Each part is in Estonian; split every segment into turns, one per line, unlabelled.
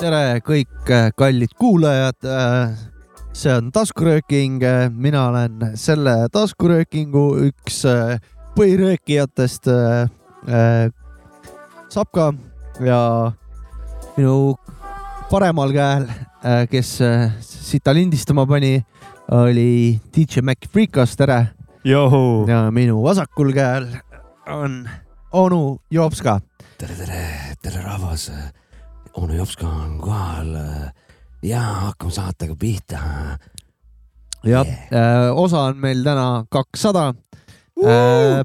tere kõik äh, kallid kuulajad . see on taskurööking , mina olen selle taskuröökingu üks äh, põhiröökijatest , Sapka ja minu paremal käel , kes äh, sita lindistama pani , oli DJ Mac Freekas , tere .
Johu .
ja minu vasakul käel on onu Jopska .
tere , tere , tere rahvas . onu Jopska on kohal ja hakkame saatega pihta .
jah yeah. , osa on meil täna kakssada .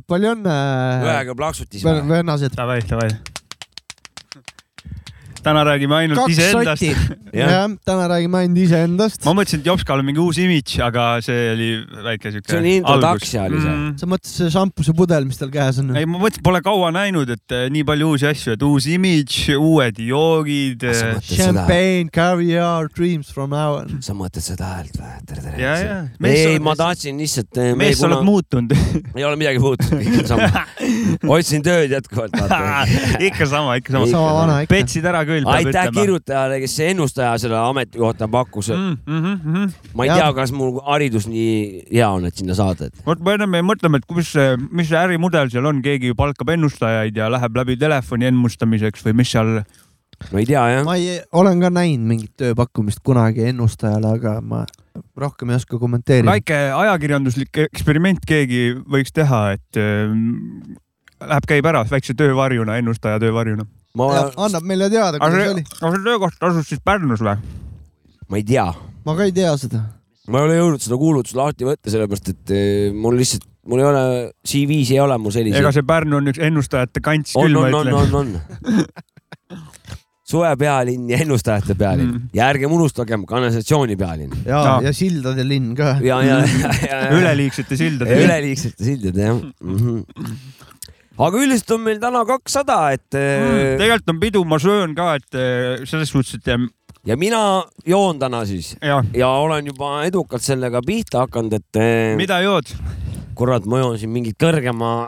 palju õnne ,
Äh,
ühega plaksutis .
vennased .
Davai , davai . täna räägime ainult
kaks
iseendast .
sotti ,
Jah.
jah , täna räägime ainult iseendast
ma . mõtlesin , et Jopskal on mingi uus imidž , aga see oli väike siuke .
See oli introduction oli see.
sa mõtled see šampusepudel , mis tal käes on ?
ei , ma mõtlesin , pole kaua näinud , et eh, nii palju uusi asju , et uus imidž , uued joogid . eh,
Kas sa mõtled seda ,
Champagne , caviar , dreams from now on .
sa mõtled seda häält või ? tere , tere .
ja , ja .
ei , ma tahtsin lihtsalt . äh,
mees , sa oled . muutunud .
ei ole midagi muutunud , kõik on sama . otsin tööd jätkuvalt .
ikka sama , ikka sama .
sama vana ikka .
petsid ära küll , peab
aitäh
ütlema .
kirjutajale , kes see ennustaja selle ametikohta pakkus .
Mm. kirjutada .
ma ei
Jah.
tea , kas mul haridus nii hea on , et sinna saada .
vot me enam ei mõtlema , et kus , mis see ärimudel seal on , keegi palkab ennustajaid ja läheb läbi telefoni ennustamiseks või mis seal .
ma ei tea jah .
ma ei , olen ka näinud mingit tööpakkumist kunagi ennustajale , aga ma rohkem ei oska kommenteerida .
väike ajakirjanduslik eksperiment keegi võiks teha , et ähm, läheb , käib ära väikse töövarjuna , ennustaja töövarjuna .
ma olen ,
annab meile teada ,
aga
kuidas
see
oli .,
aga see töökoht asus siis Pärnus või ?
ma ei tea
ma ka ei tea seda .
ma ei ole jõudnud seda kuulutust lahti võtta , sellepärast et eh, mul lihtsalt , mul ei ole , CV-s ei ole mul
ega
selliseid .
see Pärnu on üks ennustajate kants
on ,
küll , ma
on , on ,
ütlen .
on , on soe pealinn ja ennustajate pealinn
Mm.
mm. ja ärgem unustagem kanalisatsiooni pealinn
ja
Jaa.
no. , ja Sildade linn ka .
ja , ja , ja , ja , ja
üleliigsete
Ja
sildade .
üleliigsete sildade jah mm . -hmm. aga üldiselt on meil täna kakssada , et mm,
tegelikult on pidu , ma söön ka , et eh, selles suhtes , et eh,
ja mina joon täna siis
jah ,
ja olen juba edukalt sellega pihta hakanud , et eh,
mida jood ?
kurat , ma joon siin mingit kõrgema ,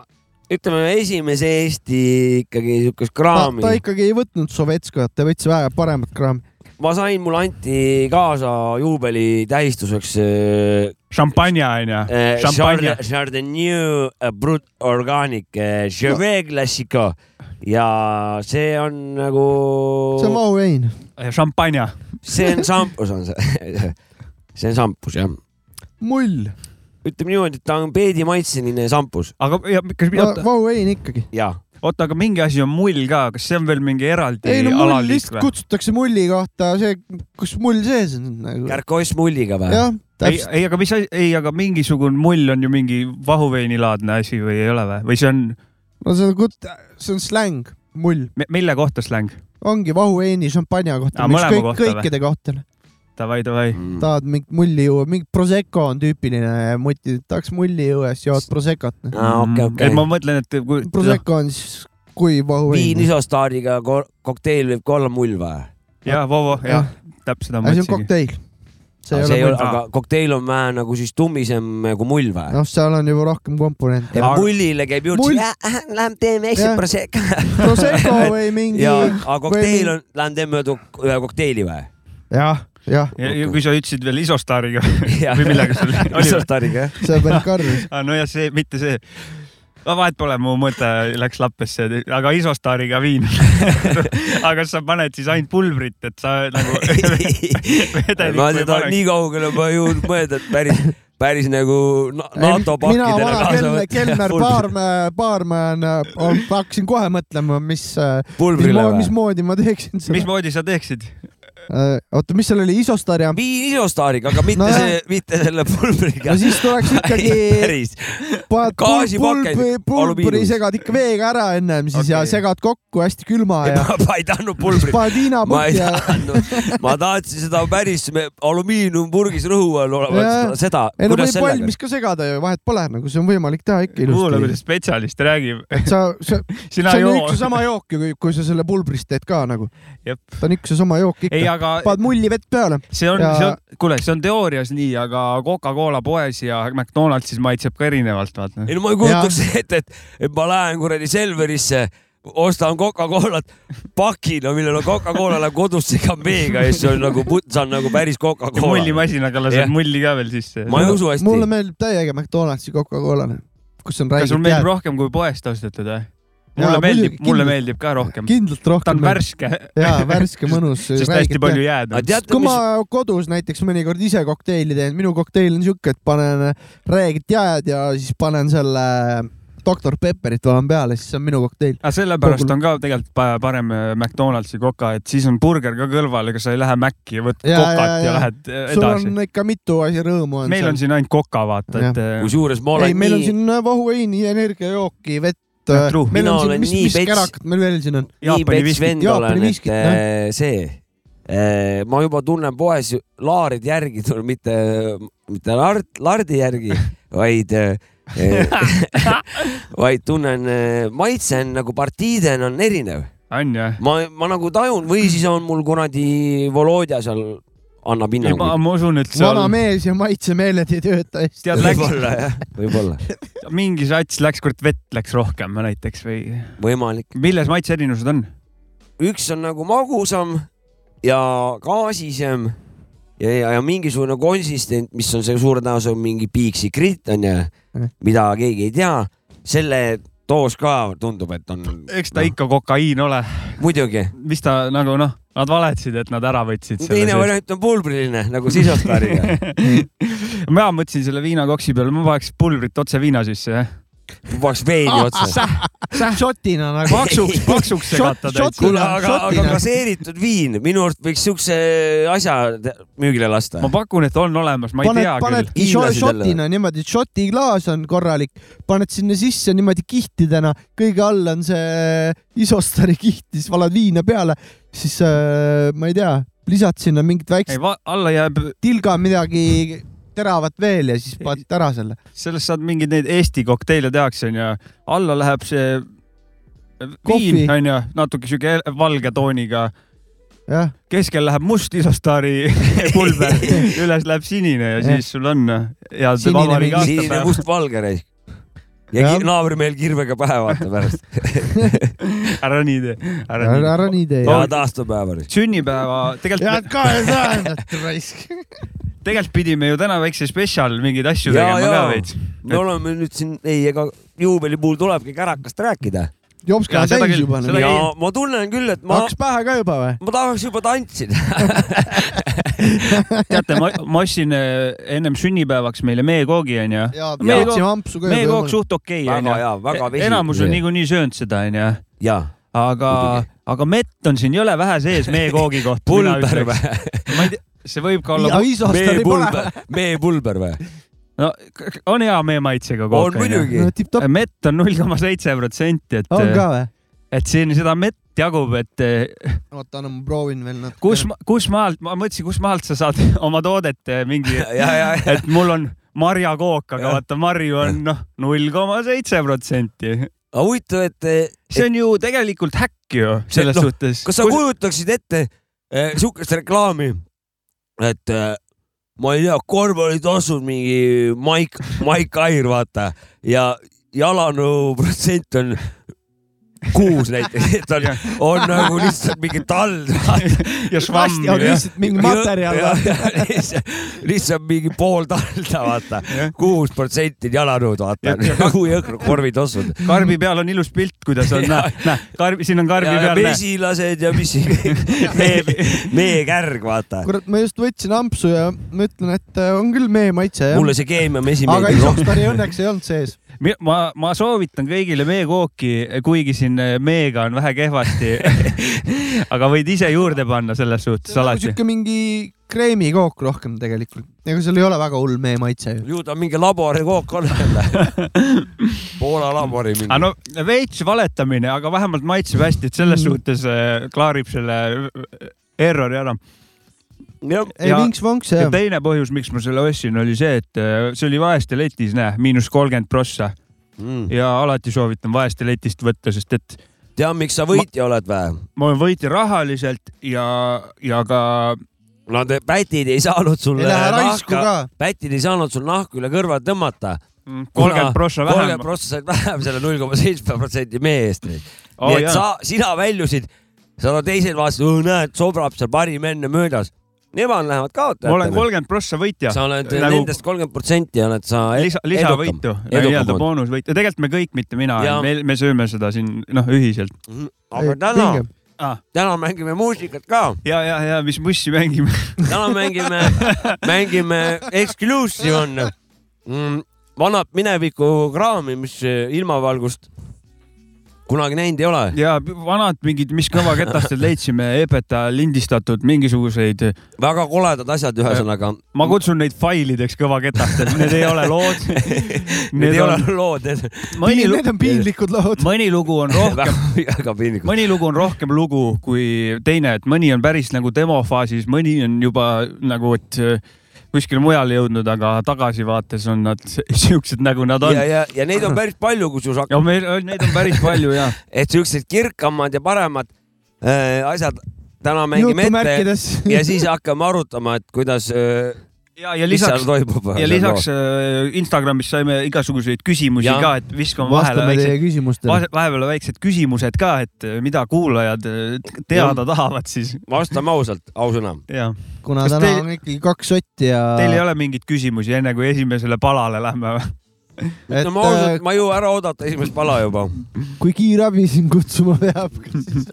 ütleme esimese Eesti ikkagi siukest
Ta,
kraami
ta . ikkagi ei võtnud Sovetskojat , ta võttis vähe paremat kraami .
ma sain , mulle anti kaasa juubeli tähistuseks äh,
šampanja onju ,
äh,
šampanja
Chard- Chardonnay äh, Brut Organic äh, Chevet Classico ja see on nagu ,
see
Oh.
on mahuvein .
šampanja ,
see on šampus on see , see on šampus jah .
mull ,
ütleme niimoodi , et ta on peedimaitseline šampus
aga ja, kas , oota ,
mahuvein ikkagi .
ja
oota , aga mingi asi on mull ka , kas see on veel mingi eraldi
ei no mull
alaliik
lihtsalt
või ?
kutsutakse mulli kohta , see , kus mull sees on nagu .
kärkoiss mulliga või ?
jah ,
ei ,
täpselt .
ei , aga mis , ei , aga mingisugune mull on ju mingi vahuveinilaadne asi või ei ole või , või see on ,
no see on kut- , see on släng , mull .
mille kohta släng ?
ongi vahuveini šampanja kohta
Aa, , mõlema
kõik ,
kohta või?
kõikide kohta .
Davai , davai .
Mm.
tahad mingit mulli juua , mingi Prosecco on tüüpiline muti , tahaks mulli juua , siis jood Prosecco't .
aa , okei ,
Mm, et
okei
ma . mõtlen , et kui ,
Prosecco on siis kuiv
viin
vahuvein .
isostaariga ko- kokteil võib ka olla mull või ?
jah , Vovo ,
Jah.
jah , täpselt seda ma
aga see on
mõtlesingi .
kokteil . see
aga
ei
see ei
ole ,
ole , aga kokteil on vähe nagu siis tummisem kui mull või ?
noh , seal on juba rohkem komponente .
ja mullile käib juurde
Mull- ,
äh, lähme teeme
Jah.
ekspressik
Prosecco või mingi
ja , aga kokteil
või-
on , lähme teeme mööda ühe kokteili või ?
jah , jah ,
ja ja kui sa ütlesid veel isostaariga
või
või millega see oli- oli või ?
isostariga jah ?
see on päris karm .
aa , nojah , Ah, see , mitte see . no vahet pole , mu mõte läks lappesse , aga isostaariga viin . aga sa paned siis ainult pulbrit , et sa nagu
ma
vedelik
seda nii kaugele ma ei jõudnud mõelda , et päris , päris nagu na- NATO
mina
pakkidele
vana
kaasa
kelner , kelner ,
pulbri-
baarmäe , baarmäe , hakkasin kohe mõtlema , mis ,
pulbrile või ?
mismoodi ma teeksin seda .
mismoodi sa teeksid ?
oota , mis seal oli , isostari amp ?
viin isostariga , aga mitte
Nojah.
see , mitte selle
no .
pulbriga
siis tuleks ikkagi ,
päris ,
paned
gaasipakend
pulbri , pulbri
alumiiniumis.
segad ikka veega ära ennem siis ja
Okei.
segad kokku hästi külma ja
ma ei tahtnud pulbrit .
paned
ma ei
viinaputti ja
tahtnud , ma tahtsin seda päris me- alumiiniumpurgis rõhu all
Jaa.
olevat , seda ,
ei no
kuidas
võib
sellega
valmis . ka segada ju , vahet pole , nagu see on võimalik teha ikka
kuula , kuidas
ilusti .
nagu spetsialist räägib .
sa , sa ,
sina
see
ei
on üks
joo
ja . sama jook ju , kui , kui sa selle pulbrist teed ka nagu .
Jep.
ta on üks ja sama jook
ei ,
ikka .
aga
paned mulli vett peale .
see on
ja- ,
see on , kuule , see on teoorias nii , aga Coca-Cola poes ja McDonaldsis maitseb ka erinevalt , noh. vaata .
ei no ma ei kujutaks ette , et , et ma lähen kuradi Selverisse , ostan Coca-Colat pakina , millel on Coca-Cola läheb kodus segameega ja siis on nagu , see on nagu päris
ja
Coca-Cola .
mullimasinaga
Jah.
lased mulli ka veel sisse .
ma ei usu
mulle
hästi .
meeldib täiega McDonaldsi Coca-Colane , kus on
kas sul
räägitud
meeldib rohkem kui poest ostetud või ? mulle
Jaa,
meeldib ,
muidugi,
mulle
kindlasti.
meeldib ka rohkem .
kindlalt
ta on
rohkem .
värske ,
jaa , värske , mõnus .
sest hästi palju jääd
aga
on .
teate ,
kui
mis
ma kodus näiteks mõnikord ise kokteili teen , minu kokteil on siuke , et panen räägid jääd ja siis panen selle äh, doktor Pepperit valan peale , siis see on minu kokteil .
aga Ah, sellepärast on ka tegelikult pa- parem äh, McDonaldsi koka , et siis on burger ka kõrval , ega sa ei lähe Maci ja võtad
Jaa,
kokat
jaa,
ja
jaa.
lähed äh,
sul
edasi .
on ikka mitu asja rõõmu on
meil on
seal .
siin ainult koka , vaata , et äh,
kusjuures ma
ei ,
olen
meil on
nii ,
siin vahuveini , energiajooki , vett .
Ja true.
meil
Mina
on
olen
siin , mis ,
nii
mis
pets-
kärakad meil veel siin on ?
nii
Jaapani
pets
viskid .
vend
Jaapani
olen , et
viskid,
äh, see , ma juba tunnen poes ju- laarid järgi , mitte , mitte lard , lardi järgi , vaid äh, , vaid tunnen , maitse on nagu partiiden on erinev .
äh, on ju ?
ma , ma nagu tajun või siis on mul kuradi Volodja seal annab
ma
hinnangu .
ma usun , et
vana
seal
mees ja maitsemeeled ei tööta hästi .
tead , läks
võib-olla jah , võib-olla ,
mingi sats läks kord vett läks rohkem näiteks või
võimalik .
milles maitseerinevused on ?
üks on nagu magusam ja gaasisem ja , ja , ja mingisugune konsistent , mis on see suure tõenäosusega mingi Bigsi Grit onju
Mhm. ,
mida keegi ei tea , selle doos ka tundub , et on .
eks ta no. . ikka kokaiin ole ,
muidugi ,
mis ta nagu noh , nad valetasid , et nad ära võtsid
teine
selle .
variant on pulbriline nagu sisostaariga .
mina mõtlesin selle viinakoksi peale , ma paneks pulbrit otse viina sisse , jah .
puhaks veini
Ah,
otsa .
šotina nagu .
paksuks , paksuks segata
Shot-
täitsa
shot- .
kuule , aga , aga
šotina.
gaseeritud viin , minu arust võiks siukse asja te- müügile lasta
ma . pakun , et on olemas , ma ei
paned
tea , küll .
panedki šo-
Hiinlased jälle
šotina niimoodi , šoti klaas on korralik , paned sinna sisse niimoodi kihtidena , kõige all on see äh, isostari kiht , siis valad viina peale , siis äh, ma ei tea , lisad sinna mingit väikest
ei , alla jääb ,
tilga midagi teravat veel ja siis paned ära selle .
sellest saad mingeid neid Eesti kokteile tehakse , onju . alla läheb see
Kohvi.
viin , onju , natuke siuke el- valge tooniga .
jah ,
keskel läheb must isostaari pulber , üles läheb sinine ja siis sul on ja see
Sinine
vabariigi
mingi-
sinine ,
aastapäev .
mustvalge reis . ja
Jah.
ki- naabrimehel kirvega pähe vaata pärast .
ära nii tee , ära nii
ära
tee .
ära nii tee .
ja taastupäeval .
sünnipäeva , tegelikult ,
ka ei saa ennast raisk .
tegelikult pidime ju täna väikse spetsial mingeid asju
Jaa,
tegema ka
jaa.
veits .
me oleme nüüd siin , ei , ega juubeli puhul tulebki kärakast rääkida
jops
Jaa,
ka
seda
täis
küll,
juba .
seda
ja
ei-
ma tunnen küll , et ma ,
kaks pähe ka juba või ?
ma tahaks juba tantsida .
teate , ma , ma ostsin eh, ennem sünnipäevaks meile meekoogi , onju .
ja
Me ei
võtsime ampsu ka
meekook
juba .
suht okei ,
Väga
onju
hea, väga . vesi-
enamus on
nii.
niikuinii söönud seda , onju .
ja
aga
Muidugi. ,
aga mett on siin jõle vähe sees meekoogi kohta .
pulber
või ?
või ?
ma ei tea , see võib ka olla
ja , isostari pole .
meepulber , meepulber või ?
no k- k- on hea meemaitsega
on
kook .
muidugi .
no tipp-topp ,
mett on null koma seitse protsenti , et
on , ka või ?
et siin seda mett jagub , et eh,
oota , anna ma proovin veel natuke .
kus , kus maalt , ma mõtlesin , kus maalt sa saad oma toodet eh, mingi ,
ja , ja , ja
et mul on marjakook , aga
Jah.
vaata , marju on noh , null koma seitse protsenti .
aga huvitav , et
see on ju tegelikult häkk ju selles
noh,
suhtes .
kas sa kujutaksid ette eh, sihukest reklaami , et eh, ma ei tea , korvpallitossud mingi Mike , Mike Air , vaata ja jalanõu protsent on kuus näiteks , et on , on nagu lihtsalt mingi tald .
ja švamm
on
ja ,
lihtsalt mingi materjal .
lihtsalt, lihtsalt mingi pool talda , vaata , kuus protsenti on jalanõud ,
Ja-
vaata , Nagu kui jõhkrad korvitossud .
karbi peal on ilus pilt , kuidas on , näe , näe , karbi , siin on karbi
ja
peal , näe .
mesilased ja mis , mee , meekärg , vaata
kurat , ma just võtsin ampsu ja ma ütlen , et äh, on küll meemaitse jah .
mulle see keemiam
aga
esimene rohkem .
isostari õnneks ei olnud sees .
Mi- ma , ma soovitan kõigile meekooki , kuigi siin eh, meega on vähe kehvasti . aga võid ise juurde panna selles suhtes
nagu
alati .
sihuke mingi kreemikook rohkem tegelikult . ega seal ei ole väga hull meemaitse ju .
ju ta mingi laborikook on jälle . Poola labori
aga
mingi .
no veits valetamine , aga vähemalt maitseb hästi , et selles suhtes äh, klaarib selle äh, errori ära .
ei ,
Ja-
vinks-vonks
ja
jah .
teine põhjus , miks ma selle ostsin , oli see , et äh, see oli Vaeste letis , näe , miinus kolmkümmend prossa
Mm.
ja alati soovitan Vaeste letist võtta , sest et
tead , miks sa võitja oled või ?
ma olen võitja rahaliselt ja , ja ka
Nad pätid ei saanud sulle
ei lähe raisku
nahka ,
ka .
pätid ei saanud sul nahku üle kõrva tõmmata ,
kolmkümmend prossa vähem
kolmkümmend . prossa said vähem selle null koma seitsme protsendi mehe eest .
Oh,
nii et sa , sina väljusid , sada teisel vaatasid , näed , sobrab seal parim enne möödas . Nemad lähevad
ma olen
kaotajatele .
kolmkümmend prossa võitja .
sa oled
Nagu-
nendest kolmkümmend protsenti oled sa ed-
lisa , lisavõitu , nii-öelda
edukam .
boonusvõitu , tegelikult me kõik , mitte mina
Ja- ,
me , me sööme seda siin noh , ühiselt
Mhm. aga täna ,
noh,
täna mängime muusikat ka ,
ja , ja , ja mis bussi mängime .
täna mängime , mängime Exclusion mm, , vanat mineviku kraami , mis eh, ilmavalgust kunagi näinud ei ole .
ja vanad mingid , mis kõvaketastelt leidsime , EPETA lindistatud mingisuguseid ,
väga koledad asjad , ühesõnaga .
ma kutsun neid failideks kõvaketastelt , need ei ole lood .
Need ei ole lood , need
mõni
Piin,
lugu ,
need on piinlikud lood .
mõni lugu on
väga
rohkem ,
väga piinlikud .
mõni lugu on rohkem lugu kui teine , et mõni on päris nagu demofaasis , mõni on juba nagu , et kuskile mujale jõudnud , aga tagasivaates on nad siuksed , nagu nad on
ja , ja , ja neid on päris palju , kusjuures
ja
hakkab ,
meil , neid on päris palju ja .
et siuksed kirkamad ja paremad äh, asjad täna mängime ette
jutumärkides .
ja siis hakkame arutama , et kuidas äh, ,
ja , ja
mis seal
lisaks ,
toimub .
ja lisaks äh, Instagramis saime igasuguseid küsimusi ja.
Ja.
ka , et viskame vahele
vastame teie
väiksed ,
küsimustele .
vahepeal väiksed küsimused ka , et äh, mida kuulajad äh, t- teada ja. tahavad siis
vastame ausalt , ausõna .
ja
kuna
kas
täna
teil-
on ikkagi kaks sotti ja .
teil ei ole mingeid küsimusi , enne kui esimesele palale lähme või ?
ütleme
äh,
ausalt , ma ei jõua ära oodata esimest pala juba .
äh, kui kiirabi sind kutsuma peab , siis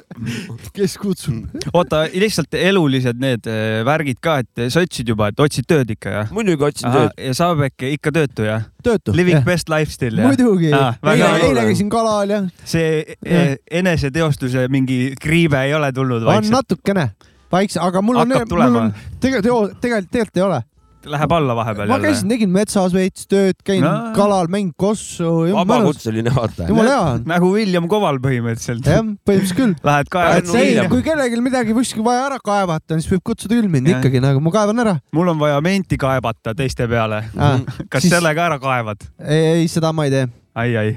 kes kutsub ?
oota , lihtsalt elulised need äh, värgid ka , et sa otsid juba , et otsid tööd ikka jah ?
muidugi otsin tööd .
ja saab äkki ikka töötu jah ?
töötu .
Living best lifestyle jah ?
muidugi
Aa, . väga
eile ,
tore.
eile käisin kalal ja
see eh, eneseteostuse mingi kriive ei ole tulnud
on
vaikselt ,
natukene vaikse , aga mul on ,
hakkab
mul
tulema
on , tegelikult , tegelikult , tegelikult ei ole .
läheb alla vahepeal
ma
jälle
käisin , tegin metsas veits tööd , käin no.
No.
kalal , mängin kossu . jumala
vabakutseline vaata .
hea on .
nagu William Koval põhimõtteliselt .
jah , põhimõtteliselt küll .
Lähed nagu
et
Pärnu
kaevama
see
Vilja. ,
kui kellelgi midagi kuskil vaja ära kaevata , siis võib kutsuda küll mind
Jah.
ikkagi , nagu ma kaevan ära .
mul on vaja menti kaevata teiste peale . kas
Siis-
siis... selle ka ära kaevad ?
ei , ei seda ma ei tee .
ai , ai ,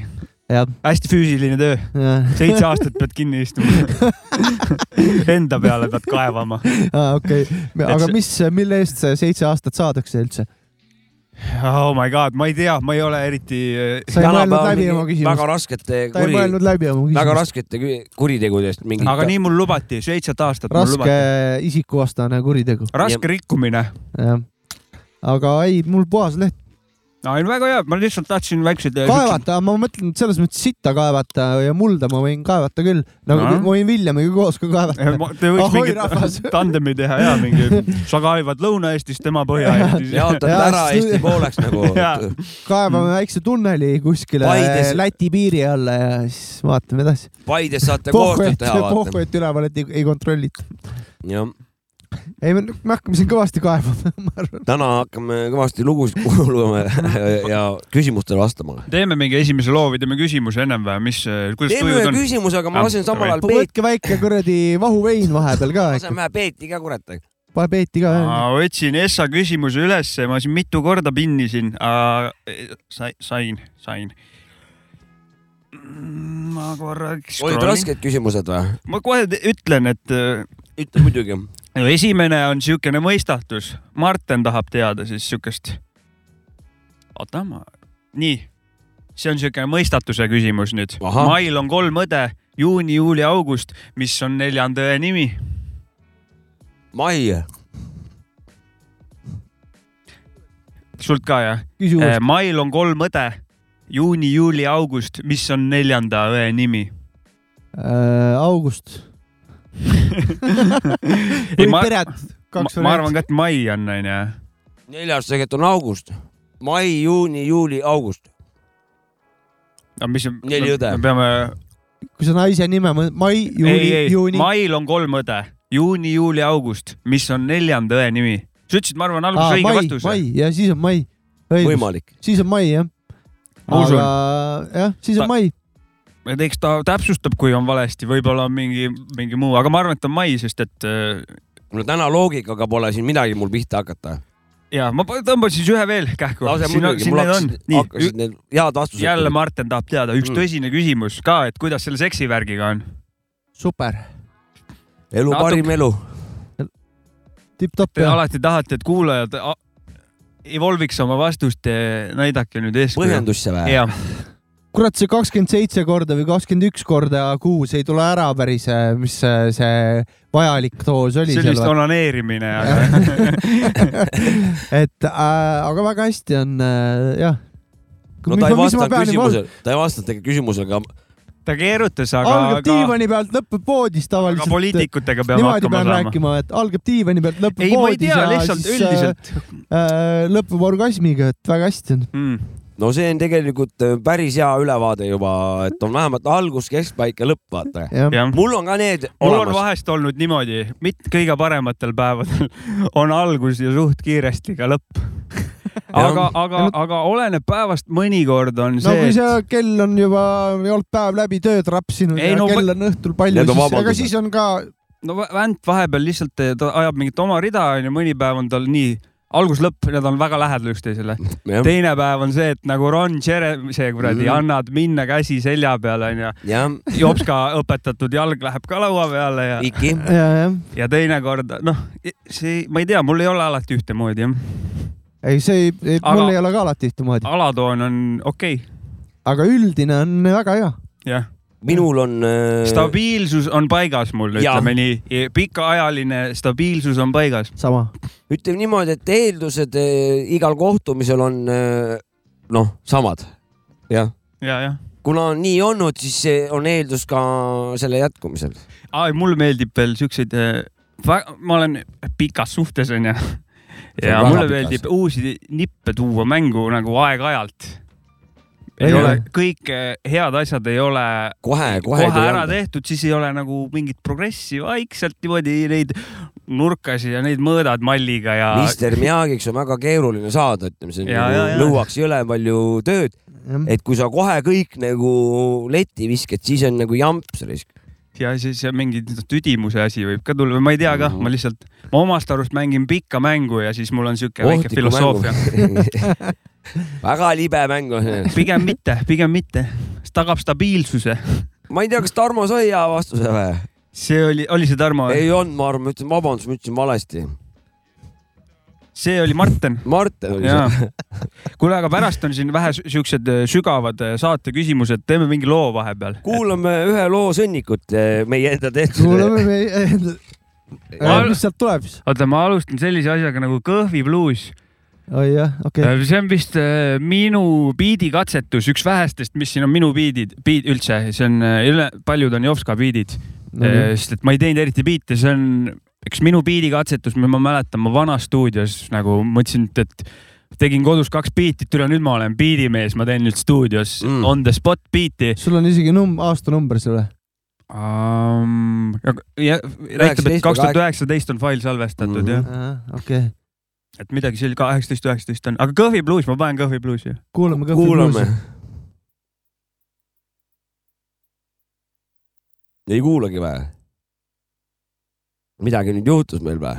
jah ,
hästi füüsiline töö , seitse aastat pead kinni istuma . Enda peale pead kaevama .
Ah, okei , aga mis , mille eest see seitse aastat saadakse üldse ?
Oh my god , ma ei tea , ma ei ole eriti , eh,
sa ei mõelnud läbi oma küsimust
väga . raskete
ta ei
kuri ,
mõelnud läbi oma
väga
küsimust .
raskete kü- kuritegude eest mingi .
aga nii mul lubati , seitset aastat mul
raske
lubati .
isikuvastane kuritegu ,
raske rikkumine .
jah . aga ei , mul puhas leht .
no ei , väga hea , ma lihtsalt tahtsin väikseid . eh,
kaevata , ma mõtlen et selles mõttes sitta kaevata ja mulda ma võin kaevata küll , nagu
Ahah.
ma võin Villemiga koos ka kaevata .
Eh, Te võiks
Ahoi, rahvas.
mingit tandemi teha ja mingi , sa kaevad Lõuna-Eestis , tema Põhja-Eestis .
jaotad
Jaa,
ära
siis-
Eesti pooleks nagu
Jaa. Mm.
kaevame väikse tunneli kuskile
Paides-
Läti piiri alla ja siis vaatame edasi .
Paides saate koostööd
pohvet ,
teha , vaata .
pohvet üleval , et ei, ei kontrollita .
jah ,
ei , me hakkame siin kõvasti kaevama , ma arvan .
täna hakkame kõvasti lugusid kuulama ja- ja küsimustele vastama .
teeme mingi esimese loo või teeme küsimuse ennem või , mis , kuidas
teeme
tujud
ühe
on ?
küsimuse , aga ma
Ah,
lasen
davai.
samal ajal Peet ,
võtke väike kuradi vahuvein vahepeal ka
lasen
ikka ,
vähe Peeti ka kurat .
pane peeti ka .
ma otsin Essa küsimuse ülesse , ma siin mitu korda pinnisin , aga eh, sai- sain , sain . ma korraks .
olid rasked küsimused või ?
ma kohe te- ütlen , et äh,
ütle muidugi .
no esimene on siukene mõistatus . Marten tahab teada siis siukest . oota , ma , nii , see on siukene mõistatuse küsimus nüüd .
Ahah.
mail on kolm õde , juuni , juuli , august , mis on neljanda õe nimi ?
Mai ,
sult ka jah ?
küsi
Eh,
uuesti .
mail on kolm õde , juuni , juuli , august , mis on neljanda õe nimi ?
Äh, august .
ei ,
või
ma ,
pered ,
ma,
kaks
ma arvan
varianti .
ka , et mai on , onju .
neljas tegelikult on august . mai , juuni , juuli , august .
no mis ,
Neli õde.
me peame ,
kui sa naise nime , mai ,
ei ,
juuni ,
ei ,
juuni .
mail on kolm õde , juuni , juuli , august , mis on neljanda õe nimi ? sa ütlesid , ma arvan , alguses õige
mai ,
vastuse .
mai ja siis on mai . õigus ,
võimalik .
siis on mai jah .
Ma usun.
aga jah , siis on
Ta-
mai .
et eks ta täpsustab , kui on valesti , võib-olla on mingi , mingi muu , aga ma arvan , et on mai , sest et äh,
no täna loogikaga pole siin midagi mul pihta hakata .
ja ma pa- tõmban siis ühe veel kähku .
lase
siin on ,
muidugi ,
siin
mul
need on
hakkasid ,,
nii ,
hakkasid need head vastused .
jälle Martin tahab teada , üks
Mm.
tõsine küsimus ka , et kuidas selle seksivärgiga on ?
super ,
elu
Natuke-
parim elu .
tipp-topp
Te
ja
alati tahate , et kuulajad a- Evolviks oma vastust , näidake nüüd eeskuju .
põhjendusse või ?
jah ,
kurat , see kakskümmend seitse korda või kakskümmend üks korda kuus ei tule ära päris , mis see, see vajalik doos oli
see oli vist onaneerimine , aga
et äh, aga väga hästi on äh, jah .
no ta ei vastanud küsimusele , ta ei vastanud tegelikult küsimusele , aga
ta keerutas , aga ,
algab
aga ,
diivani pealt , lõpeb voodis
aga
tavaliselt .
poliitikutega peab
niimoodi
hakkama
pean
saama .
rääkima , et algab diivani pealt ,
ei , ma
lõpeb
ei
voodis
tea ,
ja
lihtsalt
siis äh,
üldiselt
äh, lõpeb orgasmiga , et väga hästi on .
mm. .
no see on tegelikult äh, päris hea ülevaade juba , et on vähemalt algus , keskpaik ja lõpp , vaata .
jah ,
jah ,
mul on ka need
mul on
olemas .
vahest olnud niimoodi , mitte kõige parematel päevadel on algus ja suht kiiresti ka lõpp . aga , aga , aga oleneb päevast , mõnikord on
no
see
kui
et-
see kell on juba , ei olnud päev läbi tööd rapsinud
Ei,
ja
no
no, kell
ma-
on õhtul palju ,
Need on
siis , aga
vabandused.
siis on ka
no vä- vänt vahepeal lihtsalt eh, ta ajab mingit oma rida onju , mõni päev on tal nii algus-lõpp , nad on väga lähedal üksteisele .
jah ,
teine päev on see , et nagu Ron Jeremy , see kuradi
Mhm.
mm. annad minna käsi selja peal onju ,
jah ,
jopska õpetatud jalg läheb ka laua peale ja ,
Iki .
ja, , jah .
ja teinekord noh , see , ma ei tea , mul ei ole alati ühtemoodi jah ,
ei , see ei ,
Aga-
mul ei ole ka alati ühtemoodi ,
alatoon on okei okay, ,
aga üldine on väga hea .
jah .
minul on äh,
stabiilsus on paigas mul ,
Jah.
ütleme nii , pikaajaline stabiilsus on paigas .
sama .
ütleme niimoodi , et eeldused eh, igal kohtumisel on eh, noh , samad . jah ,
ja , jah .
kuna on nii olnud , siis see on eeldus ka selle jätkumisel .
ai , mulle meeldib veel siukseid , ma olen pikas suhtes onju .
on
ja
väga
mulle
pikas.
meeldib uusi nippe tuua mängu nagu aeg-ajalt . ei
Ei
ole
ole. ,
kõik eh, head asjad ei ole
kohe , kohe .
kohe ära tehtud , siis ei ole nagu mingit progressi , vaikselt niimoodi neid nurkasid ja neid mõõdad malliga ja .
Mister Miagiks on väga keeruline saada , ütleme , see
Ja,
on
ja, ja.
nagu nõuaks jõle palju tööd , et kui sa kohe kõik nagu letti viskad , siis on nagu jamps risk .
ja siis mingi tüdimuse asi võib ka tulla või ma ei tea kah , ma lihtsalt , ma omast arust mängin pikka mängu ja siis mul on siuke väike filosoofia ..
väga libe mäng on .
pigem mitte , pigem mitte , see tagab stabiilsuse .
ma ei tea , kas Tarmo sai hea vastuse või ?
see oli , oli see Tarmo ?
ei olnud , ma arvan , ma ütlesin , vabandust , ma ütlesin valesti .
see oli Martin .
Martin oli
jaa
see .,
kuule , aga pärast on siin vähe sü- siuksed eh, sügavad eh, saate küsimused , teeme mingi loo vahepeal .
kuulame ühe loo Sõnnikut , meie enda tehtud .
kuulame meie ,
Al-
Äh, mis sealt tuleb siis ?
oota , ma alustan sellise asjaga nagu Kõhvi bluus .
oi jah , okei okay. .
see on vist eh, minu biidikatsetus , üks vähestest , mis siin on minu biidid , biid üldse , see on eh, üle , paljud on Jovska biidid . Eh, sest et ma ei teinud eriti biite , see on üks minu biidikatsetus , mida ma mäletan , ma vanas stuudios nagu mõtlesin , et , et tegin kodus kaks biiti , et üle nüüd ma olen biidimees , ma teen nüüd stuudios mm.
Mm.
on the spot biiti
sul on isegi num- , aastanumber seal või ?
um, . näitab , et
19,
kaks tuhat üheksateist on fail salvestatud mm
Mhm.
-hmm.
okei ,
jah , et midagi seal kaheksateist , üheksateist on , aga Kõhvi bluus , ma panen Kõhvi bluusi .
kuulame ka .
kuulame . ei kuulagi või ? midagi nüüd juhtus meil või ?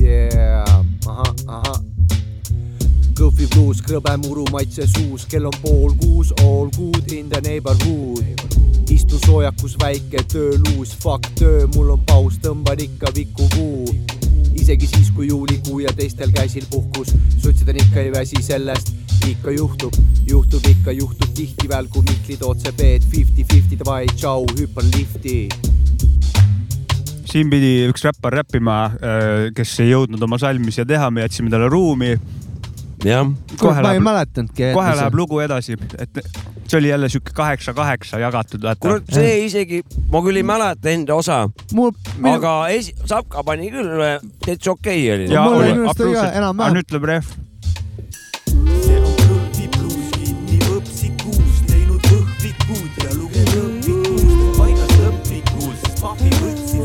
yeah. . uh-huh, ahah , ahah . Kõhvi bluus , krõbe muru maitse suus , kell on pool kuus , all good in the neighborhood . istun soojakus väike tööluus , fuck töö , mul on paus , tõmban ikka viku kuu . isegi siis , kui juulikuu ja teistel käisil puhkus , sotsidel ikka ei väsi sellest , ikka juhtub , juhtub ikka , juhtub tihtiväel , kui Mihkli tood see B-d fifty-fifty , davai , tšau , hüppan lifti
siin pidi üks räppar räppima , kes ei jõudnud oma salmi siia teha , me jätsime talle ruumi
jah ,
Kohe
ma ei
läheb-
mäletanudki .
kohe läheb lugu edasi , et see oli jälle sihuke kaheksa-kaheksa jagatud , vaata .
kurat , see isegi , ma küll ei mäleta enda osa ,
mul ,
aga esi- , Sapka pani küll äh, täitsa okei oli .
Ja- mul oli minu arust ka enam-vähem.
nüüd tuleb ref .
see on Kõlvi bluus , kinni õpsikuus , teinud õhvikud ja lugenud õpikuust , paigas õpikul , sest papi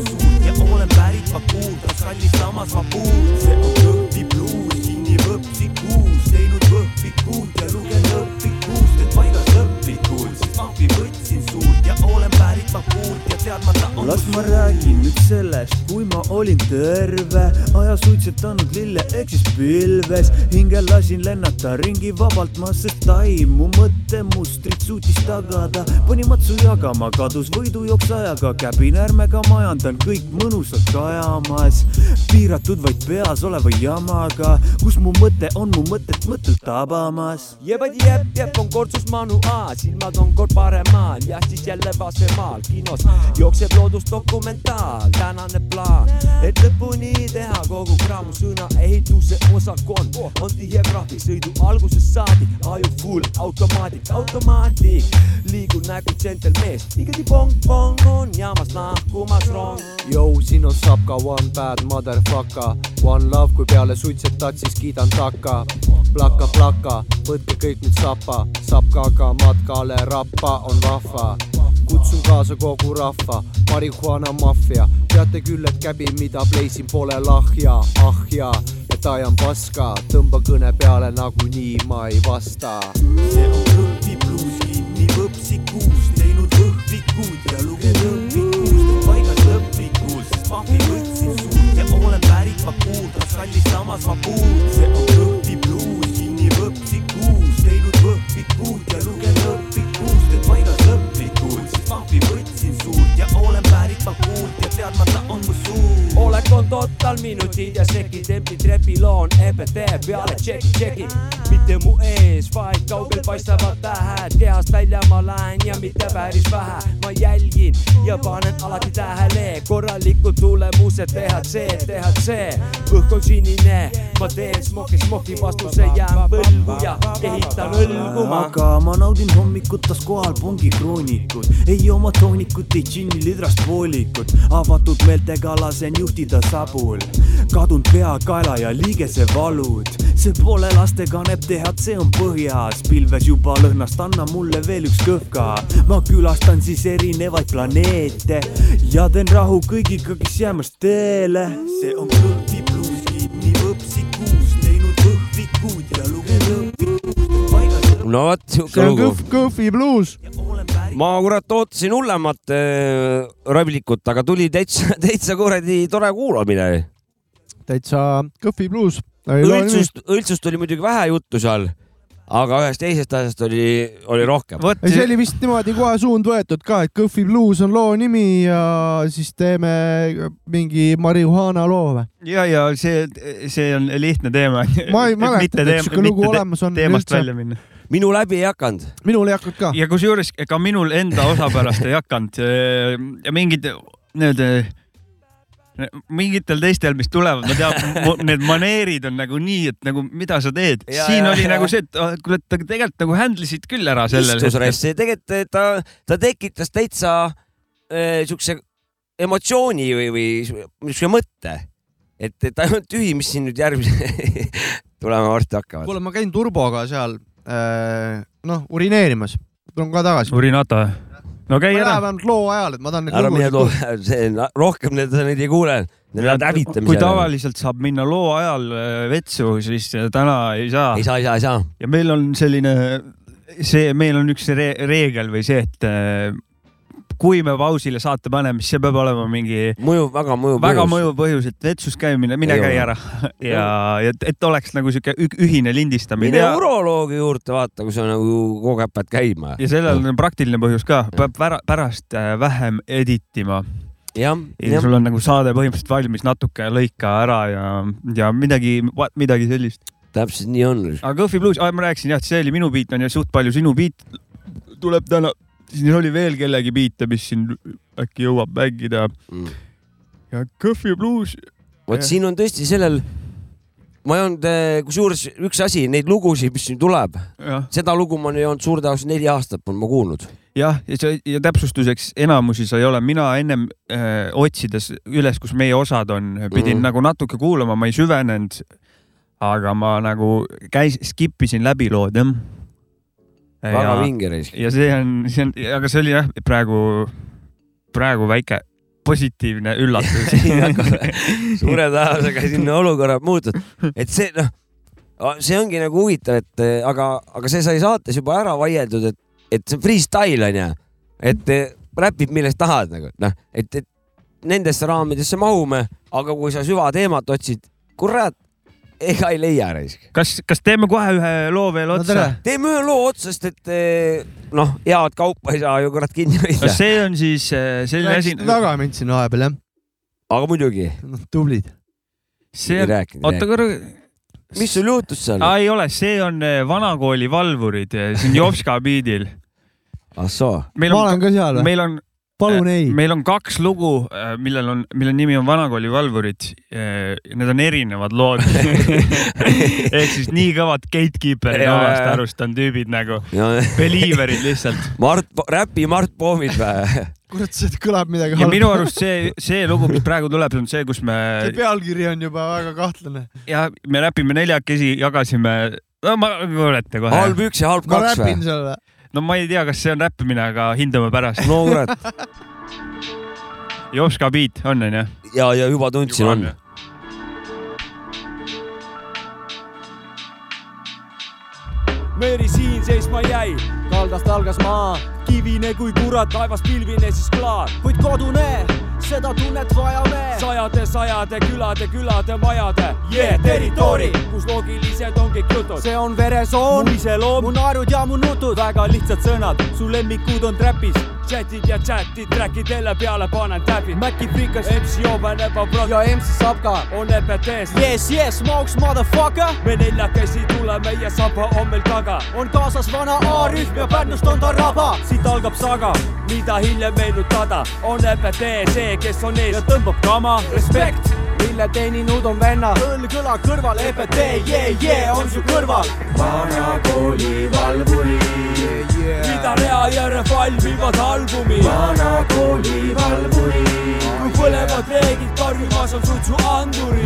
võtsin suud ja olen pärit Bakuult , kas kallis samas ma puud , see on Kõlvi bluus , kinni õpsikuus , teinud õhvikud ja lugenud õpikuust , et paigas õpikul , sest papi võtsin suud ja olen pärit Bakuult ja teadmata on
las ma räägin nüüd sellest , kui ma olin terve , ajas suitsetanud lille ehk siis pilves , hinge lasin lennata ringi vabalt ma , sest taimu mõttemustrit suutis tagada , pani matsu jagama , kadus võidujooks ajaga , käpinärmega majandan kõik mõnusalt kajamas , piiratud vaid peas oleva jamaga , kus mu mõte on mu mõtet mõttelt tabamas .
jebad jep , jep on kordsus manu A , silmad on kord paremal ja siis jälle vasemaal kinos jookseb loodusdokumentaal , tänane plaan , et lõpuni teha kogu kraam , sõna ehituse osakond on tihe graafik , sõidu algusest saadik , aju full automaatik , automaatik , liigun nagu džentelmees , igati pong-pong on jaamas lahkumas rong .
Jou , siin on Sapka , one bad motherfucker , one love , kui peale suitsetad , siis kiidan takka . plaka , plaka , võtke kõik nüüd sapa , sapkaga matkale rappa on vahva . kutsun kaasa kogu rahva , marihuana maffia , teate küll , et käbi , mida pleisin , pole lahja , ah ja , et ajan paska , tõmba kõne peale , nagunii ma ei vasta
see on õhvipluus , kinni võpsikuus , teinud õhvikud ja lugenud õhvikust , paigas õhvikul , sest pahvi võtsin suud ja olen pärit Bakuul , kas kallis samas ma puud , see on õhvipluus , kinni võpsikuus , teinud õhvikud ja lugenud õhvikust , et paigas õhvikul , sest pahvi võtsin suud ja olen pärit Bakuult ja teadmata on mu suud .
olek on total minutid ja sekid , empti trepiloon , EBT peale tšeki , tšeki . mitte mu ees , vaid kaugel paistavad tähed , kehast välja ma lähen ja mitte päris vähe . ma jälgin ja panen alati tähele , korralikud tulemused , THC , THC . õhk on sinine , ma teen smoki , smoki vastuse jään põlgu ja ehitan õlgu ma .
aga ma naudin hommikutes kohal pungi kroonikut , ei oma toonikut , ei džinni lidrast poolikut , avatud meeltega lasen juhtida sabul . kadunud pea , kaela ja liigesevalud , see pole laste kanep , THC on põhjas , pilves juba lõhnast , anna mulle veel üks kõhv ka . ma külastan siis erinevaid planeete ja teen rahu kõigiga , kes jäämas teele . see on kõhvipluus , kinni võpsikuus , teinud võhvikud ja lugenud õhvikust , paigas õhvikud .
no vot ,
see
siuke
on
lugu .
Kõhv , Kõhvi bluus .
ma kurat ootasin hullemat äh, rablikut , aga tuli täitsa , täitsa kuradi tore kuulamine .
täitsa Kõhvi bluus .
õldsust , õldsust oli muidugi vähe juttu seal , aga ühest teisest asjast oli , oli rohkem .
ei , see
vot ,
oli vist niimoodi kohe suund võetud ka , et Kõhvi bluus on loo nimi ja siis teeme mingi marihuana loo või ?
ja , ja see , see on lihtne teema .
ma ei mäleta , et siuke lugu olemas on
teemast
üldse . Ah.
välja minna .
minu läbi ei hakanud .
minul ei hakanud ka .
ja kusjuures ega minul enda osa pärast ei hakanud eh, ja mingid need eh, mingitel teistel , mis tulevad , ma tean , need maneerid on nagu nii , et nagu mida sa teed .
Ja,
siin
ja,
oli
ja.
nagu see , et ah, kuule , et tegelikult nagu handle isid küll ära sellel
istus . rassi , tegelikult eh, ta , ta tekitas täitsa äh, siukse emotsiooni või , või siukse mõtte , et , et ainult tühi , mis siin nüüd järgmise tulema varsti hakkavad .
kuule , ma käin turboga seal äh, noh , urineerimas . tulen kohe tagasi .
Urinata . no
ma
käi
ei lähe
ära .
vähemalt loo ajal , et ma tahan
ära mine
neid
too , see rohkem need , neid ei kuule , need lähevad
kui
hävitamisele .
tavaliselt saab minna loo ajal eh, vetsu , siis täna ei saa
ei saa , ei saa , ei saa .
ja meil on selline , see , meil on üks re reegel või see , et äh, kui me pausile saate paneme , siis see peab olema mingi
mõjub väga , mõjub .
väga mõjuv põhjus , et vetsus käimine , mine
Ei
käi
ole.
ära ja , et , et oleks nagu sihuke ü- ühine lindistamine
mine
ja,
uroloogi juurde vaata , kui sa nagu kogu aeg pead käima .
ja sellel on praktiline põhjus ka , peab ära, pärast äh, vähem editima
jah ,
ja
jah .
sul on nagu saade põhimõtteliselt valmis , natuke lõika ära ja , ja midagi , midagi sellist .
täpselt nii on .
aga Kõhvi bluus , ma rääkisin jah , et see oli minu biit on ju suht palju sinu biit tuleb täna , siin oli veel kellegi biite , mis siin äkki jõuab mängida
Mm.
ja Kõhvi bluus .
vot siin on tõesti sellel , ma ei olnud , kusjuures üks asi , neid lugusid , mis siin tuleb ,
jah ,
seda lugu ma ei olnud suurde jaoks neli aastat polnud ma kuulnud .
jah , ja see ja täpsustuseks enamusi sa ei ole , mina ennem äh, otsides üles , kus meie osad on , pidin
Mhm.
mm. nagu natuke kuulama , ma ei süvenenud . aga ma nagu käis , skip isin läbi lood jah .
väga vinge reis .
ja see on , see on , aga see oli jah , praegu , praegu väike positiivne üllatus
suure tõenäosusega sinna olukorra muutud , et see noh , see ongi nagu huvitav , et eh, aga , aga see sai saates juba ära vaieldud , et , et see on freestyle onju , et eh, räpid millest tahad nagu noh , et , et nendesse raamidesse mahume , aga kui sa süvateemat otsid , kurat , ega ei leia raisk .
kas , kas teeme kohe ühe loo veel
No
otsa
tere. ?
teeme ühe loo otsast , et eh, noh , head kaupa ei saa ju kurat kinni hoida
kas . see on siis äh, selline asi
rääkisite , taga mind siin vahepeal jah ?
aga muidugi ,
tublid .
see
ei
on ,
rääkinud
oota . korra ,
mis sul juhtus seal ?
aa ei ole , see on äh, Vanakooli valvurid , see on Jopska beat'il .
ah soo ,
meil
ma
on ,
olen ka seal .
meil on ,
palun ei .
meil on kaks lugu , millel on , mille nimi on Vanakooli valvurid . Need on erinevad lood . ehk siis nii kõvad gatekeeper'i
Jaa,
omast
jaa.
arust on tüübid nagu believer'id lihtsalt .
Mart , räpi Mart poomid või ?
kurat , see kõlab midagi
ja minu
halba .
arust see , see lugu , mis praegu tuleb , on see , kus me
see pealkiri on juba väga kahtlane .
ja me räpime neljakesi , jagasime , no ma kuulete kohe .
halb üks ja halb
ma
kaks või
räpin ? selle .
no ma ei tea , kas see on räppimine , aga hindame pärast .
no kurat ,
Jopska beat on onju ?
ja , ja juba tundsin , on .
Meri siin seisma jäi , kaldast algas maa , kivine kui kurat , taevas pilvine siis klaar , kuid kodune , seda tunnet vajame . sajade , sajade külade , külade , majade yeah, , territoori , kus loogilised ongi jutud . see on veresoon , mu iseloom , mu naerud ja mu nutud , väga lihtsad sõnad , su lemmikud on trapis , chatid ja chatid , track'id jälle peale panen täpid , Maci Freekas , MC Open Ebabrot ja MC Sapka on E EPT-s . Yes , yes , Mauks , motherfucker . me neljakesi tuleme ja saba on meil taga , on kaasas vana A-rühm ja Pärnust on ta raba , siit algab saga , mida hiljem meenutada , on EPT see , kes on ees ja tõmbab kama , respekt mille teeninud on venna õlg õla kõrval , EPT , jee , jee on su kõrval . vana kooli valvuri yeah, , yeah. Ida-Rea järve valmivad albumi . vana kooli valvuri , kui põlevad reeglid karjumas on suitsuanduri .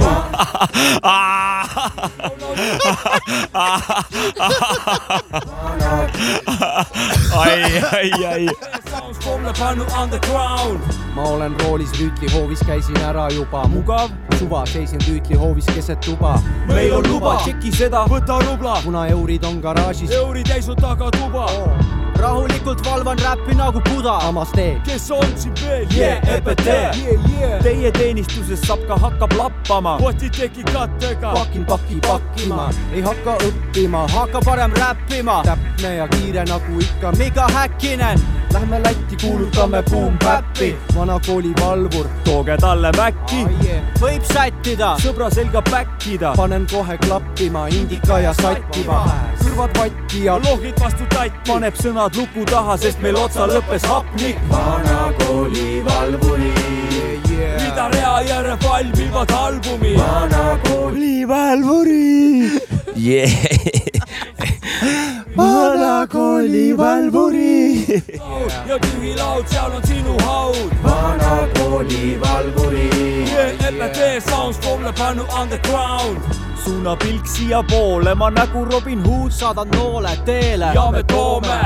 ai , ai , ai .
Sounds pomle pannu underground ,
ma olen roolis rüütlihoovis , käisin ära juba ,
mugav ,
suva seisin rüütlihoovis keset tuba ,
meil on luba , tšeki seda , võta rubla ,
kuna eurid on garaažis ,
euri täis on taga tuba ,
rahulikult valvan räppi nagu Buda , Amaste .
kes on siin veel , jee , EPT teie teenistuses saab ka hakkab lappama , poti teki kattega ,
pakin pakki pakkima , ei hakka õppima , hakka parem räppima , täpne ja kiire nagu ikka , mega häkkinen . Lähme Lätti , kuulutame Boom Bap'i , vana kooli valvur
tooge talle mäkki ,
ah, . Yeah. võib sättida ,
sõbra selga päkkida ,
panen kohe klappima indika ja sattima , kõrvad vatti ja
lohid vastu tatti , paneb sõnad luku taha , sest meil otsa lõppes hapnik . vana kooli valvuri yeah. , Ida-Rea järve valmivad albumi . vana kooli valvuri ,
vanakooli valvuri .
ja tühi laud , seal on sinu haud . vana kooli valvuri yeah, . EPT Sounds Formula Pannu Underground . suuna pilk siiapoole , ma nägu Robin Hood .
saadad noole teele
ja me toome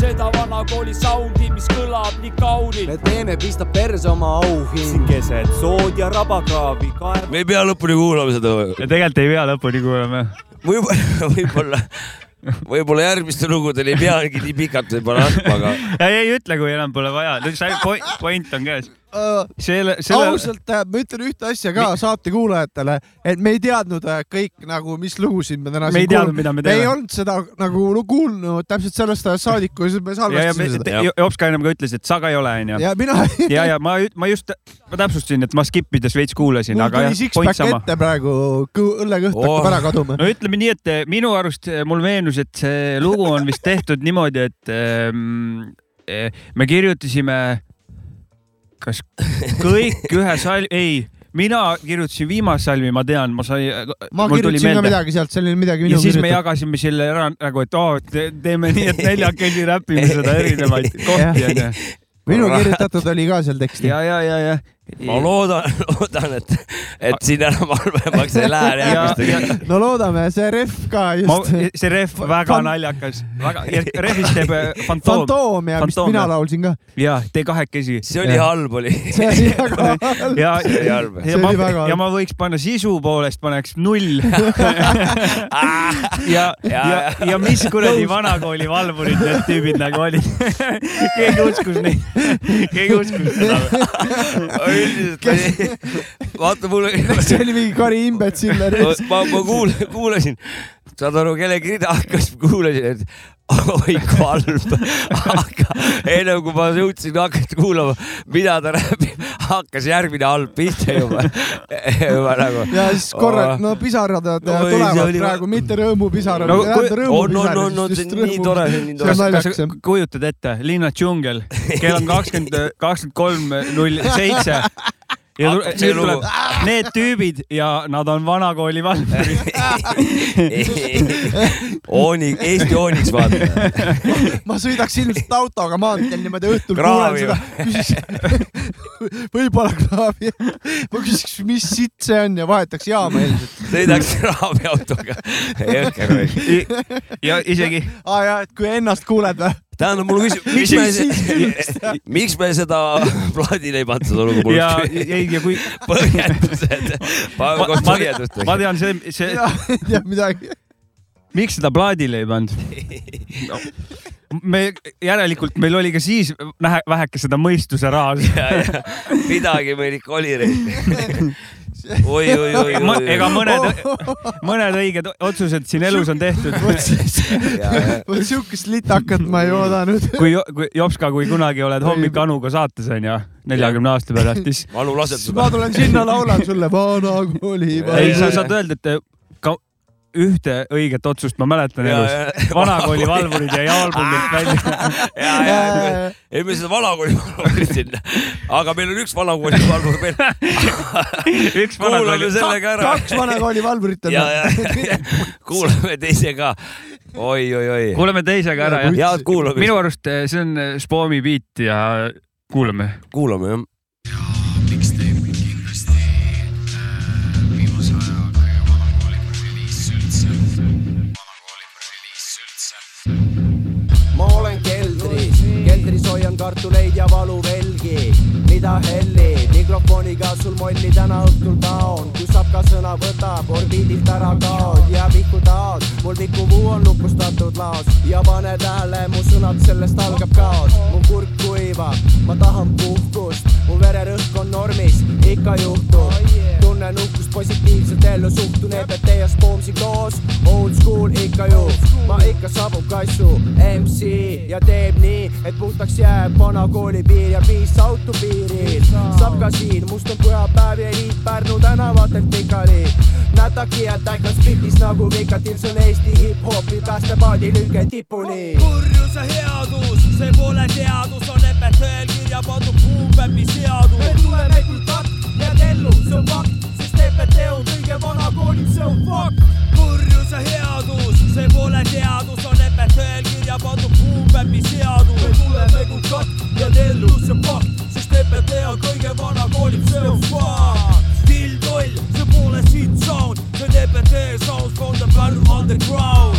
seda vana kooli soundi , mis kõlab nii kaunilt
me . teeme , pistab perse oma
siin
auhind .
keset sood ja rabakraavi kaev .
me ei pea lõpuni kuulama seda või ?
ja tegelikult ei pea lõpuni kuulama .
võib-olla , võib-olla , võib-olla järgmistel lugudel ei peagi nii pikalt võib-olla andma , aga
ei , ei ütle , kui enam pole vaja , point on käes . selle , selle ,
Äh, ausalt , ma ütlen ühte asja ka saate kuulajatele , et me ei teadnud äh, kõik nagu , mis lugusid me täna
Me ei
siin
teadnud, mida me teeme.
ei olnud seda nagu lu- kuulnud täpselt sellest ajast saadik , kui me
ja , ja
salvestasime seda .
me- Jops ka ennem ka ütles , et saga ei ole onju .
ja mina ,
ja , ja ma , ma just , ma täpsustasin , et ma skip ides veits kuulasin ,
mul
aga
tuli
jah , point
six-pack
sama .
ette praegu , õllekõht hakkab
Oh.
ära kaduma .
no ütleme nii , et eh, minu arust eh, mul veenus , et see lugu on vist tehtud niimoodi , et ehm, eh, me kirjutasime , kas kõik ühe salmi , ei , mina kirjutasin viimase salmi , ma tean , ma sai ,
ma
mul tuli
kirjutasin ka
meelde .
midagi sealt , seal oli midagi
ja
minu
siis me jagasime selle ära nagu , et oo , teeme nii , et neljakesi räpime seda erinevaid kohti onju .
minu kirjutatud oli ka seal teksti .
ja , ja , ja , ja .
ma loodan , loodan , et , et siin enam halvemaks ei lähe järgmistega .
no loodame , see ref ka
ma
just ,.
see ref väga
Fan-
naljakas , väga , refis teeb eh, fantoom
fantoom ja vist
Fantoom,
mina
jah.
laulsin ka .
ja te kahekesi .
see oli halb , oli .
see oli väga halb .
ja ,
See oli
ja,
halb.
See
ja
oli
ma
väga , halb.
ja ma võiks panna sisu poolest paneks null .
Ah,
ja , ja, ja , ja mis kuradi vanakooli valvurid need tüübid nagu olid . keegi uskus neid , keegi uskus seda .
üldiselt , vaata mul
see oli mingi Kari Imbetsiller .
ma , ma kuulasin , kuulasin , saad aru , kellegi rida hakkas , kuulasin , et oi kalb , aga ennem kui ma jõudsin hakata kuulama , mida ta räägib , hakkas järgmine halb pihta juba , juba nagu .
ja siis korra , no pisarad no,
No ei, see
tulevad
oli-
oli... praegu , mitte rõõmupisarad
No
no, ,
Nagu-
kui-
näed
on , on , on , on ,
rõõmupisarad ,
see on nii tore , see on nii
See
tore
on .
kas
naljakas,
sa
jah.
kujutad ette , linna džungel , kell on kakskümmend , kakskümmend kolm , null seitse ja tu-
Hakkab see
nüüd tuleb need tüübid ja nad on vanakooli valvurid .
Oonik , Eesti Ooniks vaata .
ma sõidaks ilmselt autoga maanteel niimoodi õhtul , kuulan
Kraavi
seda , küsiks , võib-olla kraavi , ma küsiks , mis sitt see on ja vahetaks jaama ilmselt .
sõidaks kraaviautoga . jõhker või ?
ja isegi ,
aa jaa , et kui ennast kuuled või ?
tähendab , mul on küsimus , miks me , miks me seda plaadile ei pandud , olgu nagu mul
ja , ja kui
põhjendused ,
ma, ma, ma
koos põhjendustega .
tean see , see ,
ei tea midagi .
miks seda plaadile ei pannud no. ? me järelikult meil oli ka siis vähe , väheke seda mõistuse raha .
midagi meil ikka oli reis . oi , oi , oi , oi ,
ega
Oh,
mõned , mõned õiged otsused siin elus on tehtud .
vot siukest litakat ma ei oodanud .
kui , kui Jopska , kui kunagi oled hommik Anuga saates onju , neljakümne aasta pärast , siis
valu
siis ma
lasetus .
tulen sinna , laulan sulle vana kooli .
ei , sa saad öelda , et eh, ka ühte õiget otsust ma mäletan elus . vanakooli valvurid jäi albumilt välja .
ja , ja , ei me seda vanakooli valvurit sinna , aga meil on üks vanakooli valvur veel .
üks
kuulame
vanakooli ,
sellega ära
kaks vana kooli valvurit on
ja , ja kuulame teise ka oi, . oi-oi-oi ,
kuulame teisega ära jah .
head kuulamist
minu , arust eh, see on eh, Spoomi beat ja kuulame .
kuulame jah .
mixtape'i kindlasti äh, viimase ajaga ja vanakooli reliis üldse , vanakooli reliis üldse .
ma olen keldris , keldris hoian kartuleid ja valuvelgi , mida helli , mikrofoniga sul molli täna õhtul taon , kui saab ka sõna võtab , orbiidilt ära kaod ja viku taod , mul vikuvuu on lukustatud laos ja pane tähele , mu sõnad , sellest algab kaos , mu kurk kuivab , ma tahan puhkust , mu vererõhk on normis , ikka juhtub , tunnen uhkust positiivselt ellu , suhtun EBT ja Spoomsi koos , old school ikka ju , ma ikka sabub kassu , MC ja teeb nii , et puhtaks jääb vana koolipiir ja piis autopiiril . saab ka siin , must on pühapäev ja liit Pärnu tänavatelt pikali . nätaki ja täkas pildis nagu Mikatil , see on Eesti hip-hopi päästepaadi lünge tipuni .
purjus ja headus , see pole teadus , on EPT-l kirja pandud kuupäevi seadus .
me tuleme kui takk , jääd ellu , see on fakt , sest EBT on kõige vana koolim , see on fakt .
purjus ja headus , see pole teadus , on EPT-l kirja pandud kuupäevi seadus . me tuleme kui takk , jääd ellu , see on fakt , sest EPT on kõige vana koolim , see on fakt . Still toll , see pole siit sound , see on EPT sound from the Pärnu underground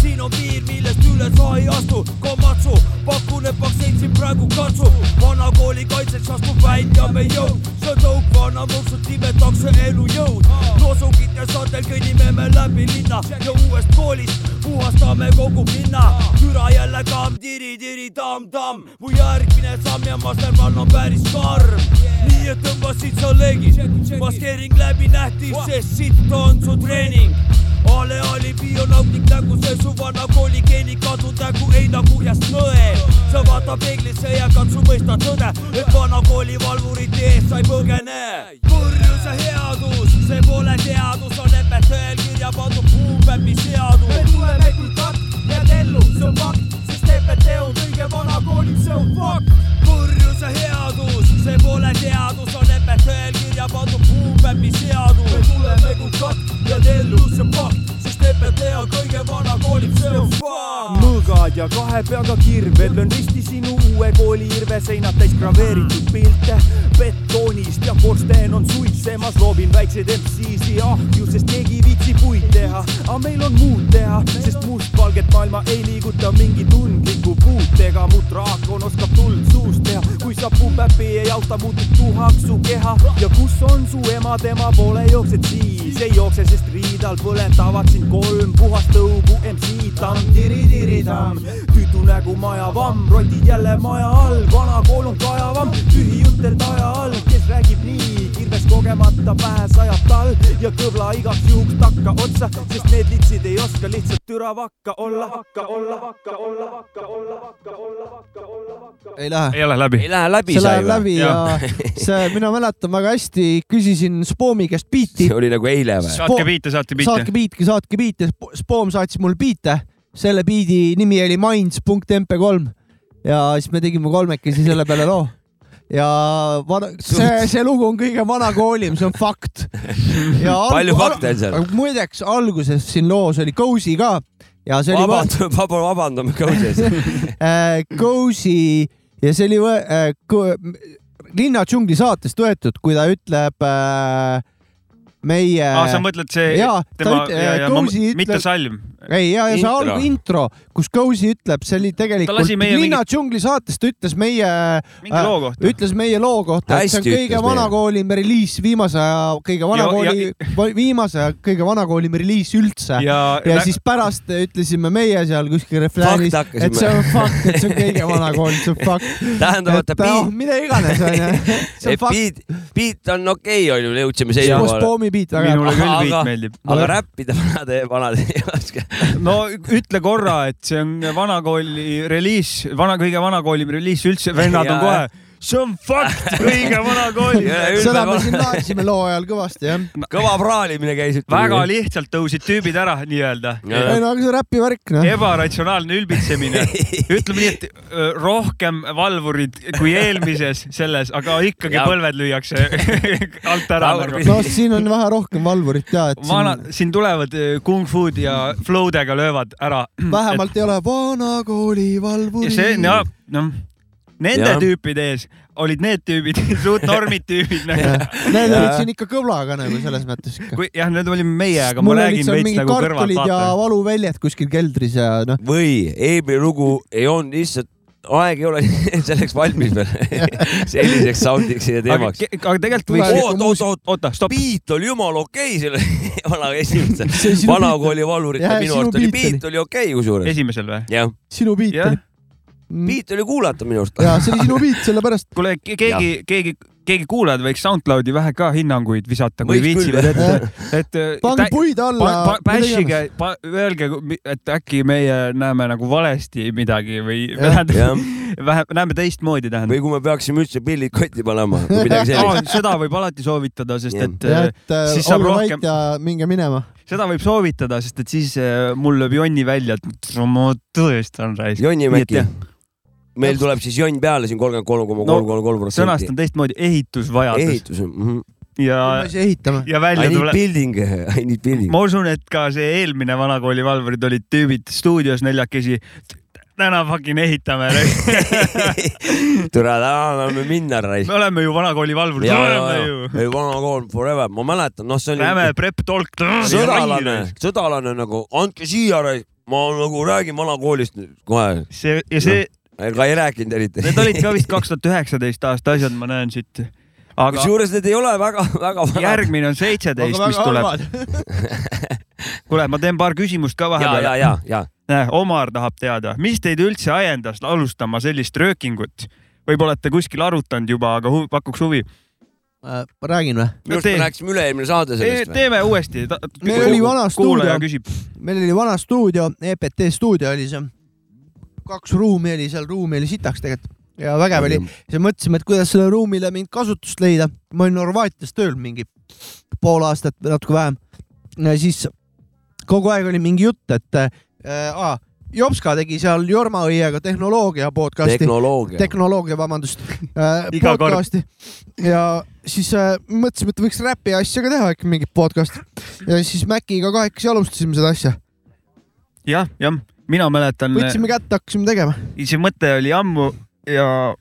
siin on piir , millest üle sa ei astu , kommatsu , pakun , et vaktsiin siin praegu katsu , vana kooli kaitseks astub välja me jõud , see on tõuk , vana mõksud nimetakse elujõud , loosungite saatel kõnnime me läbi linna ja uuest koolist puhastame kogu pinna , küra jälle kamm , tiri-tiri-tamm-tamm , mu järgmine samm ja mastermann on päris karm , nii et tõmbasid sa legid , maskeering läbi nähtis , sest sitt on su treening ole oli bionautik nägu , see su vana kooli geeni kadunud nägu ei nagu heast nõel . sa vaata peeglisse ja katsu mõista tõde , et vana kooli valvurite eest sa ei põgene . purjus ja headus , see pole teadus , on EPT-l kirja pandud kuupäevi seadus
me . tuleme kui takk , jääd ellu , see on fakt , sest EBT on kõige vana koolim , see on fakt .
purjus ja headus , see pole teadus , on EPT-l kirja pandud kuupäevi seadus . me tuleme kui katt ja tellus see fakt , sest EPT on kõige vana koolib , see on fakt .
mõõgad ja kahe peaga kirved , löön risti sinu uue kooli irve seinad täis graveeritud pilte betoonist ja korsten on suitsemas , loobin väikseid MC-si ahju , sest keegi ei viitsi puid teha , aga meil on muud teha , sest mustvalget maailma ei liiguta mingi tundliku puutega , mu draakon oskab tuld suust teha , kui sa pumpäpi ei auta , muutub tuhaks su keha ja kus on su ema , tema poole jooksed siis , ei jookse , sest riidal põletavad sind kolm puhast õugu MC-d , tamm , tiri-tiri-tamm ,
tüütu nägu majavamm , rotid jälle maja all , vana koolung kajavam , tühi jutelda aja all , kes räägib nii , kirves kogemata pähe sajab tal ja kõbla igaks juhuks takka otsa , sest need litsid ei oska lihtsalt türa vakka olla , hakka olla , hakka olla , hakka olla , hakka olla , hakka olla , hakka olla .
ei lähe .
ei ole läbi
ei . lähe läbi ,
see
sai
läheb
või ?
läbi ja see , mina mäletan väga hästi , küsisin Spoomi käest biiti
see , oli nagu eile või ?
saatke biite , saatke biite
saatke . biite , saatke biite , Spoom saatis mulle biite , selle biidi nimi oli minds.mp3 ja siis me tegime kolmekesi selle peale loo ja vana, see , see lugu on kõige vanakoolim , see on fakt .
Palju fakte on seal.
muideks alguses siin loos oli Cozy ka ja see oli vaba.
vabandame , vabandame Kõuses .
äh, Cozy ja see oli võ- äh, ko- m- Linna džungli saatest võetud , kui ta ütleb äh, meie
aa , sa mõtled see
Jaa, ta
tema
üt-
ja , ja ma,
Kõusi ütleb-
mitte salm .
ei , ja , ja see
Intro.
algu intro , kus Cozy ütleb , see oli
Ta
tegelikult
lasi meie
Linna džungli saates , ta ütles meie ,
mingi loo kohta .
ütles meie loo kohta , et see on
Hästi
kõige
ütles
vanakoolim reliis viimase aja , kõige vanakooli , viimase aja kõige vanakoolim reliis üldse .
ja,
ja siis pärast ütlesime meie seal kuskil refräänis ,
Fakte hakkasime.
et see on fakt , et see on kõige vanakoolim , see on fakt .
tähendab , et
et oh,
beat ,
mida iganes onju , see on fakt .
beat , beat on okei , on ju , me jõudsime seisukohale .
Spoomi beat väga hea .
minule küll
Aga-
biit meeldib .
aga räppida vanad , vanad ei oska .
no ütle korra , et see on vanakooli reliis , vana , kõige vanakoolim reliis üldse , vennad on
Jaa.
kohe , see on fakt , kõige vanakooli .
seda me siin laeksime loo ajal kõvasti jah .
kõva praalimine käis .
väga lihtsalt tõusid tüübid ära nii-öelda .
ei no aga see on räpi värk noh .
ebaratsionaalne ülbitsemine , ütleme nii , et öö, rohkem valvurid kui eelmises selles , aga ikkagi
Ja.
põlved lüüakse alt ära nagu .
no siin on vähe rohkem valvurit ja , et
vana
siin ,
siin tulevad öö, kung-fu'd ja flow'dega löövad ära .
vähemalt ei ole vanakooli
ja
valvuri .
see , noh , nende
Jah.
tüüpide ees olid need tüübid , suutnormid tüübid nagu. .
Need olid siin ikka kõvlaga nagu selles mõttes ikka .
kui jah , need olime meie , aga ma räägin veits nagu kõrvalt
kartulid ja
vaata .
valuväljad kuskil keldris ja noh ,
või eelmine lugu ei olnud lihtsalt , aeg ei ole selleks valmis veel selliseks soundiks ja
aga
teemaks .
ke- aga tegelikult
Tule-
võiks ,
oot , oot , oot ,
oota , stopp ,
beat oli jumala okei selle vana esimese
See sinu ,
vanakooli valvurite
Jah,
minu
sinu
arust oli ,
beat oli.
beat oli okei kusjuures .
esimesel või ?
jah ,
sinu biit
jah
oli .
beat oli kuulata minu arust .
ja see oli sinu biit , sellepärast .
kuule , keegi , keegi , keegi kuulajad võiks SoundCloudi vähe ka hinnanguid visata , kui
Võiks küll,
viitsivad ,
jah.
et , et .
äh,
eh,
pange puid alla .
Bashige , öelge , et äkki meie näeme nagu valesti midagi või
jah
tähendab , vähe , näeme teistmoodi , tähendab .
või kui me peaksime üldse pillid kotti panema või midagi
Oh,
sellist .
seda võib alati soovitada , sest
Jah.
et
Ja,
eh,
et äh,
siis saab
olge
rohkem
vait , ja minge minema .
seda võib soovitada , sest et siis eh, mul lööb jonni välja , et ma tõestan raisk .
Jonni
Nii et
Mäki
jah. ,
meil tuleb siis jonn peale siin kolmkümmend kolm koma kolm kolm kolm protsenti
sõnastan . teistmoodi , ehitusvajadus
ehitus mm , -hmm.
ja ,
me siis ehitame .
ja
I
välja
need
tuleb .
building , I need building .
ma usun , et ka see eelmine vanakooli valvurid olid tüübid stuudios neljakesi . täna fucking ehitame .
tere , tahame minna raisk
me . oleme ju vanakooli valvurid , oleme ju .
ei , vana kool forever , ma mäletan , noh , see
näeme
oli
prep talk .
sõdalane , sõdalane nagu , andke siia raisk , ma nagu räägin vana koolist nüüd kohe ,
see ja see ,
ega ei rääkinud eriti .
need olid ka vist kaks tuhat üheksateist aasta asjad , ma näen siit . aga
kusjuures need ei ole väga-väga vanad .
järgmine on seitseteist , mis tuleb . kuule , ma teen paar küsimust ka
ja , ja ,
vahepeal .
ja , ja
näe , Omar tahab teada , mis teid üldse ajendas alustama sellist röökingut ? võib-olla olete kuskil arutanud juba , aga hu pakuks huvi .
ma Äh, räägin või ?
minu arust me rääkisime üle-eelmine saade
Ei,
sellest või ?
teeme uuesti .
Meil oli vana
kuulaja
stuudio.
küsib ,
meil oli vana stuudio , EPT stuudio oli see , kaks ruumi oli seal , ruumi oli sitaks tegelikult ja vägev oli . siis mõtlesime , et kuidas sellele ruumile mingit kasutust leida . ma olin Horvaatias tööl mingi pool aastat või natuke vähem . siis kogu aeg oli mingi jutt , et äh, aa, Jopska tegi seal Jorma Õiega tehnoloogia podcast'i ,
tehnoloogia .
tehnoloogia , vabandust äh, ,
Iga kord.
podcast'i . ja siis äh, mõtlesime , et võiks räpi asja ka teha ikka mingit podcast'i . ja siis Maciga kahekesi alustasime seda asja .
jah , jah , mina mäletan ,
võtsime kätte , hakkasime tegema .
see mõte oli ammu ja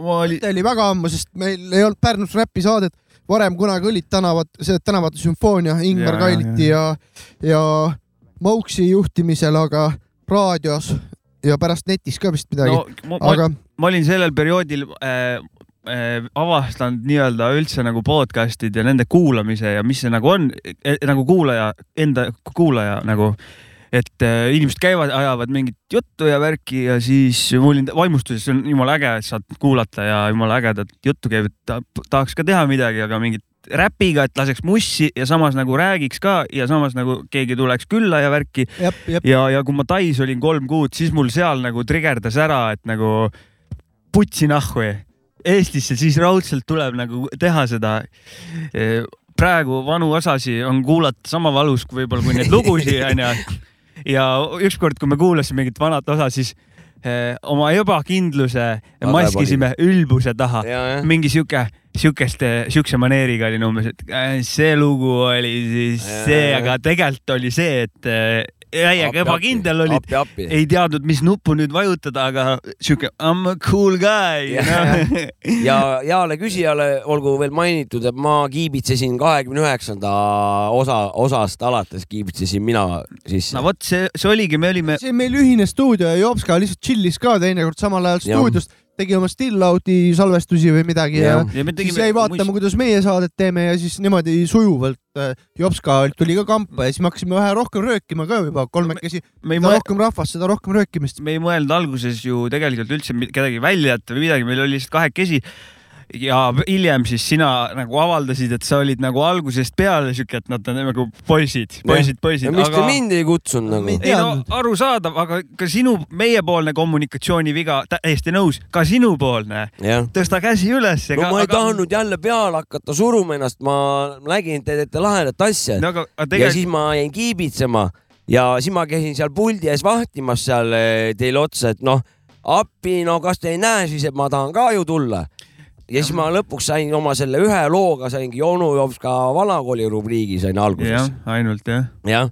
ma oli ,
see oli väga ammu , sest meil ei olnud Pärnus räpi saadet , varem kunagi olid tänavad , see tänavate sümfoonia Ingmar
Ja, ja,
Kailiti ja , ja Mauksi juhtimisel , aga raadios ja pärast netis ka vist midagi
no
no, ,
ma, ma,
aga
ma olin sellel perioodil äh, äh, avastanud nii-öelda üldse nagu podcast'id e-, ja nende kuulamise ja mis see nagu on , nagu kuulaja , enda kuulaja nagu et äh, inimesed käivad , ajavad mingit juttu ja värki ja siis mul oli vaimustuses , see on jumala äge , et saad kuulata ja jumala ägedat juttu käib , et ta, tahaks ka teha midagi , aga mingit räpiga , et laseks mussi ja samas nagu räägiks ka ja samas nagu keegi tuleks külla ja värki .
jah , jah ,
ja , ja kui ma Tais olin kolm kuud , siis mul seal nagu trigerdas ära , et nagu putsi nahhu . Eestisse siis raudselt tuleb nagu teha seda . praegu vanu osasi on kuulata sama valus kui võib-olla kui neid lugusid onju . ja ükskord , kui me kuulasime mingit vanat osa , siis eh, oma ebakindluse
Väga
maskisime ülbuse taha
ja , jah .
mingi sihuke , sihukeste , sihukese maneeriga olin umbes , et äh, see lugu oli siis
Jaa.
see , aga tegelikult oli see , et äh, täiega ebakindel olid ,
appi , appi .
ei teadnud , mis nuppu nüüd vajutada , aga sihuke I m a cool guy noh.
Jah.
yeah. .
ja heale küsijale olgu veel mainitud , et ma kiibitsesin kahekümne üheksanda osa , osast alates kiibitsesin mina sisse
no . vot , see , see oligi , me olime ,
see on meil ühine stuudio ja Jopska lihtsalt chill'is ka teinekord samal ajal
Jah.
stuudiost , tegi oma still-out'i salvestusi või midagi ja,
Jah.
ja siis jäi vaatama , kuidas meie saadet teeme ja siis niimoodi sujuvalt äh, Jopska tuli ka kampa ja siis me hakkasime vähe rohkem röökima ka juba kolmekesi .
me ei
mida
mõelnud ,
rohkem rahvast , seda rohkem röökimist .
me ei mõelnud alguses ju tegelikult üldse mi- kedagi välja jätta või midagi , meil oli lihtsalt kahekesi ja hiljem siis sina nagu avaldasid , et sa olid nagu algusest peale siuke , et nad on nagu poisid , poisid , poisid ,
no miks te
aga
mind ei kutsunud nagu ?
Mind-
ei no arusaadav , aga ka sinu , meiepoolne kommunikatsiooniviga , täiesti nõus , ka sinupoolne ,
jah .
tõsta käsi üles .
no ma ei aga... tahtnud jälle peale hakata suruma ennast , ma nägin , te teete lahedat asja
no
no, .
aga , aga
Tegelikult... ja
tegelikult
siis ma jäin kiibitsema ja siis ma käisin seal puldi ees vahtimas seal eh, teile otsa , et noh , appi , no kas te ei näe siis , et ma tahan ka ju tulla . ja siis ma lõpuks sain oma selle ühe looga saingi onu Jovska vanakooli rubriigi sain
jah
alguses ,,
ainult jah .
jah .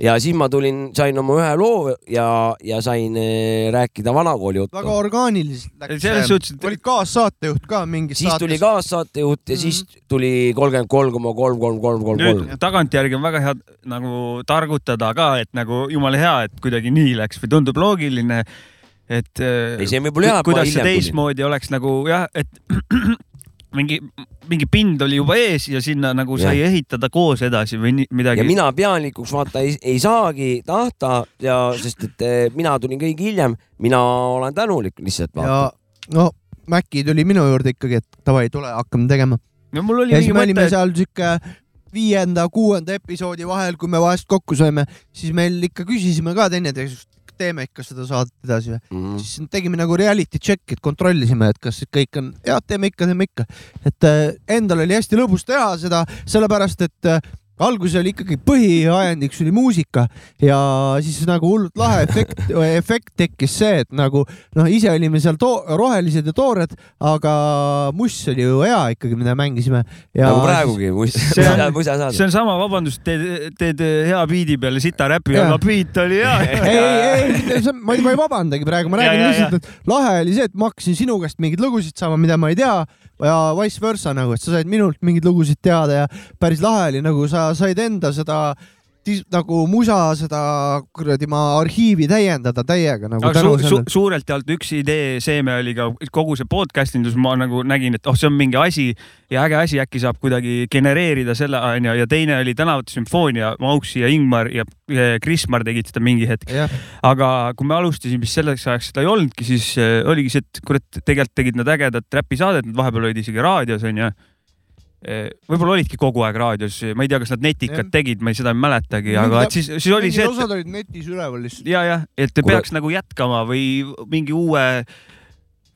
ja siis ma tulin , sain oma ühe loo ja , ja sain eh, rääkida vanakooli juttu
väga orgaaniliselt
Noh. selles
läks .
suhtes , et
olid kaassaatejuht ka mingis
siis tuli
saates .
kaassaatejuht ja siis tuli kolmkümmend kolm koma kolm , kolm , kolm , kolm , kolm .
nüüd tagantjärgi on väga hea nagu targutada ka , et nagu jumala hea , et kuidagi nii läks või tundub loogiline , et .
ei , see on võib-olla hea , et ma
kuidas see
hiljem tulin .
teistmoodi oleks nagu jah , et mingi , mingi pind oli juba ees ja sinna nagu sai
Jah.
ehitada koos edasi või nii, midagi
ja . mina pealikuks vaata ei, ei saagi tahta ja sest , et eh, mina tulin kõik hiljem , mina olen tänulik lihtsalt
ja
vaata .
no Maci tuli minu juurde ikkagi , et davai , tule , hakkame tegema .
no mul oli
ja siis
mingi
me olime
mõte , et
seal sihuke viienda , kuuenda episoodi vahel , kui me vahest kokku saime , siis meil ikka küsisime ka teineteisest , teeme ikka seda saadet edasi või ?
Mm.
siis tegime nagu reality check'i , et kontrollisime , et kas kõik on hea , teeme ikka , teeme ikka . et äh, endal oli hästi lõbus teha seda , sellepärast et äh, alguses oli ikkagi põhiajendiks oli muusika ja siis nagu hullult lahe efekt , efekt tekkis see , et nagu noh , ise olime seal to- rohelised ja toored , aga muss oli ju hea ikkagi , mida mängisime .
nagu
see
praegugi ,
on-
muista , muista
see
saada .
on sama , vabandust , teed , teed hea biidi peale sita räpi ,
Jah.
aga biit oli hea .
ei , ei , ei , ma ei , ma ei vabandagi praegu , ma
Ja,
räägin
ja,
lihtsalt , et lahe oli see , et ma hakkasin sinu käest mingeid lugusid saama , mida ma ei tea ja vice versa nagu , et sa said minult mingeid lugusid teada ja päris lahe oli nagu sa said enda seda dis- nagu musa seda kuradi ma arhiivi täiendada täiega nagu
aga su
tänu
su
sellele .
suurelt jaolt üks idee seeme oli ka kogu see podcast indus , ma nagu nägin , et oh , see on mingi asi ja äge asi , äkki saab kuidagi genereerida selle onju ja teine oli tänavate sümfoonia , Mauksi ja Ingmar ja ja Krismar tegid seda mingi hetk .
jah ,
aga kui me alustasime , siis selleks ajaks seda ei olnudki , siis äh, oligi see , et kurat , tegelikult tegid nad ägedat räpisaadet , nad vahepeal olid isegi raadios onju . võib-olla olidki kogu aeg raadios , ma ei tea , kas nad netikat
Jah.
tegid , ma ei- seda ei mäletagi ,
Mingid
aga
la-
et siis , siis oli see ,
mingid
et
osad olid netis üleval lihtsalt .
ja , jah , et
Kuule-
peaks nagu jätkama või mingi uue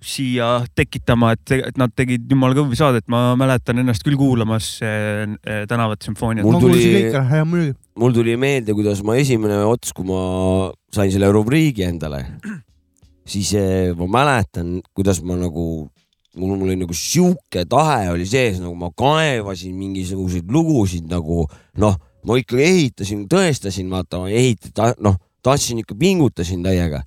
siia tekitama , et , et nad tegid jumala kõvi saadet , ma mäletan ennast küll kuulamas äh, äh, tänavat sümfooniat .
Mul
ma kuulsin
tuli-
kõik ära , hea muidugi .
mul tuli meelde , kuidas ma esimene ots , kui ma sain selle rubriigi endale , siis eh, ma mäletan , kuidas ma nagu , mul , mul oli nagu sihuke tahe oli sees , nagu ma kaevasin mingisuguseid lugusid nagu noh , ma ikka ehitasin , tõestasin , vaata , ma ehitasin , noh , tahtsin ikka , pingutasin täiega .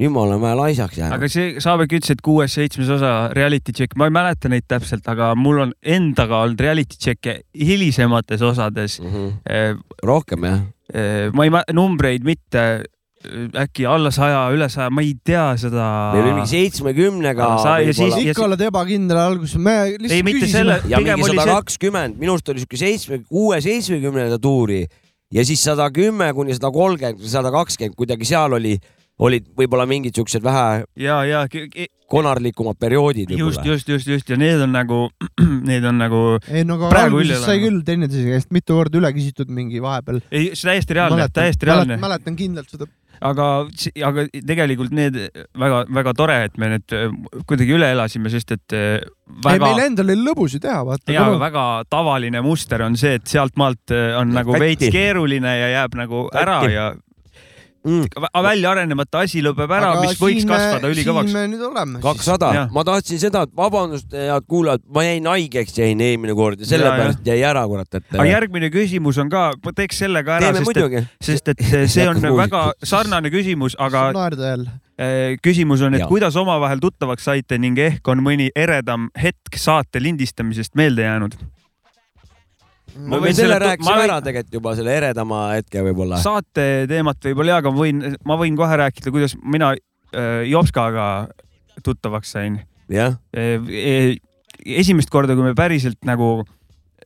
nüüd ma olen vähe laisaks jäänud
aga . see , Saabek ütles , et kuues-seitsmes osa reality check , ma ei mäleta neid täpselt , aga mul on endaga olnud reality check'e hilisemates osades .
Mm -hmm.
ma
rohkem jah ,
ei , numbreid mitte , äkki alla saja , üle saja , ma ei tea seda .
meil oli mingi seitsmekümnega
Aga sa- ja siis-
ikka oled ebakindel alguses , me lihtsalt
ei , mitte
küsisime
selle ,
ja
pigem
mingi
oli
sada
see ,
kakskümmend , minu arust oli siuke seitsme , kuue , seitsmekümnenda tuuri ja siis sada kümme kuni sada kolmkümmend, sada kakskümmend kuidagi seal oli , olid võib-olla mingid siuksed vähe
ja , ja
konarlikumad perioodid
just ,
võib-olla .
just , just , just ja need on nagu , need on nagu ,
ei no aga
Praegu üle
alguses sai
elanud.
küll teineteise käest mitu korda üle küsitud mingi vahepeal .
ei , see täiesti reaalne , täiesti reaalne ,
mäletan kindlalt seda .
aga , aga tegelikult need väga-väga tore , et me need äh, kuidagi üle elasime , sest et äh,
ei ,
väga
meil endal oli lõbus ju teha , vaata .
ja väga tavaline muster on see , et sealtmaalt äh, on nagu
Katki.
veits keeruline ja jääb nagu ära
Katki.
ja
Mm.
vä- välja arenemata asi lõpeb ära , mis võiks kasvada
siin
ülikõvaks .
me nüüd oleme .
kakssada
Jah. ,
ma tahtsin seda , et vabandust , head kuulajad , ma jäin haigeks , jäin eelmine kord ja sellepärast jäi ära , kurat , et .
aga järgmine küsimus on ka , teeks selle ka ära ,
teeme
sest et ,
muidugi .
sest et see- see on
Jätkame
väga sarnane küsimus , aga
naerda jälle .
äh, küsimus on , et
Jaa.
ja. kuidas omavahel tuttavaks saite ning ehk on mõni eredam hetk saate lindistamisest meelde jäänud ?
me võin selle rääkisime ära tegelikult juba selle eredama hetke võib-olla .
saate teemat võib-olla jaa , aga ma võin , ma võin kohe rääkida , kuidas mina äh, Jopskaga tuttavaks sain
jah ,
äh, . esimest korda , kui me päriselt nagu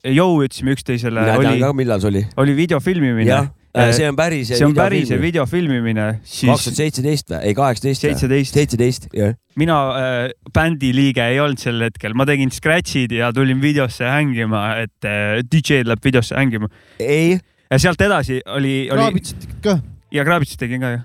jõu ütlesime üksteisele ,
mina tean
oli
ka ,, millal see oli .
oli video filmimine
jah , see on päris .
see on päris ja video filmimine ,
kaks
siis
tuhat seitseteist või , ei kaheksateist või ?
seitseteist ,
seitseteist , jah .
mina äh, bändi liige ei olnud sel hetkel , ma tegin scratch'id ja tulin videosse hängima , et äh, DJ-d läheb videosse hängima
ei ,
ja sealt edasi oli , oli
kraabitsid ikka .
ja Kraabitsit tegin ka ju .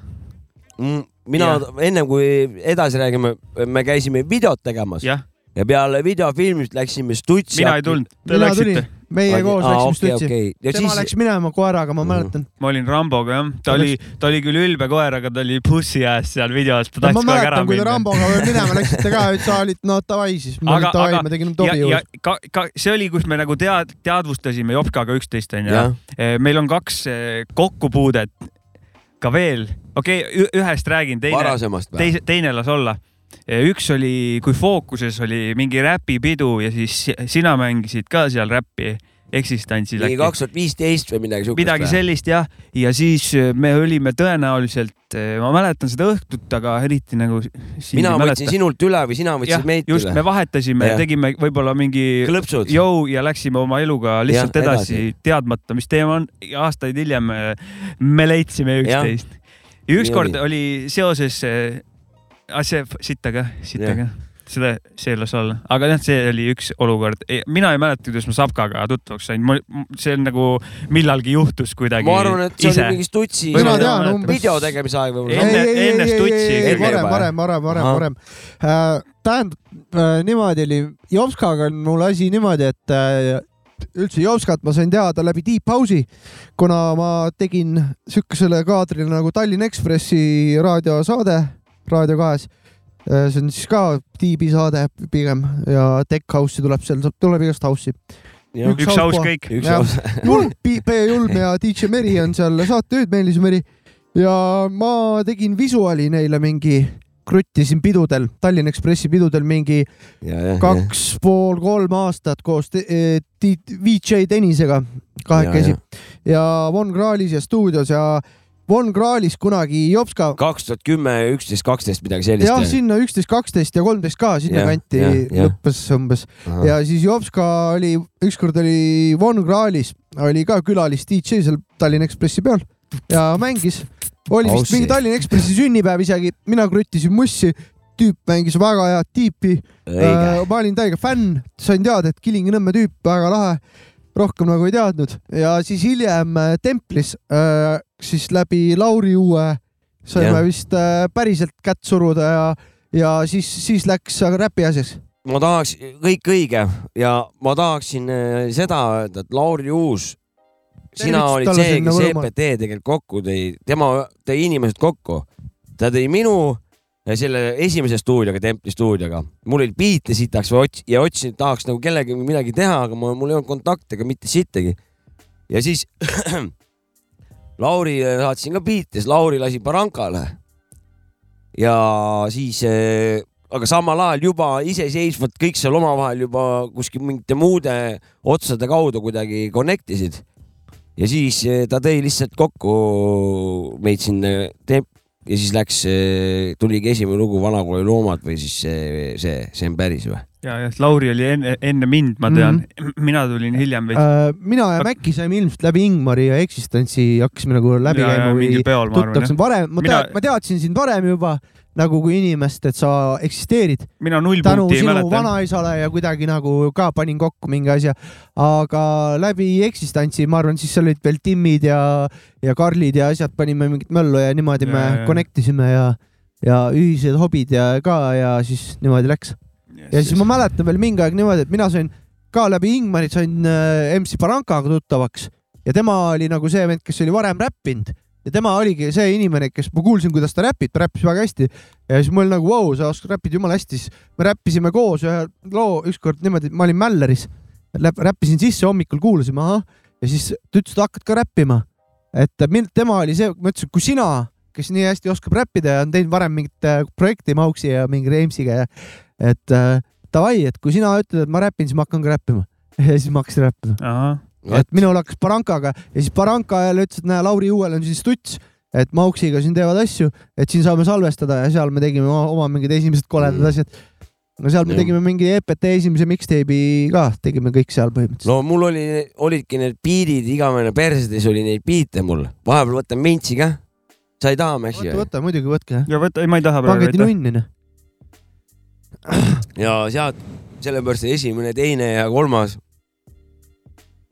mina ennem kui edasi räägime , me käisime videot tegemas
jah ,
ja peale videofilmist läksime stutsi .
mina ei . tulnud , te
mina
läksite
tulin ., meie koos läksime stütsi .
ja
tema
siis
läks minema koeraga , ma
Mhm.
mäletan .
ma olin Ramboga jah , ta
Ta
oli , ta oli küll ülbe koer , aga ta oli bussi ääres seal videos , ta
ma
tahtis kogu aeg ära
mäletan , kui te
minna .
Ramboga veel minema läksite ka , et sa olid , no davai siis .
Aga-
ma olin davai
aga- ,
ma tegin
ja ,
Tobi
ja
juures .
ka , ka see oli , kus me nagu tead , teadvustasime Jopkaga üksteist onju .
jah ,
meil on kaks eh, kokkupuudet ka veel , okei okay, , ühest räägin , teine ,
varasemast või ?
teise , teine las olla . üks oli , kui fookuses oli mingi räpipidu ja siis si- sina mängisid ka seal räppi eksistantsil .
mingi kaks tuhat viisteist või midagi siukest .
midagi sellist jah , ja siis äh, me olime tõenäoliselt , ma mäletan seda õhtut , aga eriti nagu .
mina võtsin sinult üle või sina võtsid meilt
just ,
üle
me . vahetasime
Jah. ,
tegime võib-olla mingi
klõpsud .
jõu ja läksime oma eluga lihtsalt
Jah,
ja,
edasi.
edasi, edasi , teadmata , mis teema on . aastaid hiljem äh, me leidsime
Jah.
üksteist . ja
Nii
ükskord
oli.
oli seoses , see sittaga , sittaga , seda , see las olla , aga jah , see oli üks olukord . mina ei mäleta , kuidas ma Sapkaga tuttavaks sain , see on nagu millalgi juhtus kuidagi .
ma arvan , et see oli mingi stutsi
mina
ma ei
tean
mäleta.
umbes .
video tegemise aeg
Ei, .
võib-olla
enne-
ei, ei,
enne
ei, ei,
Stutsi
ei, ei,
ikkagi
varem ,
juba,
varem , varem , varem ,
Ahah.
varem äh, . tähendab äh, niimoodi oli , Jopskaga on mul asi niimoodi , et äh, üldse Jopskat ma sain teada läbi Deep House'i , kuna ma tegin siukesele kaadrile nagu Tallinna Ekspressi raadiosaade Raadio kahes . see on siis ka tiibi saade pigem ja Tech House'i tuleb seal , tuleb igast house'i .
Jah.
üks aus kõik .
üks
Jah.
osa .
Julm , P Julm ja DJ Meri on seal saatejuhid , Meelis Meri . ja ma tegin visuaali neile mingi , kruttisin pidudel , Tallinna Ekspressi pidudel mingi kaks pool kolm aastat koos te- eh, Tiit- VJ Tõnisega kahekesi . ja Von Krahlis ja stuudios ja Von Krahlis kunagi Jopska ,
kaks tuhat kümme , üksteist , kaksteist midagi sellist .
jah , sinna üksteist , kaksteist ja kolmteist ka
Jah,
sinnakanti
jah, jah.
lõppes umbes .
Ah.
ja siis Jopska oli , ükskord oli Von Krahlis , oli ka külalis DJ seal Tallinna Ekspressi peal ja mängis . oli vist
Aussi.
mingi Tallinna Ekspressi sünnipäev isegi , mina kruttisin mussi , tüüp mängis väga head tiipi .
õige .
ma olin täiega fänn , sain teada , et Kilingi-Nõmme tüüp , väga lahe . rohkem nagu ei teadnud ja siis hiljem äh, templis äh, siis läbi Lauri Uue saime
Jah.
vist äh, päriselt kätt suruda ja , ja siis , siis läks aga räpi asjaks .
ma tahaks , kõik õige ja ma tahaksin eh, seda öelda , et Lauri Uus , sina
Tervitused
olid
talle
see ,
sinna
kes
Võrumaale.
EPT tegelikult kokku tõi , tema tõi inimesed kokku . ta tõi minu ja selle esimese stuudioga , Templi stuudioga . mul oli biite sitaks või ots- ja otsin , tahaks nagu kellegagi midagi teha , aga ma, mul ei olnud kontakte ega mitte sittagi . ja siis Lauri eh, saatsin ka biite , siis Lauri lasi Barrancale . ja siis eh, aga samal ajal juba iseseisvalt kõik seal omavahel juba kuskil mingite muude otsade kaudu kuidagi connect isid . ja siis eh, ta tõi lihtsalt kokku meid siin eh, temp- eh, ja siis läks , tuligi esimene lugu Vanakooli loomad või siis see , see , see on päris või ?
ja , jah , Lauri oli enne , enne mind ,
Mhm.
ma tean mm . -hmm. mina tulin hiljem
Äh,
veits .
mina ja Mäkki saime ilmselt läbi Ingmari ja Existentsi hakkasime nagu läbi käima või
mingi peol , ma arvan
tuttavaks . varem , ma
Mina-
tead , ma teadsin sind varem juba nagu kui inimest , et sa eksisteerid
jah . mina null
tänu
punkti ei
sinu
mäleta .
vanaisale ja kuidagi nagu ka panin kokku mingi asja , aga läbi eksistantsi , ma arvan , siis seal olid veel Timmid ja , ja Karlid ja asjad , panime mingit möllu ja niimoodi
Ja,
me
ja, ja.
connect isime ja , ja ühised hobid ja ka ja siis niimoodi läks . ja siis ma mäletan veel mingi aeg niimoodi , et mina sain ka läbi Ingmarit sain äh, MC Barankaga tuttavaks ja tema oli nagu see vend , kes oli varem räppinud ja tema oligi see inimene , kes ma kuulsin , kuidas ta räpib , ta räppis väga hästi ja siis mul nagu vau wow, , sa oskad räppida jumala hästi , siis me räppisime koos ühe loo ükskord niimoodi , ma olin Mälleris , räppisin sisse hommikul , kuulasime , ahah , ja siis ta ütles , et hakkad ka räppima . et min- tema oli see , ma ütlesin , kui sina , kes nii hästi oskab räppida ja on teinud varem mingit äh, projekti Mauksi ja mingi Reimsiga ja et äh, davai , et kui sina ütled , et ma räpin , siis ma hakkan ka räppima . ja siis ma hakkasin räppima .
ahah ,
et minul hakkas Barankaga ja siis Baranka ajal ütles , et näe , Lauri Uuel on siin stuts , et Mauksiga siin teevad asju , et siin saame salvestada ja seal me tegime oma, oma mingid esimesed koledad
Mm.
asjad . no seal me
Jah.
tegime mingi EPT esimese mixtape'i ka , tegime kõik seal põhimõtteliselt .
no mul oli , olidki need biidid , igavene persedes oli neid biite mul , vahepeal võtan mintsi ka . sa ei taha mässi
võta ,
või ?
võta , muidugi võtke .
ja võta , ei ma ei taha praegu
pange
võtta .
tinunni , noh .
ja sealt , sellepärast esimene , teine ja kolmas .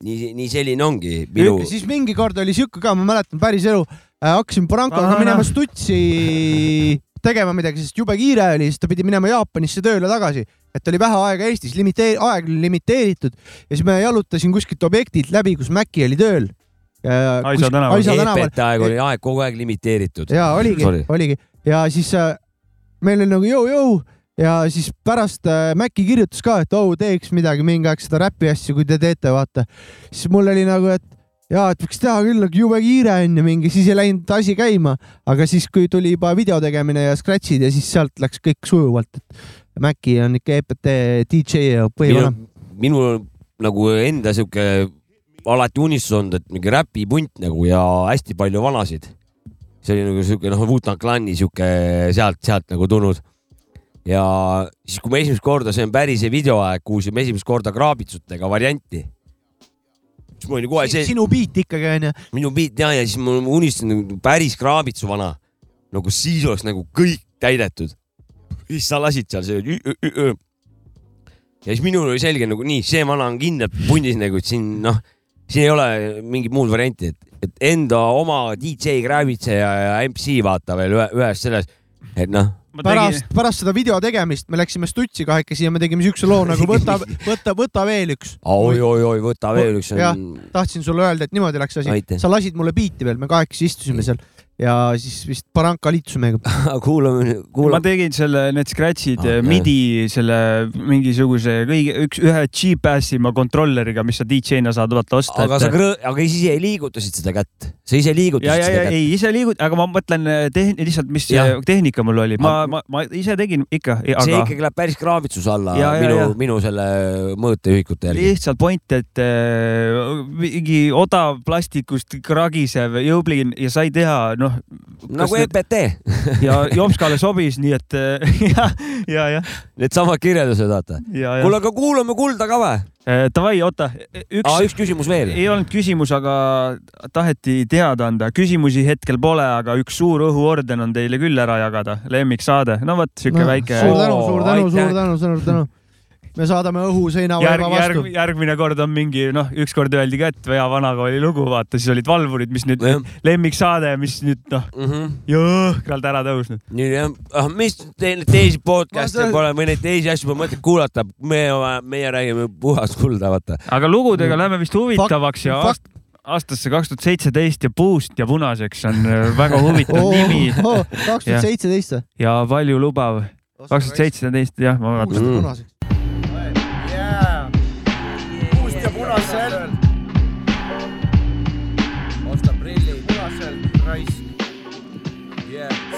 nii , nii selline ongi minu .
siis mingi kord oli sihuke ka , ma mäletan päris elu , hakkasin Barankaga
Ahah,
minema
noh.
stutsi tegema midagi , sest jube kiire oli , siis ta pidi minema Jaapanisse tööle tagasi , et oli vähe aega Eestis , limiteer- , aeg oli limiteeritud ja siis ma jalutasin kuskilt objektilt läbi , kus Mäkki oli tööl .
Aisa tänaval.
Aisa tänaval
EPT aeg oli aeg kogu aeg limiteeritud .
ja oligi
Sorry. ,
oligi ja siis äh, meil oli nagu jõu-jõu ja siis pärast äh, Maci kirjutas ka , et oh teeks midagi mingi aeg seda räpi asja , kui te teete , vaata . siis mul oli nagu , et ja et võiks teha küll , aga jube kiire onju mingi , siis ei läinud asi käima , aga siis , kui tuli juba video tegemine ja scratch'id ja siis sealt läks kõik sujuvalt , et Maci on ikka E EPT DJ ja põhivanem .
minul on nagu enda sihuke alati unistus olnud , et mingi räpipunt nagu ja hästi palju vanasid . see oli nagu sihuke noh , Wu-Tang Clani sihuke sealt , sealt nagu tulnud . ja siis , kui me esimest korda , see on päris see videoaeg , kuulsime esimest korda kraabitsutega varianti . siis mul oli kohe see ,
sinu beat ikkagi onju ,
minu beat ja , ja siis ma ma unistasin nagu päris kraabitsu vana . nagu siis oleks nagu kõik täidetud . siis sa lasid seal see ü- ü- ü- öö. ja siis minul oli selge nagu nii , see vana on kindlalt pundis nagu , et siin noh , siin ei ole mingit muud varianti , et , et enda oma DJ kraabitseja ja MC vaata veel ühe , ühes selles , et noh ,
pärast , pärast seda video tegemist me läksime stutsi kahekesi ja me tegime siukse loo nagu võta , võta , võta veel üks .
oi-oi-oi , võta veel üks
Jah.
on... .
tahtsin sulle öelda , et niimoodi läks asi .
aitäh ,
sa lasid mulle biiti veel , me kahekesi istusime seal ja siis vist Baranka liitus meiega .
kuulame ,
ma
kuulame .
tegin selle , need scratch'id
Ah,
ah,
jah.
midi selle mingisuguse kõige , üks , ühe G-Passima kontrolleriga , mis sa DJ-na saad vaata osta .
aga sa krõ- , aga ise ei liigutasid seda kätt , sa ise
ja ,
liigutasid
ja ,
seda
ja
kätt .
ei ise liigu- , aga ma mõtlen eh, tehn- , lihtsalt , mis
Jah.
see tehnika mul oli , ma
Aga- ,
ma , ma ise tegin ikka ,
see
aga
ikkagi läheb päris kraavitsuse alla ja,
Ja, ja,
minu
ja. ,
minu selle mõõteühikute järgi .
lihtsalt point , et äh, mingi odav plastikust kragisev jõublin ja sai teha , noh .
nagu EPT ,
ja Jopskale sobis , nii et äh, ja , ja , ja ,
needsamad kirjeldused , vaata .
ja , ja .
kuule , aga kuulame kulda ka või ?
Davai , oota ,
aa ,
üks ,
üks küsimus veel .
ei olnud küsimus , aga taheti teada anda , küsimusi hetkel pole , aga üks suur õhuorden on teile küll ära jagada , lemmiksaade , no vot , sihuke väike .
suur tänu ,
Oo,
suur tänu ,
aitäh.
suur tänu , suur tänu . me saadame õhuseina
järg ,
vaiba
järg
vastu .,
järgmine kord on mingi noh , ükskord öeldi ka , et Vea vanakooli lugu , vaata , siis olid valvurid , mis nüüd
Jah. Mhm.
lemmiksaade , mis nüüd noh , jõhkralt ära tõusnud .
nii jah , mis teil teisi podcast'e
Ma-
pole või neid teisi asju pole mõtet kuulata , me , meie räägime puhast kulda , vaata .
aga lugudega läheme vist huvitavaks ja
Fakt-
aast- aastasse kaks tuhat seitseteist ja puust ja punaseks on äh, väga huvitav
Oh.
nimi
kaks tuhat seitseteist või ?
ja paljulubav . kaks tuhat . seitseteist , jah , ma vaatan .
puust ja punaseks . puust ja punaselt .
osta prilli punaselt , raisk .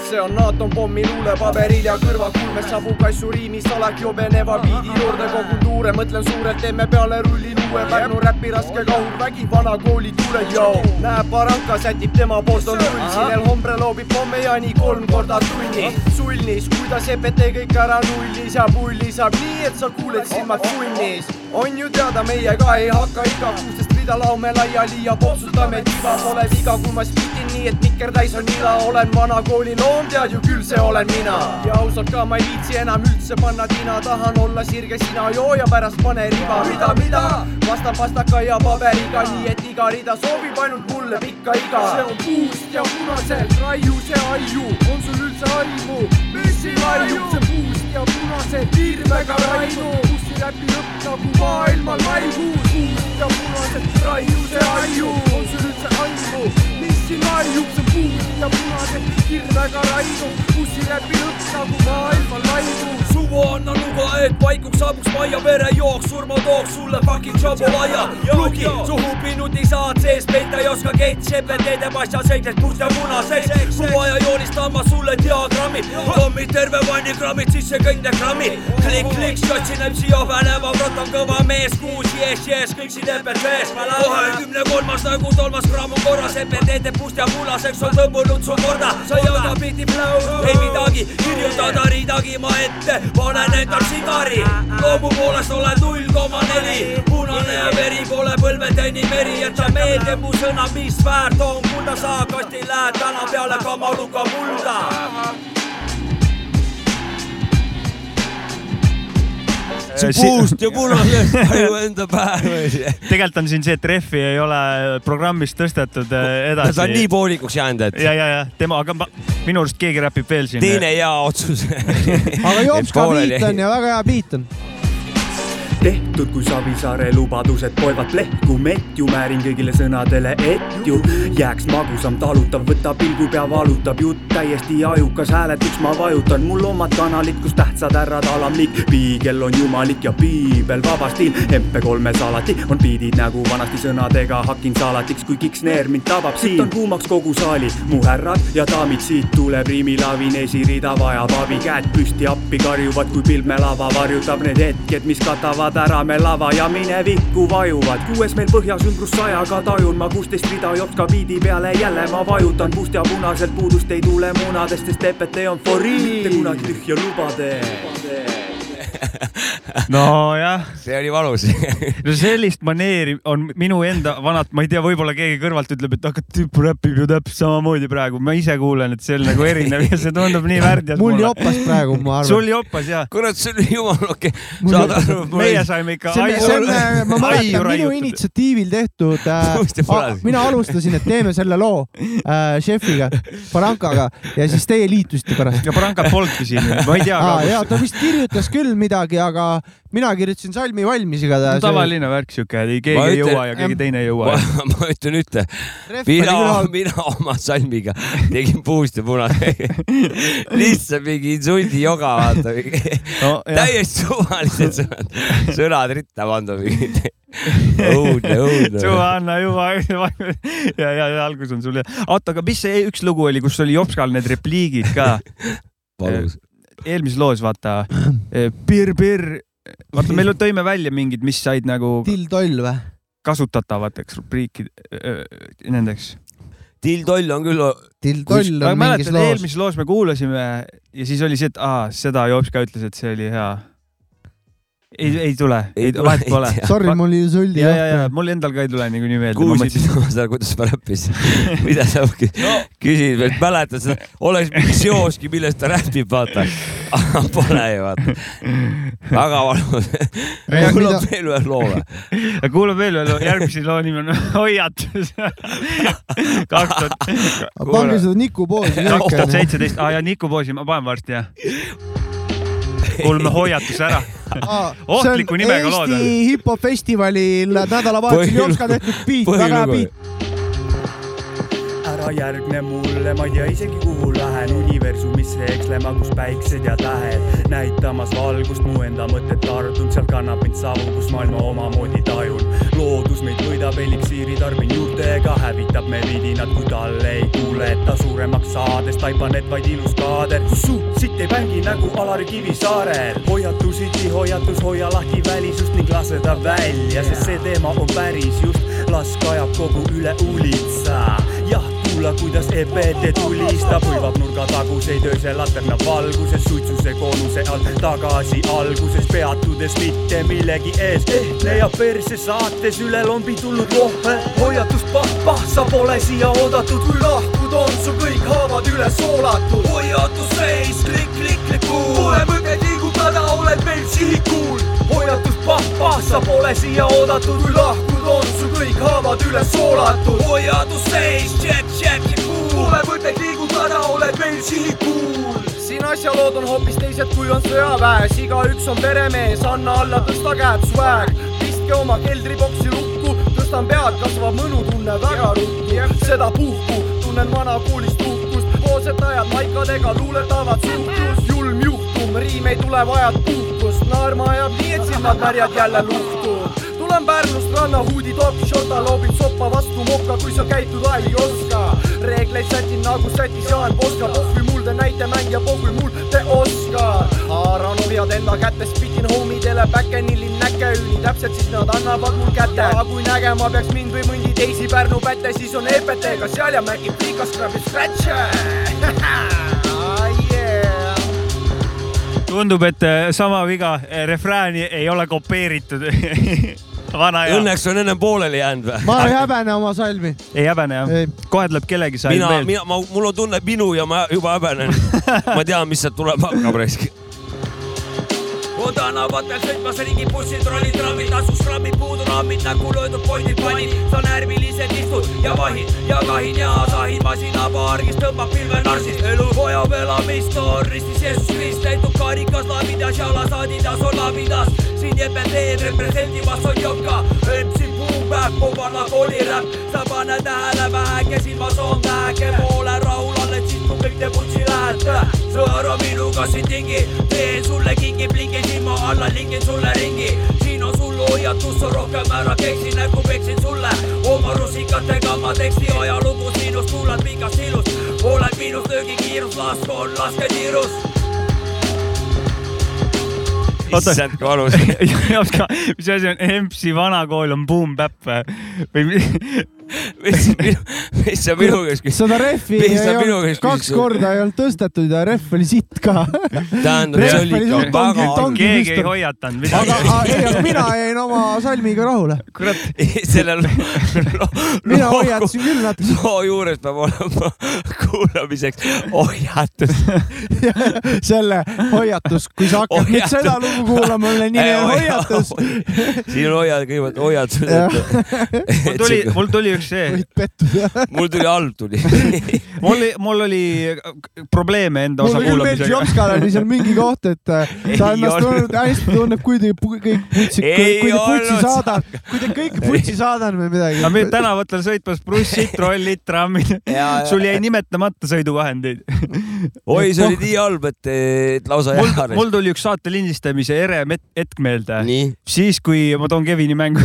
see on Naaton pommi luulepaberil ja kõrvakulmes sabu kassu riimis alati jobeneva biidi juurde kogun tuure , mõtlen suurelt , teeme peale rullin uue uue Pärnu räpi raske kaud vägi , vana kooli tulejao . Läheb Baranka , sätib tema poolt on null , sinel hombre loobib pomme jani kolm korda tunni . sulnis , kuidas EPT kõik ära nullis ja pulli saab nii , et sa kuuled silmad punnis . on ju teada , meie ka ei hakka iga kuusteist rida laume laiali ja popsutame tiba , pole viga , kui ma spitin nii , et mikertäis on ila , olen vana kooli loom , tead ju küll , see olen mina . ja ausalt ka ma ei viitsi enam üldse panna tina , tahan olla sirge sina joo ja pärast pane riba , mida , mida . vastan pastaka ja paberiga , nii et iga rida sobib ainult mulle pikka iga . see on puust ja punaselt , raiu see aiu , on sul üldse aimu , mis siin aiub see puust ja punaselt , hirmega raiu , bussi läbi lõpp nagu maailma laivu , puust ja punaselt , raiu see aiu , on sul üldse aimu , mis siin aiub see puust ja punaselt , hirmega raiu , bussi läbi lõpp nagu maailma laivu .
suvu anna luba , et paiguks saabuks majja verejooks , surmatooks sulle fucking šambolaia . lugi , suhu pinnud ei saa sees peita , ei oska kett , sepled teede paista seisnes puust ja punaseks . kui vaja , joonistama sulle diagrammi , kommid terve vanni grammid , sisse kõik need grammid . klikk , klikk , sotsi näeb siia väneva , rotab kõva mees , kuus jees , jees , kõik siin EPT-s . kohe kümne kolmas nagu tolmas gramm on korras , EPT-de puust ja punaseks on tõmbunud su korda , sa ei jaga pildi flow , ei midagi , kirjutada ridagi ma ette , panen endal sigari . loomu poolest olen null koma neli , punane ja veri pole põlvedeni meri , et sa meeldib mu sõna , mis väärt on , kui ta saakasti lähed täna peale kamaluga mulda .
see puust ja punasest aju enda pähe .
tegelikult on siin see , et refi ei ole programmis tõstetud eh, edasi .
ta on nii poolikuks jäänud , et
ja , ja , ja tema , aga ma, minu arust keegi räpib veel siin .
teine hea otsus .
aga jops ka biit on ja väga hea biit on .
tehtud , kui Savisaare lubadused poevad plehku , metju määrin kõigile sõnadele , et ju jääks magusam , talutav , võtab pilgu pea , valutab jutt täiesti ajukas , hääletuks ma vajutan , mul omad kanalid , kus tähtsad härrad alamlik , piigel on jumalik ja piibel vaba stiil , MP3-s alati on biidid nagu vanasti sõnadega hakin salatiks , kui kiksneer mind tabab , siit on kuumaks kogu saali , mu härrad ja daamid , siit tuleb riimilavin , esirida vajab abi , käed püsti appi karjuvad , kui pilmelava varjutab need hetked , mis katavad ära me lava ja minevikku vajuvad . kuues meil põhjas ümbrus sajaga tajun ma kuusteist rida jopska biidi peale , jälle ma vajutan puust ja punaselt , puudust ei tule munadest , sest EPT on for real , mitte kunagi tühja lubade .
nojah ,
see oli valus .
no sellist maneeri on minu enda vanad , ma ei tea , võib-olla keegi kõrvalt ütleb , et aga tüüp räpib ju täpselt samamoodi praegu , ma ise kuulen , et see on nagu erinev ja see tundub nii värdjas
mul . jopas praegu , ma arvan .
sul jopas ja ,
kurat , see oli jumala okei okay. . saad aru , mul
meie
oli
saime ikka
see on , see on , ma
aiu
mäletan , minu
raiutud .
initsiatiivil tehtud
Puust ja
äh,
punaseks. ,
mina alustasin , et teeme selle loo äh, šefiga , Barankaga ja siis teie liitusite pärast .
ja Branka polnudki siin , ma ei tea
aa
ka ,
jaa , ta vist kirjutas küll midagi , aga mina kirjutasin salmi valmis
kus .
igatahes .
tavaline värk siuke ,
Ma
keegi ei
ütlen-
jõua ja keegi teine ei jõua
ma, . ma ütlen ühte , mina , mina oma salmiga tegin puust ja punast . lihtsalt mingi insuldi joga , vaata . täiesti suvalised sõnad , sõnad ritta pandud . õudne , õudne .
suva anna juba ja , ja , ja algus on sul jah . oota , aga mis see üks lugu oli , kus oli Jopskal need repliigid ka
valus .
eelmises loos , vaata eh, pir , pir , vaata , me tõime välja mingid , mis said nagu
Till-toll või ?
kasutatavateks rubriikid , nendeks .
Till Toll on küll ,
Till-toll
ma
on mingis
mäletan ,
loos .
eelmises loos me kuulasime ja siis oli see , et aa , seda Jopska ütles , et see oli hea . ei , ei tule ,
Ei
ei
tule,
vahet
ei
pole .
tea.
Sorry , mul oli suldi
ja , ja , ja
jah .
mul endal ka ei tule niikuinii meelde .
kuulsid sina seda , kuidas ta räppis ? mida sa kü- küsid , et mäletad seda , oleks mingi seoski , millest ta räppib , vaata . Pole ju , vaata . väga valus . mul on veel ühe loo või ?
ja kuulame veel veel järgmise loo nimi on Hoiatus . kaks tuhat ,
pange seda Niku poosi
kaks tuhat
kõik .
seitseteist , aa ja Niku poosi ma panen varsti jah . kuulame Hoiatuse ära . ohtliku nimega lood on.
Eesti hip-hop festivalil nädalavahetusel
Põhilugu.
Jopska tehtud biit , väga hea
põhilugu
biit ..
ära järgne mulle , ma ei tea isegi , kuhu lähen universumisse ekslema , kus päiksed ja tähed näitamas valgust , mu enda mõtted tardun , seal kannab mind savu , kus maailma omamoodi tajun . loodus meid võidab , eliksiiri tarbin juurde . mõttega hävitab me vidinad , kui talle ei kuuleta suuremaks saades , taipan , et vaid ilus kaader . siit ei mängi nägu Alari Kivisaarel . hoiatusiti hoiatus , hoia lahti välisust ning lase ta välja , sest see teema on päris just . las kajab kogu üle ulitsa . jah , kuula , kuidas EPT tulistab , hõivab nurgataguseid öösel laterna valguses , suitsuse koonuse all tagasi alguses , peatudes mitte millegi ees . ehtne ja perse saates üle lombi tulnud lohve , hoiatus pah-pah , sa pole siia oodatud , kui lahkud on su kõik haavad üle soolatud . hoiatusseis , klikk-klikk-klikk , pole mõtet liigutada , oled meil sihikul . hoiatus pah-pah , sa pole siia oodatud , kui lahkud on su kõik haavad üle soolatud . hoiatusseis , tšekk-tšekk , pole mõtet liigutada , oled meil sihikul . siin asjalood on hoopis teised , kui on sõjaväes , igaüks on peremees , anna alla , tõsta käed , swag , pistke oma keldriboksi lukku , tõstan pead , kasvab mõnutunne väga ruttu , seda puhku tunnen vanakoolist uhkust , hoosetajad maikadega luuletavad suhtlust , julm juhtum , riimeid tuleb ajad puhkust , naerma ajab nii , et silmad märjad jälle luhtu . tulen Pärnust rannahuudi top , šota loobib soppa vastu mokka , kui sa käituda ei oska . reegleid sätin nagu sätis Jaan Poska , pohvi mulde näitemängija , pohvi mulde Oskar . haaran ohjad enda kätes , pitin homidele päkenilin näkeüli , täpselt siis nad annavad mul kätte . aga kui nägema peaks mind või mõndi teisi Pärnu pätte , siis on E EPT-ga seal ja mängib liiga scrap'i scratch'e .
tundub , et äh, sama viga , refrääni ei ole kopeeritud . vana hea ,
õnneks on ennem pooleli jäänud või ?
ma ei häbene oma salmi .
ei häbene jah
Ei. ?
kohe tuleb kellegi sai
mina ,
veel .
mina , ma , mul on tunne minu ja ma juba häbenen . ma tean , mis sealt tuleb hakkab raisk .
on tänavatel sõitmas ringi bussid , rollid , trammid , tasus krammid , puudu rammid , näkku löödud poidid , pannid , sa närviliselt istud ja vahid ja kahin ja sahin masinapaargis tõmbab pilve narsis , elu vajab elamist , on ristis Jeesus Krist , näitub karikas labidas ja lasadidas on labidas , siin EPT-d representimas on joka , MC Puupäev , Puvana kooliräpp , sa pane tähele väheke , silmas on täheke , poole rahul oled , siis kui kõik teeb utsi lähed , sõõra minuga siin tingi , teen sulle kingi , plingin silma alla , lingin sulle ringi . siin on sul hoiatus , sa rohkem ära keksin , näkku peksin sulle oma rusikatega ma teksti ajalugu sinust , kuulad pikast ilust , oled miinus löögi kiirus , lask on lasketiirus .
Oota.
issand , kui valus .
mis asi on EMPS-i vanakool on Boom Bap või? või ? mi-
mis , mis sa minu käest küsid ?
seda rehvi
Mis
ei
sa minu
olnud
käest
kaks
küsisid?
korda ei olnud tõstetud ja rehv oli sitt ka .
tähendab , see oli ikka
Rehv-
väga halb .
Ongi
keegi ei
Kristo.
hoiatanud
aga
midagi .
a- ei , aga mina jäin oma salmiga rahule .
kurat ,
sellel
mina
loo-
hoiatasin küll natuke .
loo juures peab olema kuulamiseks hoiatus .
selle hoiatus , kui sa hakkad nüüd
Hoiatus.
seda lugu kuulama , mille nimi on hoiatus ,
siin on hoiad , kõigepealt hoiatus ,
mul tuli
et ,
mul tuli üks see ,
võid pettuda .
mul tuli halb tuli .
mul , mul oli äh, probleeme enda osa
mulle küll
kuulamisega .
meeldis Jopskal oli seal mingi koht , et äh, ta
Ei
ennast
olnud.
tunneb , hästi tunneb , kui te pu- kõik putsi ,
Ei
kui te putsi
olnud.
saadan , kui te kõik putsi saadan või
aga meil
midagi .
tänavatel sõitmas bussid , trollid , trammid . sul jäi nimetamata sõiduvahendeid .
oi , see oli nii halb , et , et lausa
mul
jaa ,.
mul tuli üks saate lindistamise ere met- hetk meelde .
nii ,
siis , kui ma toon Kevini mängu .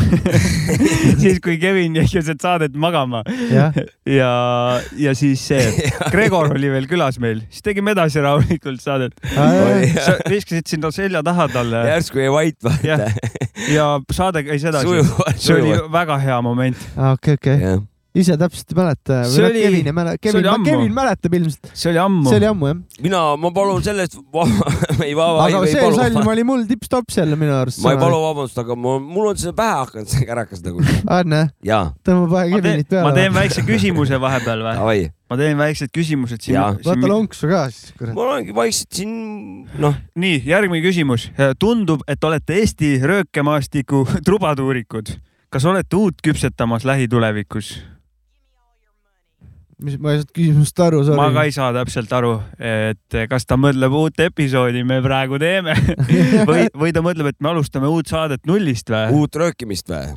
siis , kui Kevin jäi keset saadet magama ja , ja siis see Gregor oli veel külas meil , siis tegime edasi rahulikult saadet . sa viskasid sinna selja taha talle
järsku jäi vait
Jah.
vaata .
ja saade käis edasi .
sujuvalt ,
see oli
sujuvalt .
väga hea moment ,
okei , okei , ise täpselt ei mäleta .
See oli-
Kevin ei mäleta ,
see oli
Kevin ,
ammu.
Kevin mäletab ilmselt ,
see oli ammu
see . oli ammu jah .
mina , ma palun selle eest , ei vaba ,
aga
ei
see
palu ,
salm oli mul tipp-topp seal minu arust .
ma ei palu . vabandust , aga ma , mul on see pähe hakanud , see kärakas nagu .
Anne ,
jaa ,
tõmba kohe
ma teen
Kevinit , peale .
ma teen väikse küsimuse vahepeal või ?
davai .
ma teen väiksed küsimused
Jaa.
siin .
vaata lonksu ka siis , kurat .
ma olengi vaikselt siin , noh ,
nii , järgmine küsimus . tundub , et olete Eesti röökemaastiku trubaduurikud . kas olete uut küpsetamas lähitulevikus ?
mis , ma ei saanud küsimusest aru ,
ma ka
sorry .
ei saa täpselt aru , et kas ta mõtleb uut episoodi me praegu teeme või , või ta mõtleb , et me alustame uut saadet nullist või ?
uut röökimist või ?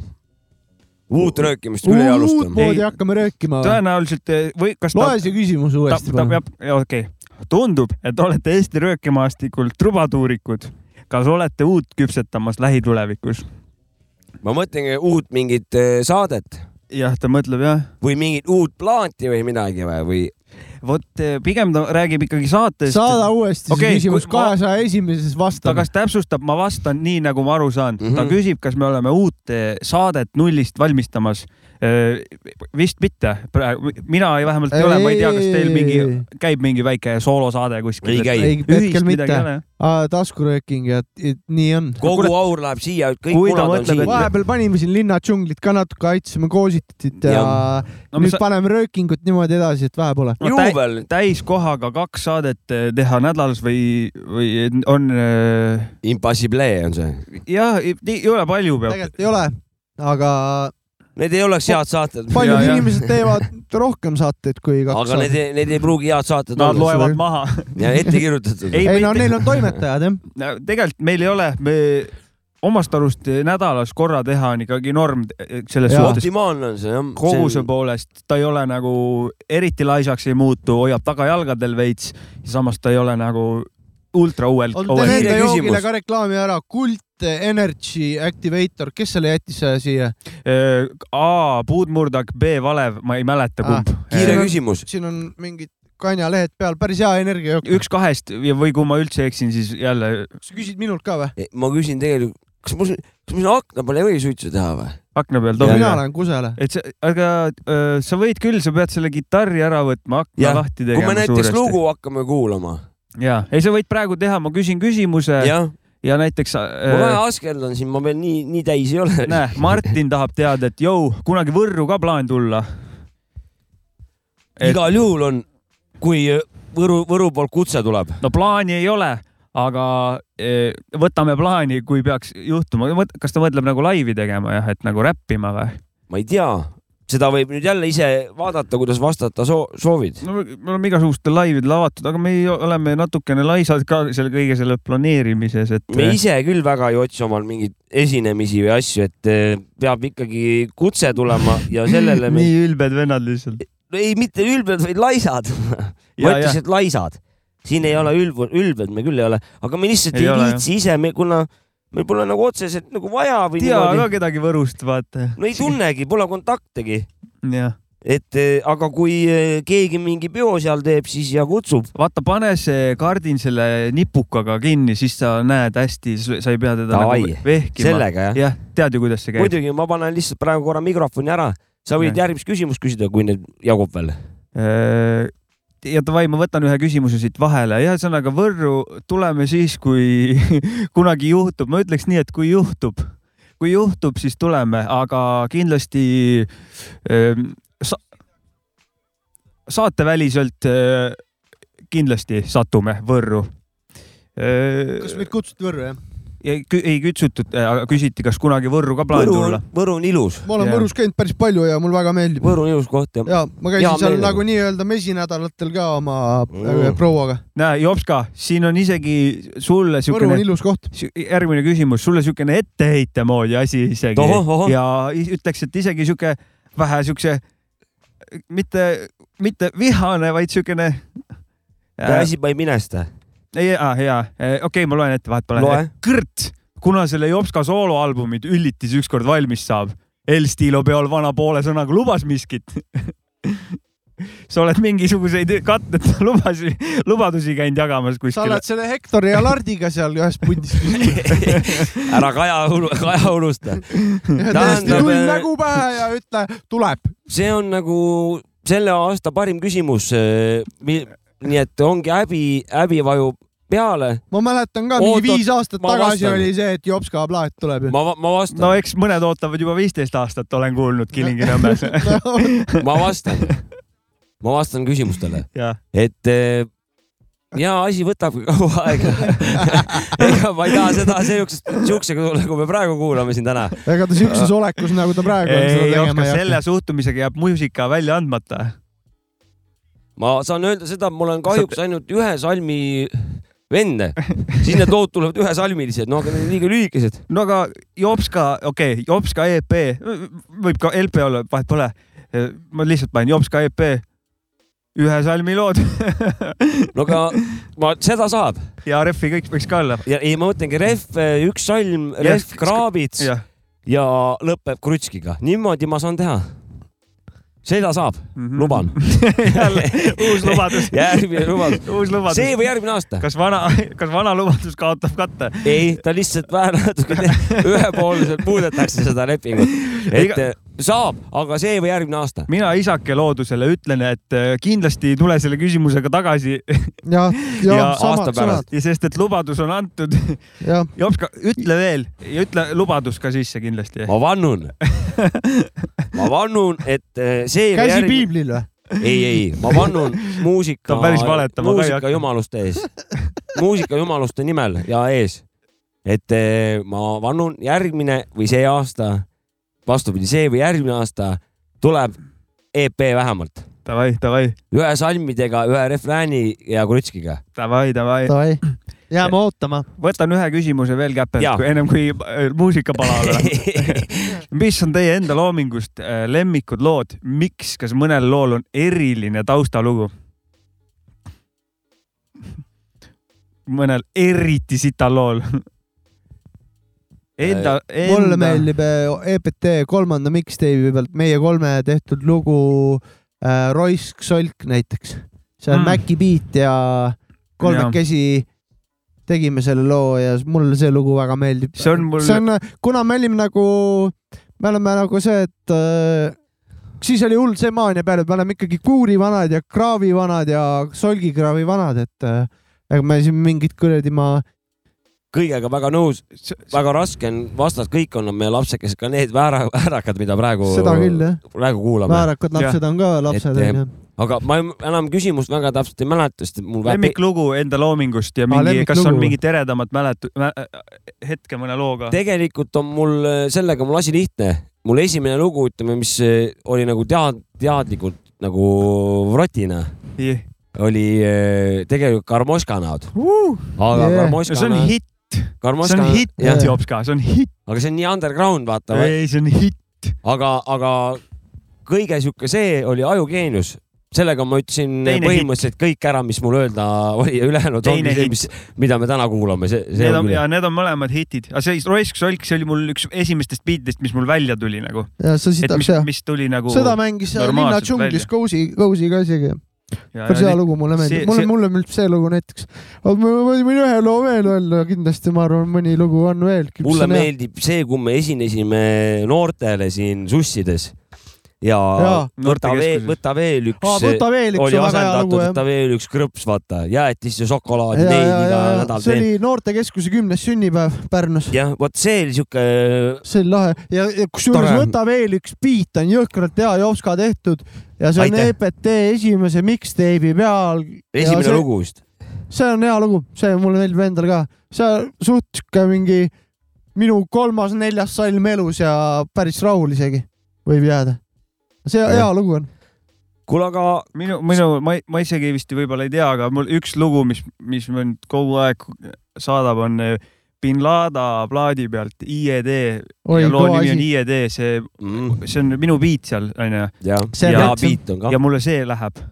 uut röökimist küll ei
uut
alusta .
Ei.
moodi hakkame röökima .
tõenäoliselt äh, või kas ta
loe see küsimus
ta ,
uuesti .
ta peab , okei okay. , tundub , et olete Eesti röökimaastikult trubaduurikud . kas olete uut küpsetamas lähitulevikus ?
ma mõtlengi uut mingit eh, saadet ,
jah , ta mõtleb jah .
või mingit uut plaati või midagi või , või ?
vot eh, pigem ta räägib ikkagi saatest .
saada uuesti okay,
Okei,
see küsimus
kui ma-
kahesaja esimeses
ta
vastame .
kas täpsustab , ma vastan nii , nagu ma aru saan mm . -hmm. ta
Mhm.
küsib , kas me oleme uut eh, saadet nullist valmistamas . vist mitte , praegu mina ei vähemalt ei ole , ma ei tea , kas teil mingi , käib mingi väike soolosaade kuskil .
Ei käi.
ei , hetkel mitte .
aga
taskurööking ja et nii on .
kogu
Kuule-
aur läheb siia , kõik
Kui ta
munad on
mõtleb, et-
siin .
vahepeal panime siin linna džunglit ka natuke , aitasime koositit ja,
Jah.
ja.
No
No, nüüd
mis sa-
sa... paneme röökingut niimoodi edasi , et vähe pole .
No tä-
juubel ,
täiskohaga kaks saadet eh, teha nädalas või , või on eh,
Impossible on see .
jah , ei ole palju peab .
tegelikult ei ole , aga
Need ei oleks head saated ,
paljud
Ja, ja.
inimesed teevad rohkem saateid kui kaks
aga need
saadet . ,
need ei pruugi head saated
Nad
olla .
loevad maha .
ja ette kirjutatud .
Ei,
ei
me
no
ei tee-
neil on toimetajad jah .
tegelikult meil ei ole , me omast arust nädalas korra teha on ikkagi norm eh, selles
Jaa.
suhtes .
optimaalne on see jah .
koguse poolest ta ei ole nagu eriti laisaks ei muutu , hoiab tagajalgadel veits ja samas ta ei ole nagu ultra uuelt .
on teil
kiire
enda joogile
küsimus.
ka reklaami ära , Kult Energy Activator , kes selle jättis äh, siia ?
A puudmurdak , B valev , ma ei mäleta
Ah,
kumb .
kiire küsimus .
siin on mingid kanjalehed peal , päris hea energiajook .
üks kahest ja- või kui ma üldse eksin , siis jälle
sa küsid minult ka või ?
Eh, ma küsin tegelikult , kas mul , kas mul sinna akna peal ei või suitsu teha või ?
akna peal
mina
tohib .
olen kusele .
et see , aga öö, sa võid küll , sa pead selle kitarri ära võtma , akna
Jah.
lahti
kui
tegema
me näiteks . lugu hakkame kuulama ,
ja , ei , sa võid praegu teha , ma küsin küsimuse ja,
jah ,
ja näiteks .
ma vähe askeldan siin , ma veel nii , nii täis ei ole .
näe , Martin tahab teada , et jõu , kunagi Võrru ka plaan tulla . et-
igal juhul on , kui Võru , Võru poolt kutse tuleb .
no plaani ei ole , aga eh, võtame plaani , kui peaks juhtuma . kas ta mõtleb nagu laivi tegema jah , et nagu räppima või ?
ma ei tea , seda võib nüüd jälle ise vaadata , kuidas vastata soo- , soovid .
no me me oleme igasugustel laividel avatud , aga me ei- oleme natukene laisad ka selle kõige selle planeerimises , et
me ise küll väga ei otsi omal mingeid esinemisi või asju , et eh, peab ikkagi kutse tulema ja sellele me
nii ülbed vennad lihtsalt .
No ei , mitte ülbed , vaid laisad .
Ja,
ma ütlesin , et laisad . siin ei ole ülb- , ülbed me küll ei ole , aga me lihtsalt
Ei
ei, ei
ole,
viitsi ise , me kuna meil pole nagu otseselt nagu vaja või
tea ka
niimoodi ,
kedagi Võrust , vaata .
no ei tunnegi , pole kontaktegi ,
jah ,
et eh, aga kui eh, keegi mingi peo seal teeb , siis ja kutsub .
vaata , pane see kardin selle nipukaga kinni , siis sa näed hästi , sa ei pea teda
Davai,
nagu vehkima .
sellega jah ?
jah , tead ju , kuidas see käib .
muidugi , ma panen lihtsalt praegu korra mikrofoni ära , sa võid
Jah.
järgmist küsimust küsida , kui neid jagub veel .
Äh, ja davai , ma võtan ühe küsimuse siit vahele , ühesõnaga Võrru tuleme siis , kui kunagi juhtub , ma ütleks nii , et kui juhtub , kui juhtub , siis tuleme , aga kindlasti ähm, sa saateväliselt äh, kindlasti satume Võrru .
Äh,
kas
ei
meid kutsuti Võrru jah ?
kü- ei kutsutud , aga küsiti , kas kunagi Võrru ka plaan
Võru on
tulla .,
Võru on ilus ,
ma olen
Jaa.
Võrus käinud päris palju ja mulle väga meeldib .
Võru on ilus koht ja
ja ma käisin
Hea
ja, seal
meelega.
nagu nii-öelda mesinädalatel ka oma
Mm.
mm. prouaga .
näe , Jopska , siin on isegi sulle
Võru
siukene
on ilus koht .
Sü- järgmine küsimus , sulle siukene etteheite moodi asi isegi
Ohoh, ohoh.
ja i- ütleks , et isegi siuke vähe siukse , mitte , mitte vihane , vaid siukene .
asi pani minesta .
ei , ja , okei , ma loen ette , vahet
Loe.
pole . kõrt , kuna selle Jopska sooloalbumid Üllitis ükskord valmis saab , El Stilo peol vana poole sõnaga lubas miskit . sa oled mingisuguseid katteta lubasid , lubadusi käinud jagamas
sa
kuskil
oled . selle Hektori ja Lardiga seal ühes pundis .
ära Kaja , Kaja unusta .
täiesti
äh,
tull nägu pähe ja ütle , tuleb .
see on nagu selle aasta parim küsimus . nii et ongi häbi , häbi vajub peale .
ma mäletan ka , mingi
Oot, oot,
viis aastat
ma
tagasi
vastan.
oli see , et Jopska plaat tuleb ju .
ma , ma vastan
no , eks mõned ootavad juba viisteist aastat , olen kuulnud Kilingi-Nõmmes .
ma vastan , ma vastan küsimustele ,
jah ,
et eh, ja asi võtab kaua aega . ega ma ei taha seda siuksest , siuksega tulla , kui me praegu kuulame siin täna .
ega ta siukses olekus , nagu ta praegu on ,
ei
seda
oska
tegema ei
selle
hakka .
suhtumisega jääb muusika välja andmata .
ma saan öelda seda , et mul on kahjuks ainult ühe salmi vende , siis need lood tulevad ühesalmilised , no aga need on liiga lühikesed .
no aga Jopska , okei okay, , Jopska EP , võib ka LP olla , vahet pole . ma lihtsalt panin Jopska EP , ühe salmi lood
no aga ma , seda saab
ja refi kõik võiks ka olla .
ja ei , ma mõtlengi ref , üks salm ,
Jah,
ref , kraabits ja,
jah ,
ja lõpeb krutskiga , niimoodi ma saan teha . seda saab , luban .
Mhm. jälle uus lubadus ,
järgmine lubadus .
uus lubadus .
see või järgmine aasta ?
kas vana , kas vana lubadus kaotab katte ?
ei , ta lihtsalt vähe natuke te- ühepoolselt muudetakse seda lepingut . et
Iga-
saab , aga see või järgmine aasta .
mina isake loodusele ütlen , et äh, kindlasti ei tule selle küsimusega tagasi
ja , ja, ja
Ja
samad
aasta pärast.
sõnad ,
ja sest , et lubadus on antud .
jah .
Jops , ütle veel ja ütle lubadus ka sisse kindlasti .
ma vannun . ma vannun , et eh, see .
käsi . piiblil või ?
ei , ei , ma vannun
Ta
muusika
on päris valetama ka ei
muusika
hakka.
jumaluste ees , muusika jumaluste nimel ja ees . et eh, ma vannun järgmine või see aasta , vastupidi , see või järgmine aasta tuleb EP vähemalt
Davai , davai ,
ühe salmidega , ühe refrääni ja krutskiga .
davai , davai .
Davai , jääme ootama .
võtan ühe küsimuse veel käpelt
Jaa. ,
ennem kui äh, muusikapala läheb . mis on teie enda loomingust äh, lemmikud lood , miks , kas mõnel lool on eriline taustalugu ? mõnel eriti sital lool . Enda , enda .
mulle meeldib eh, EPT kolmanda mixtape'i pealt meie kolme tehtud lugu äh, Roisk solk näiteks . see on
Mm.
mm. Maci beat ja kolmekesi tegime selle loo ja s- mulle see lugu väga meeldib .
see on mul
see , on , kuna me olime nagu , me oleme nagu see , et äh, siis oli hull see maania peal , et me oleme ikkagi kuuri vanad ja kraavi vanad ja solgikraavi vanad , et äh, ega me siin mingit kuradi ma ,
kõigega väga nõus , väga raske on vastata , kõik on meie lapsekesed , ka need väära , väärakad , mida praegu ,
seda küll jah ,
praegu kuulame .
väärakad lapsed on ka lapsed
Et, eh,
onju .
aga ma enam küsimust väga täpselt ei mäleta , sest mul vähe
lemmiklugu enda loomingust ja mingi , kas
lemmiklugu.
on mingit eredamat mäletu- , hetke mõne looga ?
tegelikult on mul äh, sellega mul asi lihtne . mul esimene lugu , ütleme , mis oli nagu tead- , teadlikult nagu vrotina , oli eh, tegelikult Karmoška näod . aga
Yeah.
yeah.
no see
Karmoška
on , hitt , see on ,
Karmoška
hitt ,
jah.
Jopska , see on hitt ,
aga see on nii underground , vaata ,
ei , see on hitt .
aga , aga kõige sihuke see oli ajugeenius sellega ma ütlesin
Teine
põhimõtteliselt kõik ära , mis mul öelda oli ja ülejäänud
Teine
ongi see ,
hitt.
mis , mida me täna kuulame , see , see
Need on
küll-
ja need on mõlemad hitid , aga see Roisk Solk , see oli mul üks esimestest biitidest , mis mul välja tuli nagu ,
ja sa
et
sitaks
mis
jah ,
mis tuli nagu .
seda mängis seal linna
normaalselt
džunglis
välja.
Gozi , Goziga isegi . see lugu mulle meeldib ,
see-
mulle ,
see-
mulle meeldib see lugu näiteks . ma võin võin ühe loo veel öelda , kindlasti ma arvan , mõni lugu on veel .
mulle meeldib see , kui me esinesime noortele siin sussides ja, ja
Jaa.
võta veel ,
Noortekeskuses.
võta veel üks
aa , võta veel üks ,
oli
on väga hea
asendatud ,
lugu
võta
jah .
veel üks krõps , vaata , jäetist ja šokolaadi
ja ,
tein
ja ,
iga
ja , ja
nädal
see
teen .
oli Noortekeskuse kümnes sünnipäev Pärnus .
jah , vot see oli siuke , äh,
see oli lahe ja , ja kusjuures
Tore.
Võta veel üks biit on jõhkralt hea Jopska tehtud ja see on
Aitäh.
EPT esimese mixtape'i peal .
esimene
see,
see... lugu vist .
see on hea lugu , see mulle meeldib endale ka , see on suht sihuke mingi minu kolmas-neljas salm elus ja päris rahul isegi võib jääda . see hea lugu on .
kuule , aga
minu , minu , ma , ma isegi vist võib-olla ei tea , aga mul üks lugu , mis , mis mind kogu aeg saadab , on bin Lada plaadi pealt IED
oi
ja , loo
kõva
nimi on
asi .
IED , see ,
mm,
see on minu biit seal onju
jah ,
See on
hea
täitsa-
beat on ka
ja . mulle see läheb .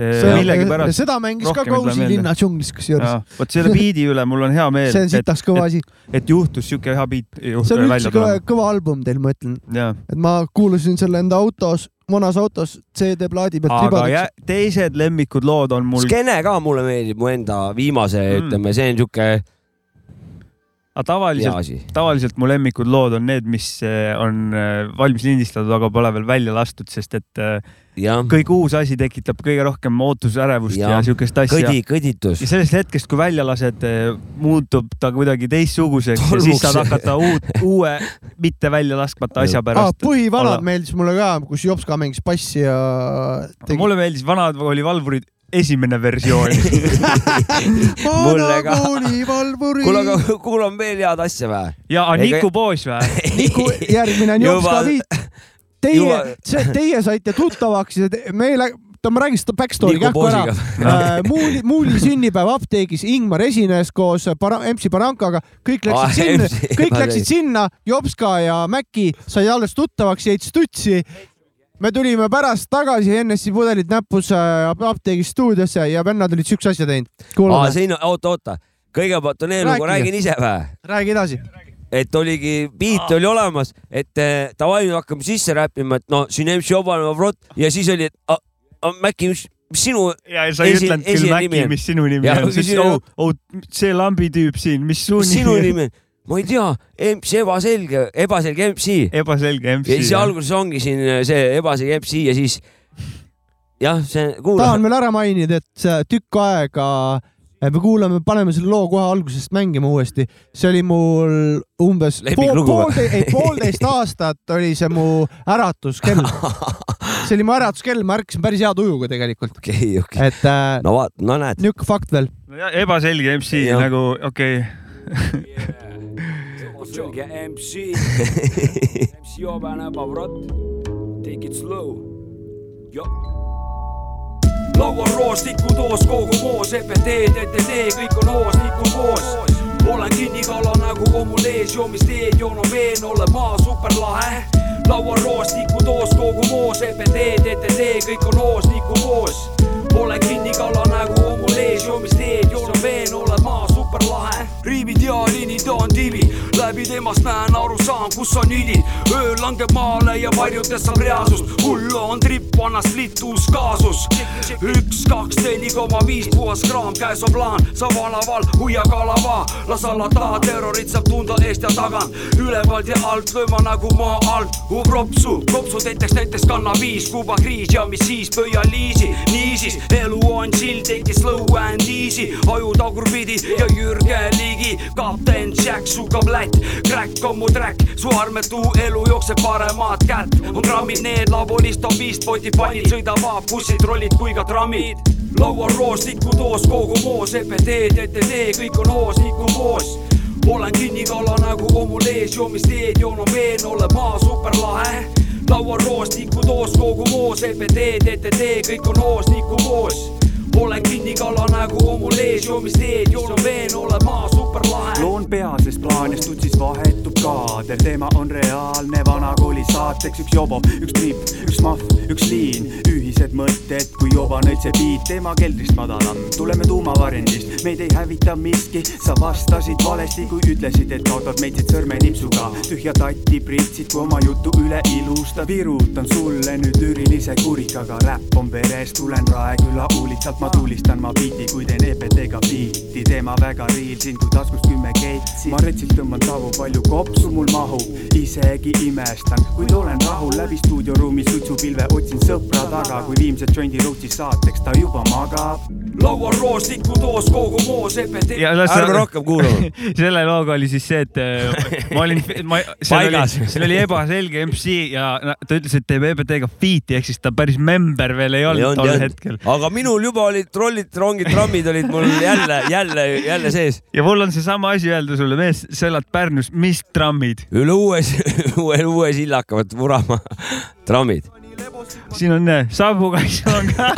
millegipärast ,
seda mängis ka
rohkem ei tule
Kausi
meelde.
linna džunglis kusjuures .
vot selle biidi üle mul on hea meel ,
see on
et ,
sitaks kõva asi ,
et juhtus siuke hea biit .
see on üldse kõva , kõva album teil , ma ütlen ,
jaa ,
et ma kuulasin selle enda autos , vanas autos CD-plaadi pealt
aga jä,
ribadeks .
teised lemmikud lood on mul ,
Skene ka mulle meeldib , mu enda viimase
Mm.
mm. , ütleme , see on siuke hea
tavaliselt
asi .
tavaliselt mu lemmikud lood on need , mis eh, on eh, valmis lindistatud , aga pole veel välja lastud , sest et eh,
jah ,
kõik uus asi tekitab kõige rohkem ootusärevust ja, ja
Jaa.
siukest asja .
kõdi , kõditus
ja . sellest hetkest , kui välja lased , muutub ta kuidagi teistsuguseks ja siis
Tolmuks.
saad hakata uut , uue , mitte välja laskmata asja
aa ,
pärast .
põhivanad
Ala-
meeldis mulle ka , kus Jops ka mängis bassi ja tegi .
mulle meeldis Vanad oli valvurid esimene versioon .
mulle ka.
vanakooli valvuri .
kuule , aga kuulame veel head asja või ?
ja
Ega-
Niku Poos või ?
Niku , järgmine on Jops
Juba-
David . Teie
juba- ,
teie saite tuttavaks ja te- me lä- , oota ma räägin seda backstory
Niku
kähku ära Äh,
Poosiga. .
Muuli , Muuli sünnipäev apteegis , Ingmar esines koos para, MC Barankaga , kõik
Aa,
läksid sinna
MC ,
kõik
Barank.
läksid sinna , Jopska ja Mäkki sai alles tuttavaks , jäid stutsi me tulime pärast tagasi NSi pudelid näpus äh, apteegi stuudiosse ja vennad olid siukse asja teinud .
aa ,
kuulame ,
siin , oota , oota , kõigepealt on eellugu ,
Rääkige.
räägin ise või ?
räägi edasi .
et oligi , beat oli olemas , et eh, davai , nüüd hakkame sisse räppima , et no siin MC Obanova Vrot ja siis oli , et a- a- Mäkki , mis mis sinu
ja sa ei
Esi-
ütelnud küll
esinimi
Mäkki
on. ,
mis sinu nimi
Jah,
on , siis
küsin-
oh , oh , see lambi tüüp siin , mis su
mis
nimi
sinu
on ?
nimi on ? ma ei tea , MC ebaselge , ebaselge MC .
ebaselge
ja siis
MC .
alguses ongi siin eh, see ebaselge MC ja siis jah , see
tahan
kuulame .
veel ära mainida , et see tükk aega eh, me kuulame , paneme selle loo kohe algusest mängima uuesti . see oli mul umbes pool,
Lemmiklugu või?
poolteist , ei poolteist aastat oli see mu äratuskell . see oli mu äratuskell , ma ärkasin päris hea tujuga tegelikult ,
okei , okei ,
et äh,
no vaat , no näed ,
niuke fakt veel .
ebaselge MC
Jah.
nagu okei okay. ,
Joke MC MC Open Pavrot Take it slow Yo. lauaroos , tikutoos , kogu moos , EPT , TTT , kõik on hoos , liikun koos . olen kinnikala nagu kommul ees , joomist teed , joon on veen , olen maa superlahe . lauaroos , tikutoos , kogu moos , EPT , TTT , kõik on hoos , liikun koos . olen kinnikala nagu kommul ees , joomist teed , joon on veen , olen maa superlahe . riivid ja liinid on tiivid , läbi temast näen , aru saan , kus on idid . öö langeb maale ja varjudes saab reaalsust , hull on tripp , annast liit uus kaasus . üks , kaks , neli koma viis , puhas kraam , käes on plaan , saab alaval , hoia kalava , las alla taha , terrorit saab tunda eest ja tagant , ülevalt ja alt , lööma nagu maa alt , upropsu , kopsu teiteks näiteks kanna viis , Kuuba kriis ja mis siis , pöia liisi , niisiis , elu on chill , take it slow and easy , aju tagurpidi ja Jürgen Ligi , kapten Jack , su kablätt , crack on mu track , su armetu elu jookseb paremat kätt , on grammid need , laulist on viis Spotify'd , sõidavad bussid , trollid kui ka trammid . laual roos , tikutoos , kogu moos , EPT , TTT , kõik on hoos , liikuv hoos . olen kinnikala nagu hommul ees , joomist teed , joon on veen , olen maa superlahe . laual roos , tikutoos , kogu moos , E EPT , TTT , kõik on hoos , liikuv hoos olen kinnikala nagu hommul ees , joomist teed , joon on veen , olen maa superlahe .
loon peases plaanis , tutsis vahetub kaader , teema on reaalne , vanakooli saateks üks jobo , üks tripp , üks mahv , üks liin , ühised mõtted , kui joba nõitse biit , teema keldrist madalam , tuleme tuumavarjendist , meid ei hävita miski , sa vastasid valesti , kui ütlesid , et kaotad meid siit sõrmenipsuga , tühja tatti pritsid , kui oma jutu üle ilustad , virutan sulle nüüd lüürilise kurikaga , räpp on veres , tulen Raeküla uulitsalt , ma tulistan , ma biiti , kui teen EPT-ga biiti , teema väga riil siin , kui taskus kümme keitsi , ma retsilt tõmban tavu , palju kopsu mul mahub , isegi imestan , kuid olen rahul läbi stuudioruumi suitsupilve , otsin sõpra taga , kui viimse jondi rootsi saateks ta juba magab .
laual roos , tikutoos , kogu moos , EPT .
ja las
ärme rohkem kuulame .
selle looga oli siis see , et äh, ma olin , ma , seal
Paigas.
oli , seal oli ebaselge MC ja na- ta ütles , et teeb EBT-ga feat'i ehk siis ta päris member veel ei olnud tol hetkel .
aga minul juba olid trollid , rongid , trammid olid mul jälle , jälle , jälle sees .
ja mul on seesama asi öelda sulle , mees , sa elad Pärnus , mis trammid ?
üle uue , uue , uue silla hakkavad vurama trammid .
siin on äh, saabukaitse on ka .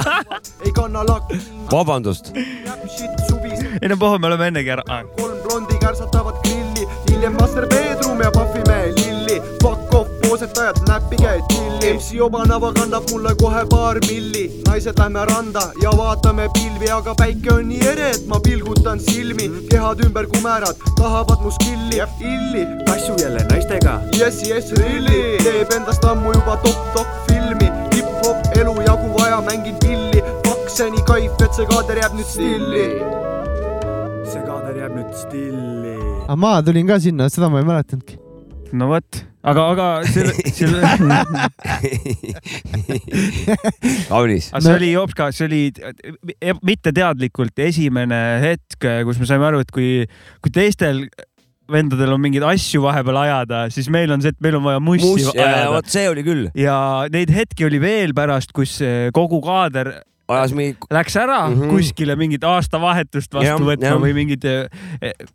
ei kanna lakki ,
vabandust ,
jääb sitt suvis
ei no pohhu , me oleme ennegi ära .
kolm blondi kärsatavad grilli , hiljem master Pedrum ja Pahvimäe lilli . Fuck off , poosetajad , näppige tilli . MC Obanava kannab mulle kohe paar milli . naised , lähme randa ja vaatame pilvi , aga päike on nii ere , et ma pilgutan silmi . kehad ümber kumerad , tahavad mu skilli , illi .
kassu jälle naistega
Yes , yes , really . teeb endast ammu juba top-top filmi . hip-hop elu jagu vaja , mängin pilli . Fuck , see nii kaif , et see kaader jääb nüüd stilli .
see kaader jääb nüüd stilli .
aga Ah, ma tulin ka sinna , seda ma ei mäletanudki .
no vot , aga , aga selle , selle ,
kaunis .
aga see oli Jopska , see oli e- mitteteadlikult esimene hetk , kus me saime aru , et kui , kui teistel vendadel on mingeid asju vahepeal ajada , siis meil on see , et meil on vaja mussi
Muss ,
ajada .
vot see oli küll ,
ja neid hetki oli veel pärast , kus eh, kogu kaader
ajas mingi
läks ära mm
Mhm.
-hmm. kuskile mingit aastavahetust vastu
Jah,
võtma
jah.
või mingid ,
ja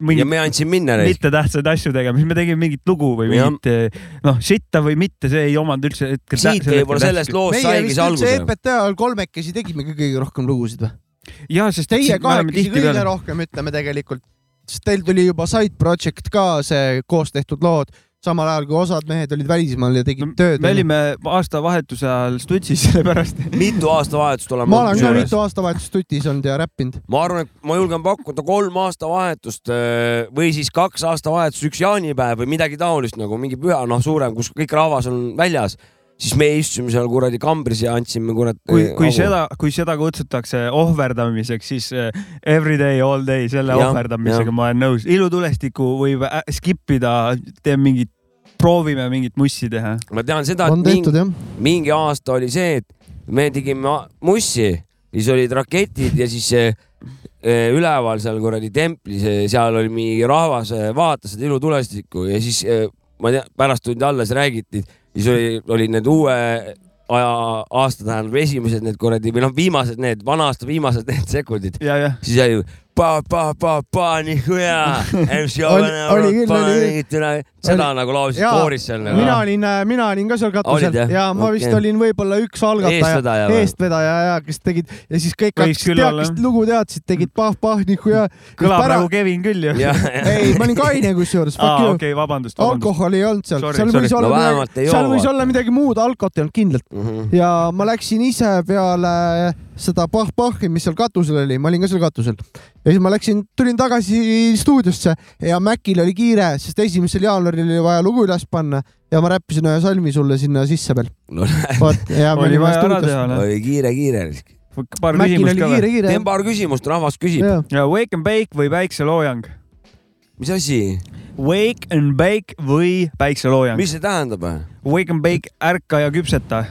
mingid
me andsime minna neist .
mittetähtsaid asju tegema , siis me tegime mingit lugu või
Jah.
mingit eh, noh , sitta või mitte , see ei omanud üldse hetkel .
siit võib-olla sellest loost
meie
Oh, saigi
vist
see
üldse
alguse .
EPT ajal kolmekesi tegimegi kõige rohkem lugusid või ?
ja sest
Teie
siit me oleme
kahekesi kõige
tihtipeale-
rohkem , ütleme tegelikult , sest teil tuli juba Side Project ka see koos tehtud lood , samal ajal kui osad mehed olid välismaal ja tegid tööd .
me olime aastavahetuse ajal stutsis , sellepärast
mitu aastavahetust oleme
ma olen ka mitu aastavahetust tutis olnud ja räppinud .
ma arvan , et ma julgen pakkuda kolm aastavahetust öö, või siis kaks aastavahetust , üks jaanipäev või midagi taolist nagu mingi püha , noh , suurem , kus kõik rahvas on väljas , siis me istusime seal kuradi kambris ja andsime kurat . äh,
kui , kui . seda , kui seda kutsutakse ohverdamiseks , siis eh, everyday , all day selle
Jah,
ohverdamisega
jah.
ma olen nõus . ilutulestikku võib ä- skip ida , teeme mingit , proovime mingit mussi teha .
ma tean seda ,
on
et mingi,
tehtud jah .
mingi aasta oli see , et me tegime a- mussi , siis olid raketid ja siis see, eh, üleval seal kuradi templis , seal oli mingi rahvas eh, vaatas seda ilutulestikku ja siis eh, ma tean , pärast tuldi alla , siis räägiti , siis oli , olid need uue aja , aasta tähendab esimesed need kuradi või noh , viimased need , vana aasta viimased need sekundid ,
ja , jah .
siis jäi ju pa-pa-pa-pa , nii hea .
Oli- oli küll, oli küll.
seda nagu laulsid
Jaa,
kooris seal . nagu.
mina olin , mina olin ka seal katusel
Olid, jah?
ja ma vist
Okei.
olin võib-olla üks algataja ,
eestvedaja või ?
eestvedaja ja kes tegid ja siis kõik
Võiks
hakkasid
küll olla,
teakist lugu teadsid , tegid pah-pah nihu ja .
kõlab nagu Kevin küll ju .
jah ,
ei , ma olin kaine kusjuures , fuck
aa ,
you .
okei , vabandust , vabandust .
alkoholi ei olnud seal ,
Sorry,
seal võis
sorry.
olla
No vähemalt ei
midagi , seal
joo,
võis
vaata.
olla midagi muud , alkot ei olnud kindlalt .
jah .
ja ma läksin ise peale seda pah-pahhi , mis seal katusel oli , ma olin ka seal katusel . ja siis ma läksin , tulin tagasi stuudiosse ja Mäkil oli kiire , sest esimesel jaanuaril oli vaja lugu üles panna ja ma räppisin ühe salmi sulle sinna sisse veel .
No
vot ja me
oli
olime
vaja ära
stuudios .
teha , noh .
oli kiire , kiire .
paar
Mäkil
küsimust
oli
ka
kiire
või ?,
kiire
teen . paar küsimust , rahvas küsib .
ja
ja Wake and Bake või Päikseloojang ?
mis asi ,
Wake and Bake või Päikseloojang ?
mis see tähendab ?
Wake and Bake , ärka ja küpseta .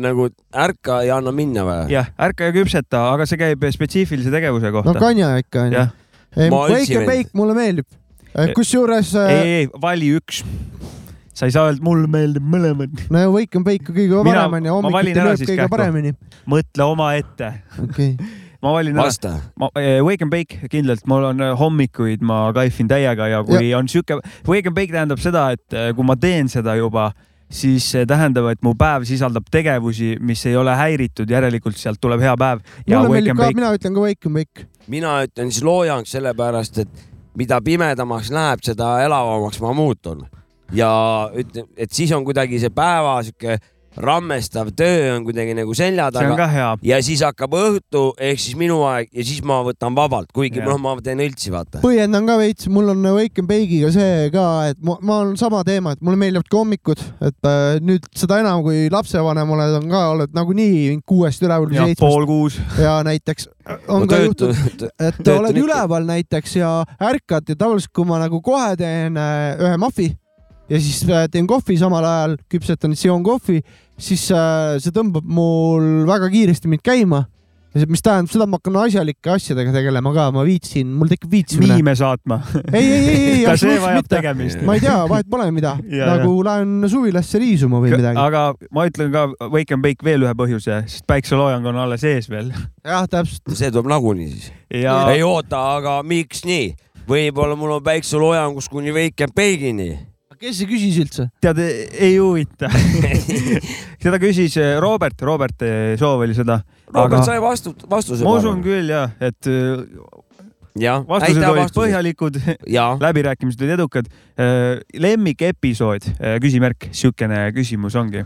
nagu ärka ja anna minna või ?
jah , ärka ja küpseta , aga see käib spetsiifilise tegevuse
no
kohta .
kanja ikka onju
Jah. .
Ma
Wake
üldse
and
ei
Bake mulle meeldib . kusjuures äh,
ei , ei , vali üks . sa ei saa öelda , mulle meeldib mõlemad .
no ja Wake and Bake on kõige
Mina-
parem onju ,
ma valin
hommikuti
ära
lööb
siis
kõige
Kähku.
paremini .
mõtle omaette .
okei ,
ma valin ära .
vasta .
ma , Wake and Bake kindlalt , mul on eh, hommikuid , ma kaifin täiega ja kui ja. on sihuke , Wake and Bake tähendab seda , et eh, kui ma teen seda juba , siis see tähendab , et mu päev sisaldab tegevusi , mis ei ole häiritud , järelikult sealt tuleb hea päev . ja
mulle
Wake
meeldib
and
ka ,
Bake ,
mina ütlen ka Wake and Bake .
mina ütlen siis loojang sellepärast , et mida pimedamaks läheb , seda elavamaks ma muutun . ja ütle , et siis on kuidagi see päeva sihuke rammestav töö on kuidagi nagu selja
see on
taga
ka hea .
ja siis hakkab õhtu ehk siis minu aeg ja siis ma võtan vabalt , kuigi
Jah.
noh , ma teen õltsi , vaata .
põhjendan ka veits , mul on Wake and Bake'iga see ka , et ma, ma olen sama teema , et mulle meeldivad ka hommikud , et äh, nüüd seda enam , kui lapsevanem oled , on ka , oled nagunii kuuest üleval
ja
või seitsmest
pool kuus .
ja näiteks on ka juhtunud , et
töötan
oled
ikka.
üleval näiteks ja ärkad ja tavaliselt , kui ma nagu kohe teen äh, ühe mahvi ja siis äh, teen kohvi samal ajal , küpsetan , seon kohvi , siis äh, see tõmbab mul väga kiiresti mind käima Ja see- mis tähendab seda , et ma hakkan asjalike asjadega tegelema ka , ma viitsin , mul tekib viitsimine .
miime saatma .
ei , ei , ei , ei ,
ka see
absoluutselt
vajab
mitte .
tegemist .
ma ei tea , vahet pole mida ,
Ja,
nagu lähen suvilasse riisuma või midagi .
aga ma ütlen ka Wake and Bake veel ühe põhjuse , sest päikseloojang on alles ees veel
jah , täpselt .
see tuleb nagunii siis .
ja
ei oota , aga miks nii ? võib-olla mul on päikseloojangus kuni väike peigini .
kes see küsis üldse ?
tead , ei huvita . seda küsis eh, Robert , Robert eh, soov oli seda .
Robert
Aga-
aga... sai vastu , vastuse .
ma usun . küll ja , et äh,
jah ,
vastused
aitäh
olid
vastuse .
põhjalikud ,
ja ,
läbirääkimised olid edukad . lemmikepisood , küsimärk , siukene küsimus ongi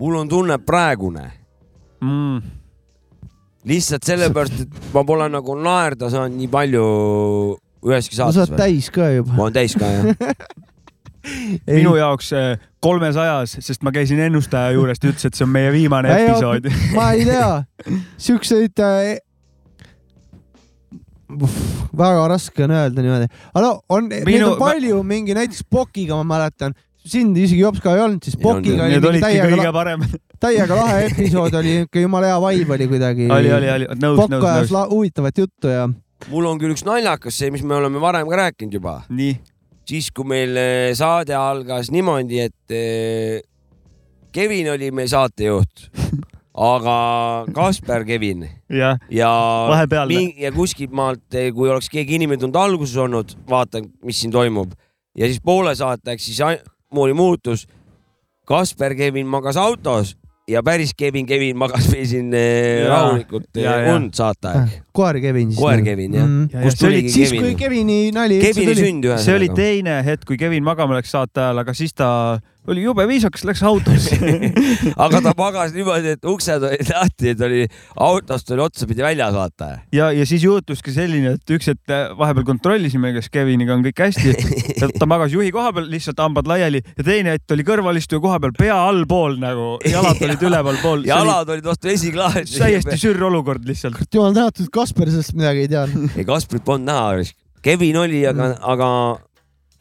mul on tunne praegune ,
mm. .
lihtsalt sellepärast , et ma pole nagu naerda saanud nii palju üheski
sa
saates
oled . täis ka juba .
ma olen täis ka jah .
Ei.
minu jaoks äh, kolmesajas , sest ma käisin ennustaja juures , ta ütles , et see on meie viimane
Ei,
episood .
ma ei tea , siukseid äh... . väga raske on öelda niimoodi , aga no on , neid
Minu-
on palju , mingi näiteks Pokiga ma mäletan , sind isegi Jopska ei olnud , siis
Ei olnud,
Pokiga oli
jah.
Need
mingi
olidki
täiega
kõige , paremad .
täiega lahe episood oli , ikka jumala hea vibe oli kuidagi .
oli , oli , oli , nõus ,
Pokk
nõus ,
ajas
nõus .
la- huvitavat juttu ja
mul on küll üks naljakas see , mis me oleme varem ka rääkinud juba ,
nii ,
siis kui meil eh, saade algas niimoodi , et eh, Kevin oli meie saatejuht , aga Kaspar Kevin
jah ,
ja
Vahepealne.
mingi- ja kuskilt maalt , kui oleks keegi inimene tulnud alguses olnud , vaatan , mis siin toimub ja siis poole saateks siis ai- moodi muutus . Kasper Kevin magas autos ja päris Kevin Kevin magas meil siin eh,
Jaa.
rahulikult eh,
Jaa, jaa.
und saate aeg .
koer Kevin siis . Mhm.
koer Kevin jah mm. .
Ja, ja,
kust
see oli-
tuligi
siis , kui
Kevin ?
Kevini nali üldse
Kevini
tuli .
sünd ühesõnaga .
see oli teine hetk , kui Kevin magama läks saate ajal , aga siis ta oli jube viisakas , läks autosse .
aga ta magas niimoodi , et uksed olid lahti , et oli autost oli otsapidi väljas vaata .
ja , ja siis juhtuski selline , et üks hetk vahepeal kontrollisime , kas Keviniga on kõik hästi . ta magas juhi koha peal , lihtsalt hambad laiali ja teine hetk oli kõrvalistuja koha peal , pea allpool nagu , jalad olid ülevalpool .
jalad olid vastu esiklaasi .
täiesti sürolukord lihtsalt .
jumal tänatud , Kaspar sellest midagi ei teadnud .
ei Kasparit polnud näha , Kevin oli , aga , aga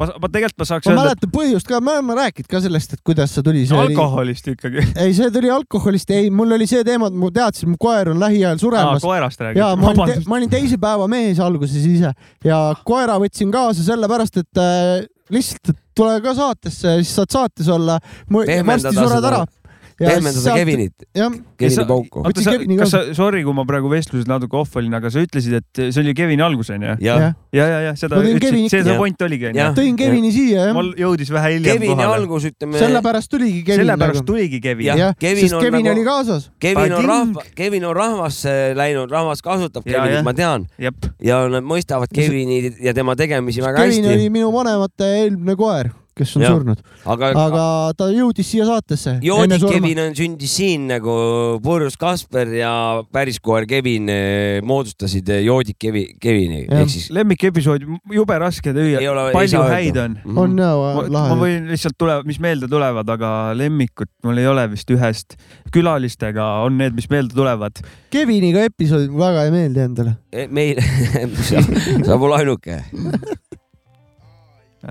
ma , ma tegelikult ma saaks
ma
öelda ,
mäletan põhjust ka , me oleme rääkinud ka sellest , et kuidas see tuli .
et alkoholist ikkagi .
ei , see tuli alkoholist , ei , mul oli see teema , et ma teadsin , mu koer on lähiajal suremas .
koerast
ja ma olin, te,
räägid .
ma olin teise päeva mees alguses ise ja koera võtsin kaasa sellepärast , et äh, lihtsalt et tule ka saatesse , siis saad saates olla .
Pehmendada
varsti sured
seda-
ära .
pehmendada Kevinit ,
jah ,
Kevini
sa-
pauku .
Võtsin
oota , sa
Kevini ,
kas
kaasa.
sa , sorry , kui ma praegu vestluses natuke off olin , aga sa ütlesid , et see oli Kevini algus onju ?
jah ,
jah.
ja , ja , ja seda
Ma tegin
ütlesid
Kevini ,
see see
ikka.
point oligi onju
Jah. .
tõin Kevini siia jah ,
mul jõudis vähe hiljem
Kevini
kohale .
algus ütleme ,
sellepärast tuligi Kevin .
sellepärast tuligi Kevin
Jah. .
jah ,
Kevin
sest
on
Kevin
nagu-
oli kaasas .
Kevin on
Pading.
rahva , Kevin on rahvasse läinud , rahvas kasutab
Jaa,
Kevinit
jah. ,
ma tean ,
jep ,
ja nad mõistavad Kevini ja tema tegemisi väga
Kevin oli
hästi ,
minu vanemate eelmine koer , kes on
Jah.
surnud ,
aga, aga
aga ta jõudis siia saatesse .
joodik Kevin on sündis siin nagu purjus Kasper ja päris koer Kevin eh, moodustasid eh, joodik Kevi- , Kevini
Jah.
ehk siis
lemmikepisood , jube raske tüüa
Ei ole- , ei
palju
saa
häid
öelda. Mhm.
on .
on jaa
Ma, , ma
lahe .
võin lihtsalt tule , mis meelde tulevad , aga lemmikut mul ei ole vist ühest . külalistega on need , mis meelde tulevad .
Keviniga episood väga ei meeldi endale .
Eh, meil sa, sa pole ainuke .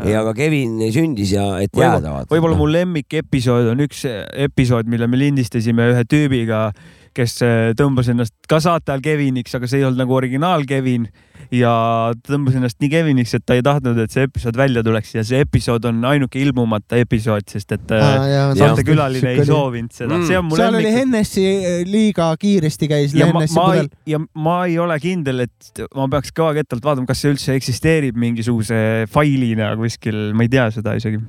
ei , aga Kevin sündis ja , et jääda
Võib-olla-
vaata .
võib-olla mu lemmikepisood on üks episood , mille me lindistasime ühe tüübiga , kes eh, tõmbas ennast ka saate ajal Keviniks , aga see ei olnud nagu originaal Kevin ja tõmbas ennast nii Keviniks , et ta ei tahtnud , et see episood välja tuleks ja see episood on ainuke ilmumata episood , sest et äh, saate külaline ei soovinud seda
Mm. ,
see on mu
seal oli
lemmik .
Hennessy eh, liiga kiiresti käis
ja ma ,
Hennessy
ma ei
pudel .,
ja ma ei ole kindel , et ma peaks kõva kettalt vaatama , kas see üldse eksisteerib mingisuguse failina kuskil , ma ei tea seda isegi .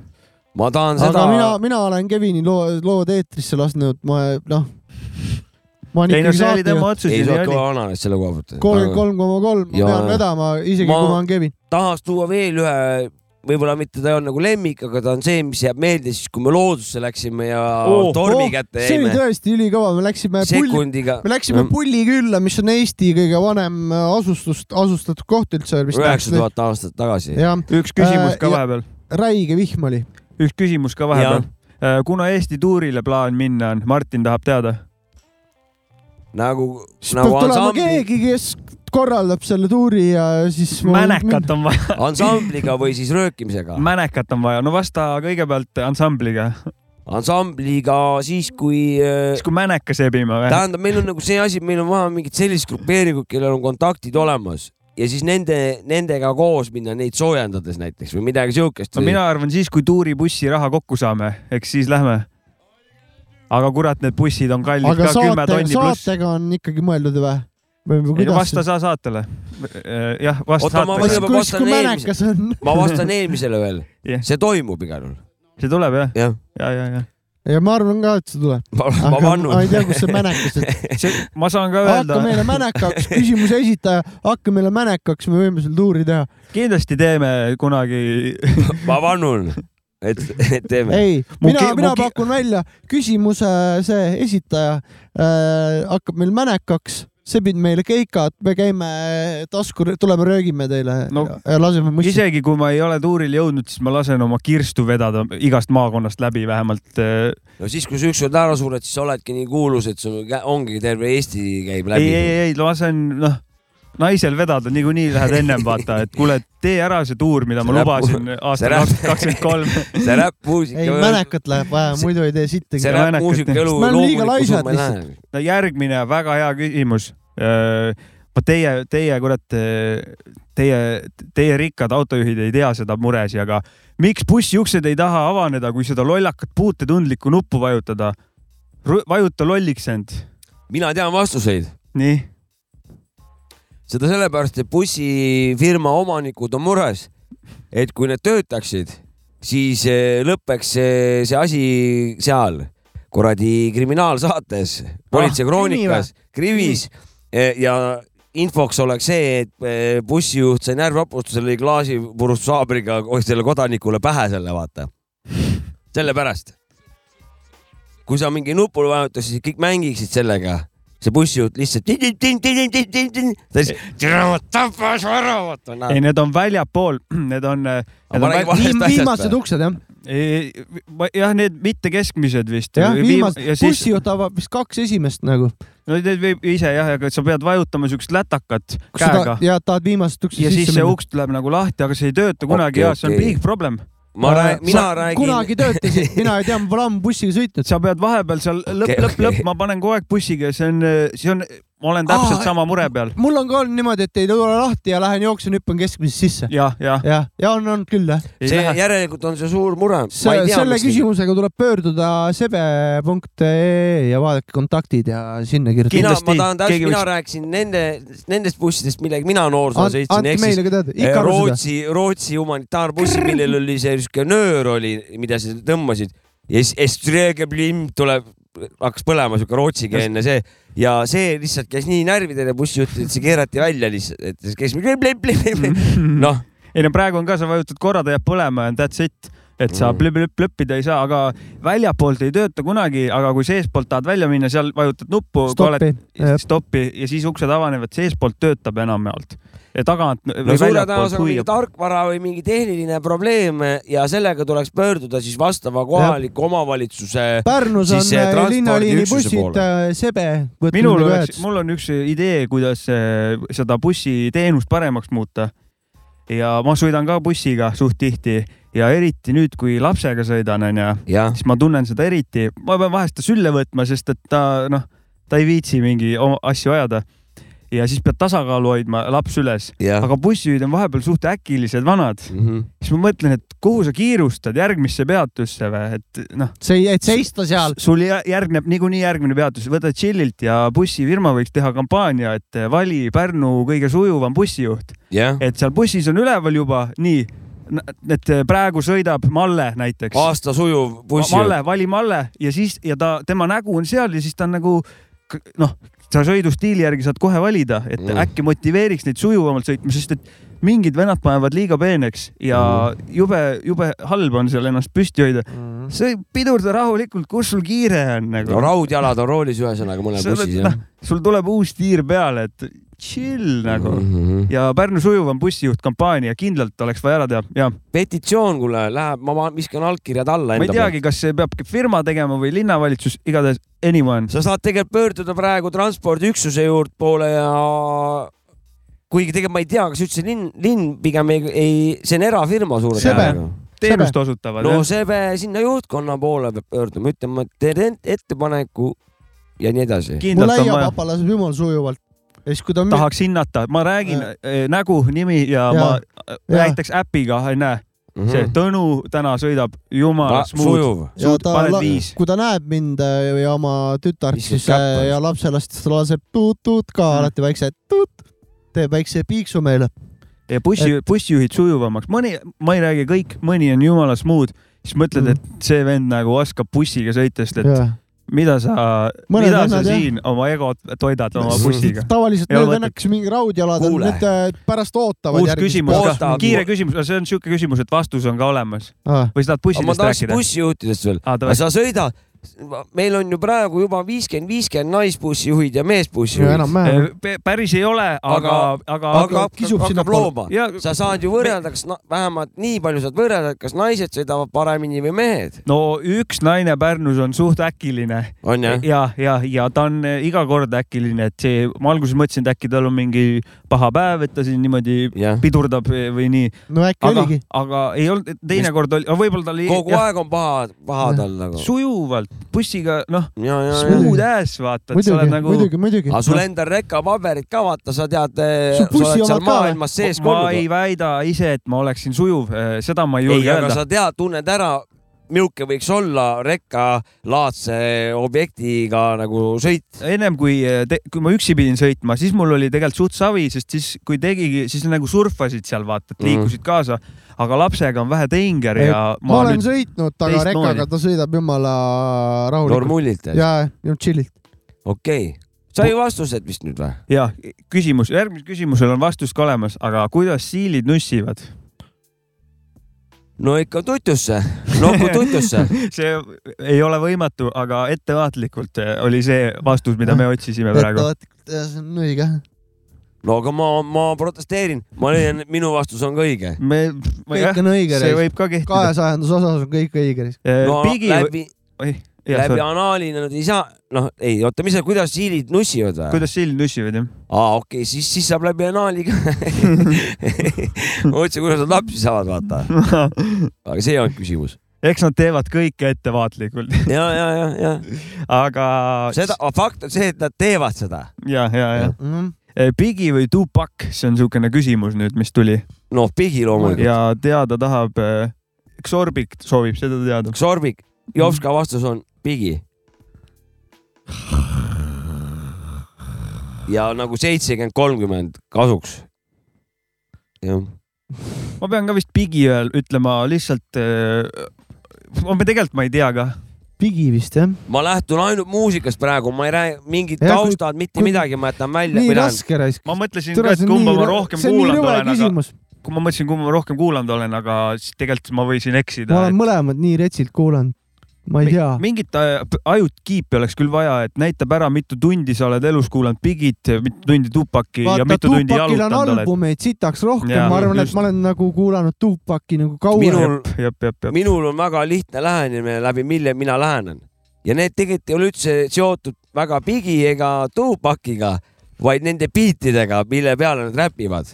ma tahan
aga
seda
seda... , mina , mina olen Kevini loo , lood eetrisse lasknud , ma noh , ma olen
ei no
ikkagi
see oli tema
saatejuht ,
otsus
ei
ja
saa
nii oli
kõva . analüüs selle koha
kolmkümmend
pealt .
kolm koma kolm , ma
Jaa.
pean vedama , isegi
Ma-
ma... kui ma olen Kevin .
tahaks tuua veel ühe , võib-olla mitte ta ei olnud nagu lemmik , aga ta on see , mis jääb meelde siis , kui me loodusse läksime ja oh, tormi oh, kätte
see oli
jäime .
tõesti ülikõva , me läksime pulli ,
sekundiga
me läksime Pulli külla , mis on Eesti kõige vanem äh, asustust , asustatud koht üldse .
üheksa tuhat aastat tagasi .
jah ,
üks küsimus ka
Äh, ja-
vahepeal ,
räige vihm oli .
üks küsimus ka vahepeal . kuna Eesti tuurile plaan minna on , Martin tahab teada .
nagu ,
siis
nagu
peab tulema
ansambli ,
Noh, keegi , kes korraldab selle tuuri ja siis .
mänekat on vaja ,
ansambliga või siis röökimisega .
mänekat on vaja , no vasta kõigepealt ansambliga ,
ansambliga siis , kui äh,
siis kui mänekas sebima või ?
tähendab , meil on nagu see asi , meil on vaja mingid sellised grupeeringud , kellel on kontaktid olemas ja siis nende , nendega koos minna neid soojendades näiteks või midagi siukest
no . mina arvan siis , kui tuuribussi raha kokku saame , eks siis lähme . aga kurat , need bussid on kallid
aga
ka , kümme
saate ,
tonni pluss .
saatega on ikkagi mõeldud või ? või või
ei no
kuidas
vasta ? sa saatele . jah , vasta
Oota, ma
saatele
kas ,
mõtlen- , ma
kus ,
vastan
kui
eelmise-
mänekas on ?
ma vastan eelmisele veel
Jah.
see toimub igal juhul .
see tuleb jah ,
jah ,
ja , ja , ja .
ja ma arvan ka , et see tuleb .
ma, ma
aga ma ei
pannun .
tea , kus see mänekas on .
ma saan ka öelda
hakka . meile mänekaks , küsimuse esitaja , hakka meile mänekaks , me võime selle tuuri teha .
kindlasti teeme kunagi
ma pannun , et , et teeme .
ei ,
Mu
mina
ki- , mu
mina
ki-
pakun välja , küsimuse see esitaja äh, hakkab meil mänekaks , sebib meile keikad , me käime tasku , tuleme röögime teile
No
no, ja laseme mõista .
isegi kui ma ei ole tuuril jõudnud , siis ma lasen oma kirstu vedada igast maakonnast läbi vähemalt . äh,
no siis , kui sa ükskord ära sured , siis sa oledki nii kuulus , et sul kä- ongi terve Eesti käib
ei ,
läbi .
ei , ei lasen , noh , naisel vedada niikuinii lähed ennem vaata , et kuule , tee ära see tuur , mida ma
See
lubasin aastal
läheb-
kakskümmend kolm .
see räppmuusika .
ei , mänekat läheb vaja ,
See-
muidu ei tee sittagi
see .
räpp-
räppmuusika
mänekat,
elu
jah. Me oleme liiga
loomulikku
laisad
summa ei lähe .
no järgmine väga hea küsimus . vot teie , teie kurat , teie , teie rikkad autojuhid ei tea seda muresi , aga miks bussi uksed ei taha avaneda , kui seda lollakat puutetundlikku nuppu vajutada ? vajuta lolliks end .
mina tean vastuseid
nii
seda sellepärast , et bussifirma omanikud on mures , et kui need töötaksid , siis eh, lõpeks see, see asi seal . kuradi kriminaalsaates , Politsei kroonikas , Krivis eh, ja infoks oleks see , et eh, bussijuht sai närvhapustusel , lõi klaasipurustushaamriga selle kodanikule pähe selle , vaata . sellepärast . kui sa mingi nupule vajutasid , siis kõik mängiksid sellega . see bussijuht lihtsalt tin-tin-tin-tin-tin-tin-tin , ta siis "Tere, tapas väravat .
ei , need on väljapool , need on , need on väl-
Viim, viimased uksed jah ,
ei- ma- jah , need mitte keskmised vist .
jah , viimased ,
ja siis ,
bussijuht avab vist kaks esimest nagu .
no need võib ise jah , aga sa pead vajutama siukest lätakat käega
ja tahad viimasest uksest
ja siis
sisse
see
minna .
uks tuleb nagu lahti , aga see ei tööta kunagi
Okei,
ja see on
okei.
big problem .
ma räägin , mina räägin .
Äh, kunagi töötasid , mina ei tea , ma pole ammu bussiga sõitnud .
sa pead vahepeal seal lõpp ,
Okei,
lõpp ,
okei.
lõpp , ma panen kogu aeg bussiga , see on , see on , ma olen täpselt
Aa,
sama mure peal
mul on ka olnud niimoodi , et ei tule lahti ja lähen jooksen , hüppan keskmisest sisse .
ja , ja .
jah , ja on olnud küll jah .
see järelikult on see suur mure .
see , selle . küsimusega tuleb pöörduda sebe.ee ja vaadake kontaktid ja sinna
mina ,
kirjutada .
ma
Kindlasti,
tahan
keegi
täpselt , mina
võiks-
rääkisin nende , nendest bussidest , millega mina noorsoo sõitsin ,
andke
ehk siis
meile ka teada ,
eh,
nagu
ikka aru seda .
Rootsi , Rootsi humanitaarbussi , millel oli see siuke nöör oli , mida sa tõmbasid ja siis Estrega Blim tuleb , hakkas põlema siuke rootsikeelne see ja see lihtsalt käis nii närvidele bussijuhtidele , et see keerati välja lihtsalt , et siis käis blim, blim, blim, blim,
Mm-hmm.
blim. noh ,
ei no praegu on ka , sa vajutad korra , ta jääb põlema ja that's it , et sa
Mm.
plõpp-plõpp-plõppida ei saa , aga väljapoolt ei tööta kunagi , aga kui seestpoolt tahad välja minna , seal vajutad nuppu ,
stoppi .
stoppi ja siis uksed avanevad , seestpoolt töötab enamjaolt . tagant
no
või
suure tõenäosusega
väljapoolt
mingi
hüüab .
tarkvara või mingi tehniline probleem ja sellega tuleks pöörduda siis vastava kohaliku omavalitsuse
Pärnus
Siis
on
see
äh,
transpordi
linnaliini
üksuse
bussid äh,
poole. ,
sebe . nagu
minul oleks , mul on üks idee , kuidas äh, seda bussiteenust paremaks muuta . ja ma sõidan ka bussiga suht tihti ja eriti nüüd , kui lapsega sõidan , onju
jah ,
siis ma tunnen seda eriti , ma pean vahest ta sülle võtma , sest et ta noh , ta ei viitsi mingi oma asju ajada . ja siis pead tasakaalu hoidma laps üles ,
jah .
aga bussijuhid on vahepeal suht äkilised vanad ,
Mhm.
siis ma mõtlen , et kuhu sa kiirustad järgmisse peatusse või , et noh ,
see , et seista seal .
sul jä- järgneb niikuinii järgmine peatus , võta chill'ilt ja bussifirma võiks teha kampaania , et vali Pärnu kõige sujuvam bussijuht ,
jah ,
et seal bussis on üleval juba nii , et praegu sõidab Malle näiteks
aasta sujuv
Ma-
bussijuht
Malle , vali Malle ja siis ja ta , tema nägu on seal ja siis ta on nagu k- noh , sa sõidustiili järgi saad kohe valida , et
Mm.
mm. äkki motiveeriks neid sujuvamalt sõitma , sest et mingid vennad panevad liiga peeneks ja
Mhm.
mm. jube , jube halb on seal ennast püsti hoida mm. . sa pidurda rahulikult , kus sul kiire on nagu
no . raudjalad on roolis , ühesõnaga mõnel
sa oled
bussis , jah
noh , sul tuleb uus tiir peale , et chill nagu mm.
Mhm.
ja Pärnu sujuvam bussijuht kampaania kindlalt oleks vaja ära teha ja
petitsioon , kuule , läheb , ma ma- viskan allkirjad
ma
alla
ei
enda poolt .
teagi , kas see peabki firma tegema või linnavalitsus , igatahes anyone .
sa saad tegelikult pöörduda praegu transpordiüksuse juurde poole ja kuigi tegelikult ma ei tea , kas üldse linn , linn pigem ei, ei , see on erafirma suure
Sebe.
tõenäosusega .
teenust osutavad
no
jah?
see pea- sinna juhtkonna poole peab pöörduma , ütlema , et teen ent- ettepaneku ja nii edasi .
mul
kindlalt on vaja ,
aiapapa laseb jumal sujuvalt . ja siis , kui ta .
tahaks hinnata , ma räägin
Äh.
äh. nägu , nimi ja, ja.
Jaa.
ma
Jaa.
näiteks äpiga , näe , see Tõnu täna sõidab jumala smuut ,
Mhm. sujuv .
ja
suud
ta
paned
la-
viis .
kui ta näeb mind äh, ja oma tütart ,
Viskad
siis
käppa.
äh, ja lapselast , siis ta laseb tuut-tuut ka
Mm.
alati väikse tuut , teeb väikse piiksu meile .
ja bussi , bussijuhid sujuvamaks , mõni , ma ei räägi kõik , mõni on jumala smuut , siis mõtled ,
Mm.
et see vend nagu oskab bussiga sõita , sest et ja.
tavaliselt
mida sa ,
Mõned
mida sa
vennad, jah.
siin oma egot toidad oma bussiga . Ei
need
ole
vennad , kes mingi raudjalad on ,
Kuule.
need äh, pärast ootavad
uus küsimus ka
Oota, ,
kiire
mu-
küsimus , see on siuke küsimus , et vastus on ka olemas
küsimus .
või sa tahad
aga ma
bussidest
tahaks
rääkida ?
bussijuhtidest veel ,
Ah,
sa sõidad , meil on ju praegu juba viiskümmend , viiskümmend naisbussijuht ja meesbussijuht ,
enam-vähem .
Äh, päris ei ole , aga , aga,
aga
kisub
hakkab hakkab
sinnapoole.
looma .
ja
sa saad ju võrrelda , kas na- vähemalt nii palju saad võrrelda , et kas naised sõidavad paremini või mehed ,
no üks naine Pärnus on suht äkiline
on
ja ,
ju ?
ja, ja , ja ta on äh, iga kord äkiline , et see , ma alguses mõtlesin , et äkki tal on mingi paha päev , et ta siin niimoodi
jah ,
pidurdab või nii ,
no äkki
aga
oligi .,
aga ei olnud , teinekord oli , võib-olla tal
kogu
jah,
aeg on paha , paha tal nagu .
sujuvalt bussiga , noh ,
ja , ja , ja .
smooth ass vaata , et sa
muidugi
oled , nagu
muidugi , muidugi
aga . sul endal rekapaberid ka vaata , sa tead , sa
Sul bussi
oled seal
omad ka või?
maailmas sees
ma
kollunud
ei väida ise , et ma oleksin sujuv , seda ma ei
ei ,
julge
aga
öelda .
sa tead , tunned ära , milline võiks olla rekkalaadse objektiga nagu sõit ?
ennem kui , kui ma üksi pidin sõitma , siis mul oli tegelikult suht savi , sest siis kui tegigi , siis nagu surfasid seal vaata , et liikusid kaasa , aga lapsega on vähe teinger ja
Mhm. ma olen sõitnud taga
teistmoodi.
rekkaga , ta sõidab jumala rahulikult .
normullilt ,
ja , ja chill'ilt .
okei , sai vastused vist nüüd või ?
ja küsimus , järgmisel küsimusel on vastus ka olemas , aga kuidas siilid nussivad ?
no ikka tutusse , nokku tutusse .
see ei ole võimatu , aga ettevaatlikult eh, oli see vastus , mida me otsisime praegu .
ettevaatlikult , see on õige .
no aga ma , ma protesteerin , ma leian , et minu vastus on ka õige .
me , ma jah
kõik , on õige
see
reis .
võib ka kehtida .
kaasajanduse osas on kõik õige reis .
no
Eh, pigi ,
läbi , läbi anaali nad ei saa , noh , ei oota , mis , kuidas siilid nussivad või ?
kuidas siilid nussivad jah ?
aa , okei okay, , siis , siis saab läbi anaali ka . ma mõtlesin , kuidas nad lapsi saavad , vaata . aga see ei olnud küsimus .
eks nad teevad kõike ettevaatlikult ,
ja , ja , ja , ja
aga
seda , fakt on see , et nad teevad seda .
ja , ja , ja
Mhm.
Bigi Eh, või Tupac , see on niisugune küsimus nüüd , mis tuli
noh , pigi loomulikult .
ja teada tahab , Xorbik soovib seda teada .
Sorbik ,
Mm.
Jovska vastus on pigi . ja nagu seitsekümmend , kolmkümmend kasuks . jah ,
ma pean ka vist Bigi veel ütlema lihtsalt , ma tegelikult ma ei tea ka .
pigi vist jah ?
ma lähtun ainult muusikast praegu , ma ei räägi mingit
Ja kui-
taustad , mitte
kui-
midagi , ma jätan välja .
nii raske reis .
ma mõtlesin ka , et kumba ma rohkem
see on nii
kuulanud
rõve
olen , aga
küsimus .
kui ma mõtlesin , kumba ma rohkem kuulanud olen , aga siis tegelikult ma võisin
ma
eksida .
olen mõlemad nii retsilt kuulanud . ma ei tea .
mingit äh, p- ajut kiipi oleks küll vaja , et näitab ära , mitu tundi sa oled elus kuulanud Bigit , mitu tundi Tupaki ja
vaata ,
mitu tundi
Tupakil on
jalutanud oled .
albumeid sitaks rohkem ,
Jaa,
ma arvan , et
just.
ma olen nagu kuulanud Tupaki nagu kauem .
minul ,
jep , jep , jep .
minul on väga lihtne lähenemine , läbi mille mina lähenen . ja need tegelikult ei ole üldse seotud väga Bigi ega Tupaciga , vaid nende biitidega , mille peale nad räpivad .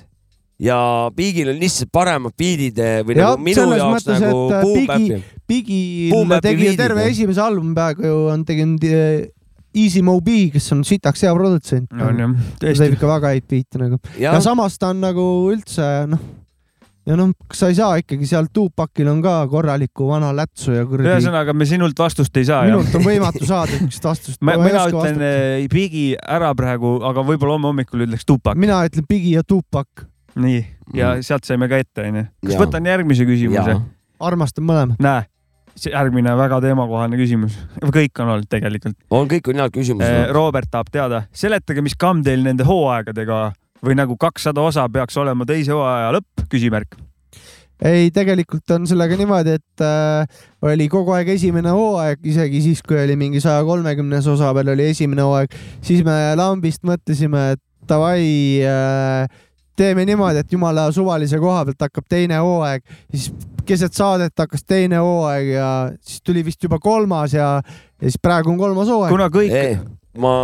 ja Bigil on lihtsalt paremad biidid või
Jah,
ja, nagu minu
selles
jaoks
mõttes,
nagu
et, äh,
boom
Big'i-
bap'i.
Bigi
Boom Bap'i
tegi
liidid,
ju terve
jah.
esimese albumi peaaegu ju on teinud eh, Easy Mo B , kes on sitaks hea produtsent .
on
ta
jah ,
teeb
tõesti .
ikka väga häid biite nagu . ja
jah ,
samas ta on nagu üldse noh , ja noh , sa ei saa ikkagi seal Tupakil on ka korralikku vana lätsu ja kuradi .
ühesõnaga , me sinult vastust ei saa , jah ?
minult on võimatu saada niisugust vastust .
mina ütlen eh, Bigi ära praegu , aga võib-olla homme hommikul ütleks Tupak .
mina ütlen Bigi ja Tupak ,
nii , ja sealt saime ka ette , onju . kas
Mm. Jaa.
võtan järgmise küsimuse
Jaa. ?
armastan mõlemat .
näe , see järgmine väga teemakohane küsimus . kõik on olnud tegelikult .
on , kõik on head
Eh,
küsimused .
Robert tahab teada , seletage , mis kamm teil nende hooaegadega või nagu kakssada osa peaks olema teise hooaja lõpp , küsimärk .
ei , tegelikult on sellega niimoodi , et äh, oli kogu aeg esimene hooaeg , isegi siis , kui oli mingi saja kolmekümnes osa peal oli esimene hooaeg , siis me lambist mõtlesime , et davai äh, , teeme niimoodi , et jumala suvalise koha pealt hakkab teine hooaeg , siis keset saadet hakkas teine hooaeg ja siis tuli vist juba kolmas ja , ja siis praegu on kolmas hooaeg .
kuna kõik ,
Eh, ma ,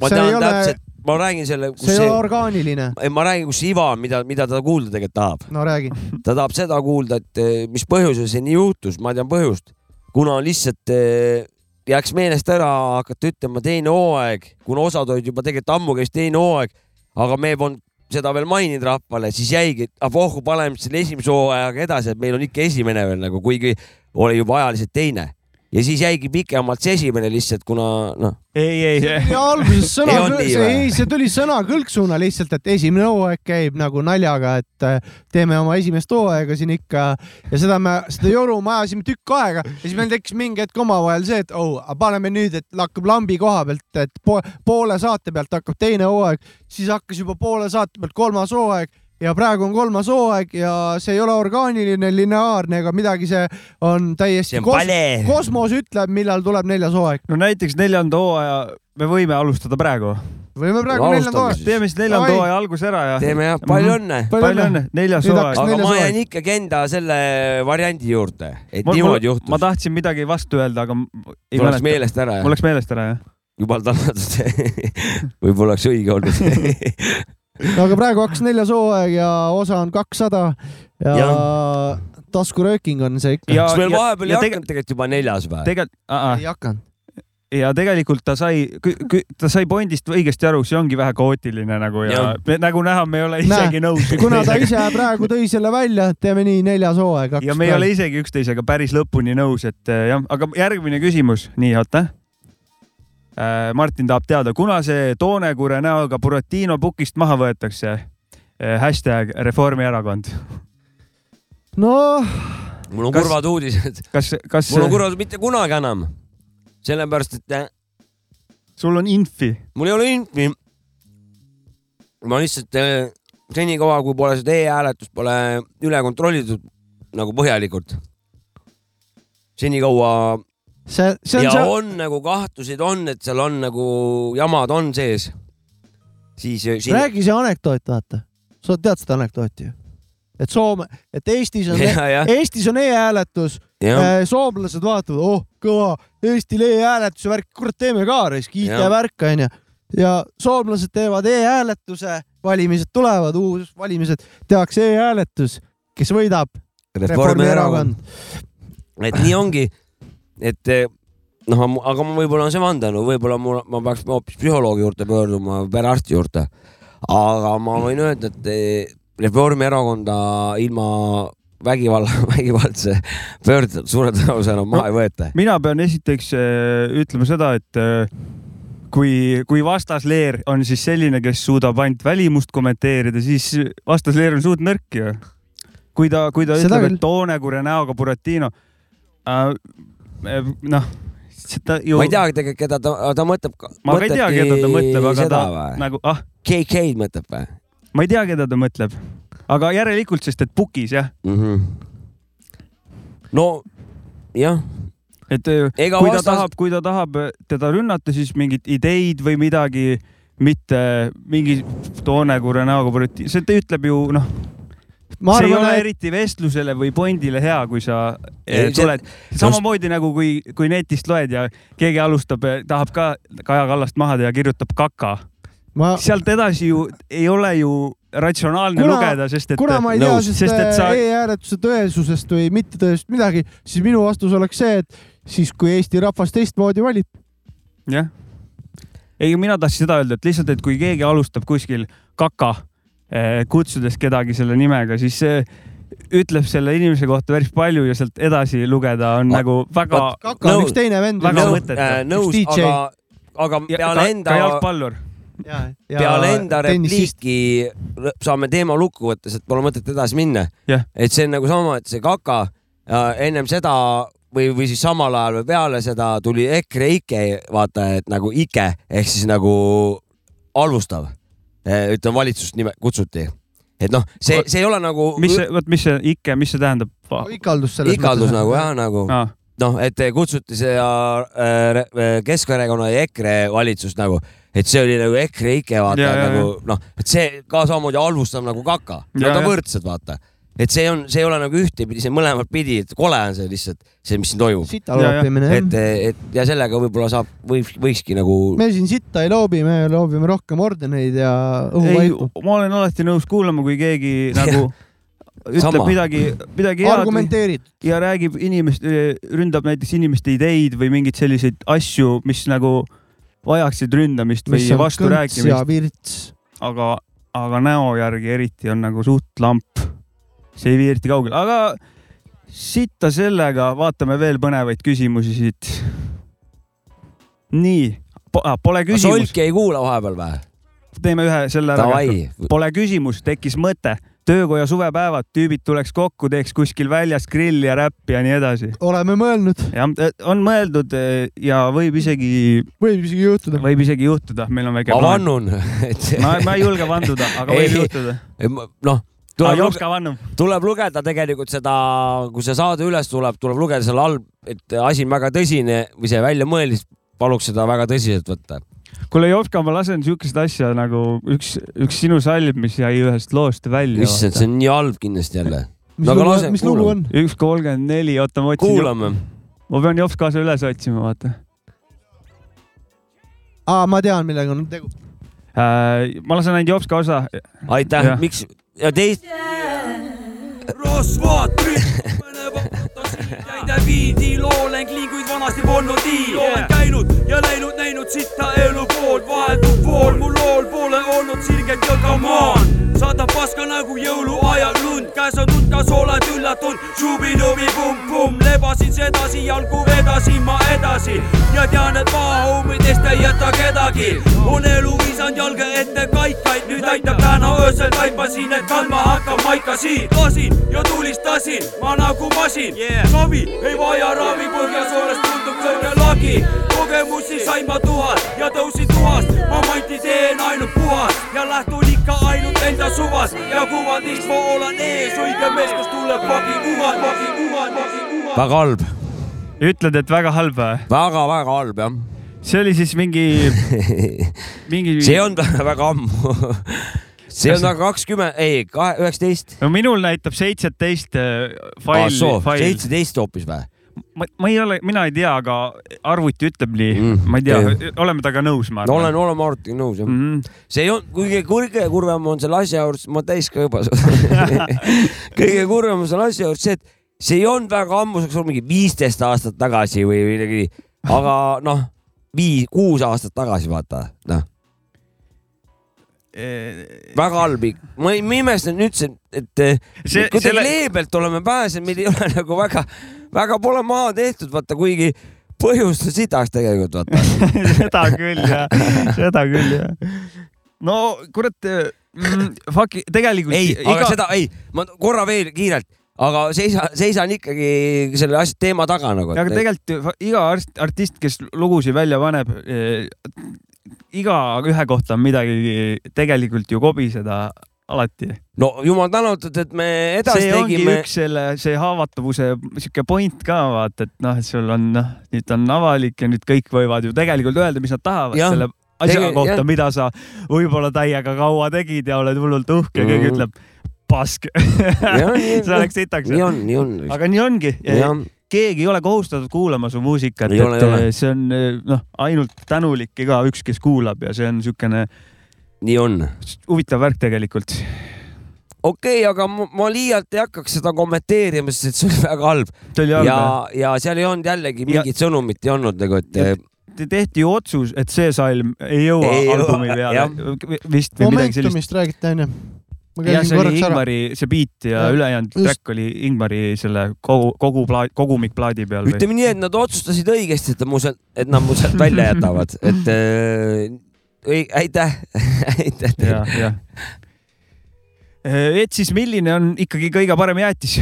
ma
See ei
tean
ole-
täpselt , ma räägin selle , kus
see ei
see eh,
ole , orgaaniline .
ma räägin , kus see iva on , mida , mida ta kuulda tegelikult tahab .
no räägi .
ta tahab seda kuulda , et eh, mis põhjusel see nii juhtus , ma tean põhjust , kuna lihtsalt eh, jääks meelest ära hakata ütlema teine hooaeg , kuna osad olid juba tegelikult ammu käis teine hooaeg , aga me polnud seda veel maininud rahvale , siis jäigi , et ah vohku , paneme siis selle esimese hooajaga edasi , et meil on ikka esimene veel nagu , kuigi oli juba ajaliselt teine ja siis jäigi pikemalt see esimene lihtsalt , kuna noh ,
ei , ei ,
ja alguses sõna
Ei olnud , nii
see,
või?
ei, see tuli sõnakõlksuna lihtsalt , et esimene hooaeg käib nagu naljaga , et äh, teeme oma esimest hooaega siin ikka ja seda me , seda joru me ajasime tükk aega ja siis meil tekkis mingi hetk omavahel see , et oh , paneme nüüd , et hakkab lambi koha pealt , et po poole saate pealt hakkab teine hooaeg , siis hakkas juba poole saate pealt kolmas hooaeg ja praegu on kolmas hooaeg ja see ei ole orgaaniline , lineaarne ega midagi , see on
see
täiesti
on vale .
kosmos ütleb , millal tuleb neljas hooaeg .
no näiteks neljanda hooaja me võime alustada praegu .
võime praegu neljanda
Alustame
hooaeg .
siis.
teeme siis neljanda
Davai.
hooaja alguse ära ja Mhm.
teeme jah , palju õnne .
palju õnne , neljas
Nüüd
hooaeg
hakkas- .
aga
neljas
ma
hooaeg.
jään ikkagi enda selle variandi juurde , et
Mul-
niimoodi
mul- ma
juhtus .
tahtsin midagi vastu öelda , aga m- ei
mul läks
mäleta .
meelest ära jah
mul . läks meelest ära , jah ?
jumal tänatud . võib-olla oleks õige olnud .
no aga praegu hakkas neljas hooaeg ja osa on kakssada ja, ja.
Ja.
taskurööking on see ikka .
kas meil vahepeal ei
ja tegelikult ,
hakanud tegelikult juba neljas või ?
tegelikult ,
ei hakanud .
ja tegelikult ta sai , ta sai Bondist õigesti aru , see ongi vähe kaootiline nagu ja,
Jah.
ja. nagu näha , me ei ole isegi Näe. nõus .
kuna ta ise praegu tõi selle välja , teeme nii , neljas hooaeg .
ja me ei ole isegi üksteisega päris lõpuni nõus , et äh, jah , aga järgmine küsimus , nii oota . Martin tahab teada , kuna see toonekure näoga Buratino pukist maha võetakse ? hashtag Reformierakond ,
noh ,
mul on
Kas-
kurvad uudised .
kas , kas
mul on kurvad mitte kunagi enam . sellepärast , et äh,
sul on infi ?
mul ei ole infi . ma lihtsalt äh, senikaua , kui pole seda e-hääletust pole üle kontrollitud nagu põhjalikult , senikaua
see , see on
ja
see ,
on nagu kahtluseid on , et seal on nagu jamad on sees , siis äh, siin...
räägi see anekdoot , vaata . sa tead seda anekdooti ju ? et Soome , et Eestis on ,
ja , ja ,
Eestis on e-hääletus ,
ja ,
Äh, soomlased vaatavad , oh kõva , Eestil e-hääletuse värk , kurat , teeme ka raisk ,
Jah.
IT-värk onju . ja soomlased teevad e-hääletuse , valimised tulevad , uus valimised , tehakse e-hääletus , kes võidab ?
Reformierakond .
Reformierakond .
et nii ongi , et eh, noh , aga ma võib-olla on see vandanu , võib-olla mul , ma peaks hoopis psühholoogi juurde pöörduma , perearsti juurde . aga ma võin öelda , et eh, Reformierakonda ilma vägivalla , vägivaldse pöörduda suure tõenäosusena maha ei võeta .
mina pean esiteks äh, ütlema seda , et äh, kui , kui vastasleer on siis selline , kes suudab ainult välimust kommenteerida , siis vastasleer on suht nõrk ju . kui ta , kui ta
Seda
Seda ütleb ,
küll.
et toonekure näoga Buratino äh, , noh , seda ju
ma ei teagi tegelikult , keda ta , ta mõtleb .
ma ka ei tea , keda ta mõtleb , aga ta nagu , ah ,
KK-d mõtleb või
ma ei tea , keda ta mõtleb . aga järelikult , sest et pukis jah ,
mm ? -hmm. no jah ,
et äh,
ega
kui ta
vastas-
tahab , kui ta tahab äh, teda rünnata , siis mingit ideid või midagi , mitte äh, mingi toonekure näoga politi- , see ta ütleb ju noh ,
ma
see ei ole
arvan ,
eriti vestlusele või Bondile hea , kui sa
Ei,
ei,
see-
tuled , samamoodi nagu kui , kui netist loed ja keegi alustab , tahab ka Kaja Kallast maha teha , kirjutab kaka ,
et ma ,
sealt edasi ju ei ole ju ratsionaalne
Kuna-
lugeda , sest et
kuna ma ei tea
Nõus.
sest äh,
sest et sa
e-hääletuse tõesusest või mittetõesust midagi , siis minu vastus oleks see , et siis kui Eesti rahvas teistmoodi valib ,
jah . ei , mina tahtsin seda öelda , et lihtsalt , et kui keegi alustab kuskil kaka , kutsudes kedagi selle nimega , siis see ütleb selle inimese kohta päris palju ja sealt edasi lugeda on
Ma-
nagu väga
vaat-
kaka on
Nõus.
üks teine vend .
Väga
nõus
mõttetu. ,
äh, nõus ,
Üks DJ.
aga , aga peale enda
ka . jalgpallur .
peale
peale enda repliiki rõ- saame teema lukku võtta , sest pole mõtet edasi minna
Jah.
et see on nagu sama , et see kaka äh, ennem seda või , või siis samal ajal või peale seda tuli EKRE ike , vaata , et nagu ike ehk siis nagu halvustav , ütleme valitsust nime , kutsuti . et noh , see , see ei ole nagu
mis see , vot mis see ikke , mis see tähendab ?
ikaldus selles
ikaldus nagu jah , nagu
Ah,
noh , et kutsuti seda äh, re- äh, Keskerakonna ja EKRE valitsust nagu , et see oli nagu EKRE ike vaata
Ja,
ja,
ja,
nagu noh , et see ka samamoodi halvustab nagu kaka ,
Ja,
nad on
ja.
võrdsed , vaata . et see on , see ei ole nagu ühtepidi , see on mõlemat pidi , et kole on see lihtsalt , see , mis siin toimub .
sita
Jajah.
loopimine jah
et , et ja sellega võib-olla saab , võiks , võikski nagu
me siin sitta ei loobi , me loobime rohkem ordeneid ja
ei
õhuvaipu .,
ma olen alati nõus kuulama , kui keegi nagu ütleb
Sama.
midagi , midagi head
argumenteerid .
ja räägib inimest , ründab näiteks inimeste ideid või mingeid selliseid asju , mis nagu vajaksid ründamist või vasturääkimist .
ja virts .
aga , aga näo järgi eriti on nagu suht lamp . see ei vii eriti kaugele , aga sitta sellega , vaatame veel põnevaid küsimusi siit . nii po , pole küsimus ,
solki ei kuula vahepeal või ?
teeme ühe selle ära .
Davai ,
Pole küsimus , tekkis mõte , töökoja suvepäevad , tüübid tuleks kokku , teeks kuskil väljas grilli ja räppi ja nii edasi .
oleme mõelnud ,
jah , on mõeldud eh, ja võib isegi ,
võib isegi juhtuda .
võib isegi juhtuda , meil on väike
ma . vannun , et
ma , ma ei julge vanduda , aga
Ei.
võib juhtuda .
noh , tuleb
Jopska vannub .
tuleb lugeda tegelikult seda , kui see saade üles tuleb , tuleb lugeda seal all , et asi on väga tõsine või see väljamõelis , paluks seda väga tõsiselt võtta .
kuule , Jopska , ma lasen siukest asja nagu üks , üks sinu salm , mis jäi ühest loost välja .
issand , see on nii halb kindlasti jälle .
mis
No aga
lugu
lase- ,
mis lugu on ?
üks kolmkümmend neli , oota ma otsin .
kuulame .
ma pean Jopskase üles otsima , vaata
aa , ma tean , millega on tegu .
äh, . ma lasen ainult Jopska osa .
aitäh
Jah. ,
miks ja teist ,
rosvad , mõne vaputas mind jäid sinna viidi , looleng liiguid vanasti polnud nii , olen käinud ja läinud , näinud sitta elu poolt , vahetult pool , mu lool pole olnud sirget ja come on , sadab paska nagu jõuluajal lund , käes on tund , kas oled üllatunud , šubidubi-pumm-pumm , lebasin sedasi , jalgu vedasin ma edasi ja tean , et maa homidest ei jäta kedagi , on elu visanud jalge ette kaikaid , nüüd aitab täna öösel taipasin , et kandma hakkab maika siin , lasin ja tulistasin ma nagu masin yeah. , savi ei vaja ravi , põhjas olles tundub kõrge lagi , kogemusi sain ma tuhat ja tõusin tuhast , ma mati teen ainult puhas ja lähtun ikka ainult enda suvast ja kuvandist ma olen ees , õige mees , kes tuleb pagi kuvad , pagi kuvad , pagi kuvad .
väga halb ,
ütled , et väga halb või ?
väga-väga halb jah .
see oli siis mingi , mingi .
see on väga ammu . see on aga kakskümmend , ei , kahe , üheksateist .
no minul näitab seitseteist äh,
Ah,
fail , fail .
seitseteist hoopis või ?
ma , ma ei ole , mina ei tea , aga arvuti ütleb nii
Mm,
mm, , ma ei tea
okei. ,
oleme temaga nõus , ma
no olen , olen Martiniga nõus jah .
Mm -hmm.
see ei olnud , kõige kõige kurvem on selle asja juures , ma täis ka juba . kõige kurvem on selle asja juures see , et see ei olnud väga ammu , see oleks olnud mingi viisteist aastat tagasi või midagi , aga noh , viis , kuus aastat tagasi , vaata , noh ,
E,
väga halb . ma ei , ma imestan üldse , et eh,
See-
kuidagi
selle-
leebelt oleme pääsenud , meil ei ole nagu väga , väga pole maha tehtud , vaata , kuigi põhjust on sitaks tegelikult , vaata .
seda küll jah , seda küll jah . no kurat mm, , fuck , tegelikult
ei , aga seda , ei , ma korra veel kiirelt , aga seisa , seisan ikkagi selle asja teema taga nagu .
aga tegelikult fa- iga arst , artist , kes lugusid välja paneb , e, igaühe kohta on midagi tegelikult ju kobiseda alati .
no jumal tänatud , et me edasi
see ongi
tegime
tegime... . üks selle , see haavatavuse sihuke point ka vaata , et noh , et sul on noh , nüüd on avalik ja nüüd kõik võivad ju tegelikult öelda , mis nad tahavad ja.
Jah.
selle asja
Tege-
kohta
jah. ,
mida sa võib-olla täiega kaua tegid ja oled hullult uhke ja
Mhm.
keegi ütleb pask . see oleks sitaks .
nii on , nii on .
aga nii ongi .
jah ,
keegi ei ole kohustatud kuulama su muusikat ,
Ei ole,
et
ei ole.
eh, see on eh, noh , ainult tänulik igaüks , kes kuulab ja see on niisugune
nii on .
huvitav värk tegelikult .
okei okay, , aga ma, ma liialt ei hakkaks seda kommenteerima , sest et see oli väga halb
see oli
ja
halb .,
ja seal ei olnud jällegi
Ja-
mingit sõnumit ei olnud nagu , et
Ja- Te- tehti ju otsus , et see salm ei jõua
Ei
ei
jõua,
albumi peale vist või midagi sellist .
Momentumist räägiti onju . ma
jah ,
käisin
see oli
korraks ära .
Ingmari see beat ja, ja
Jah,
ülejäänud
just.
track oli Ingmari selle kogu , kogu plaat , kogumikplaadi peal või ?
ütleme nii , et nad otsustasid õigesti , et mu sealt , et nad mu sealt välja jätavad , et äh, õi- aitäh , aitäh teile
jah , jah . et siis milline on ikkagi kõige parem jäätis ?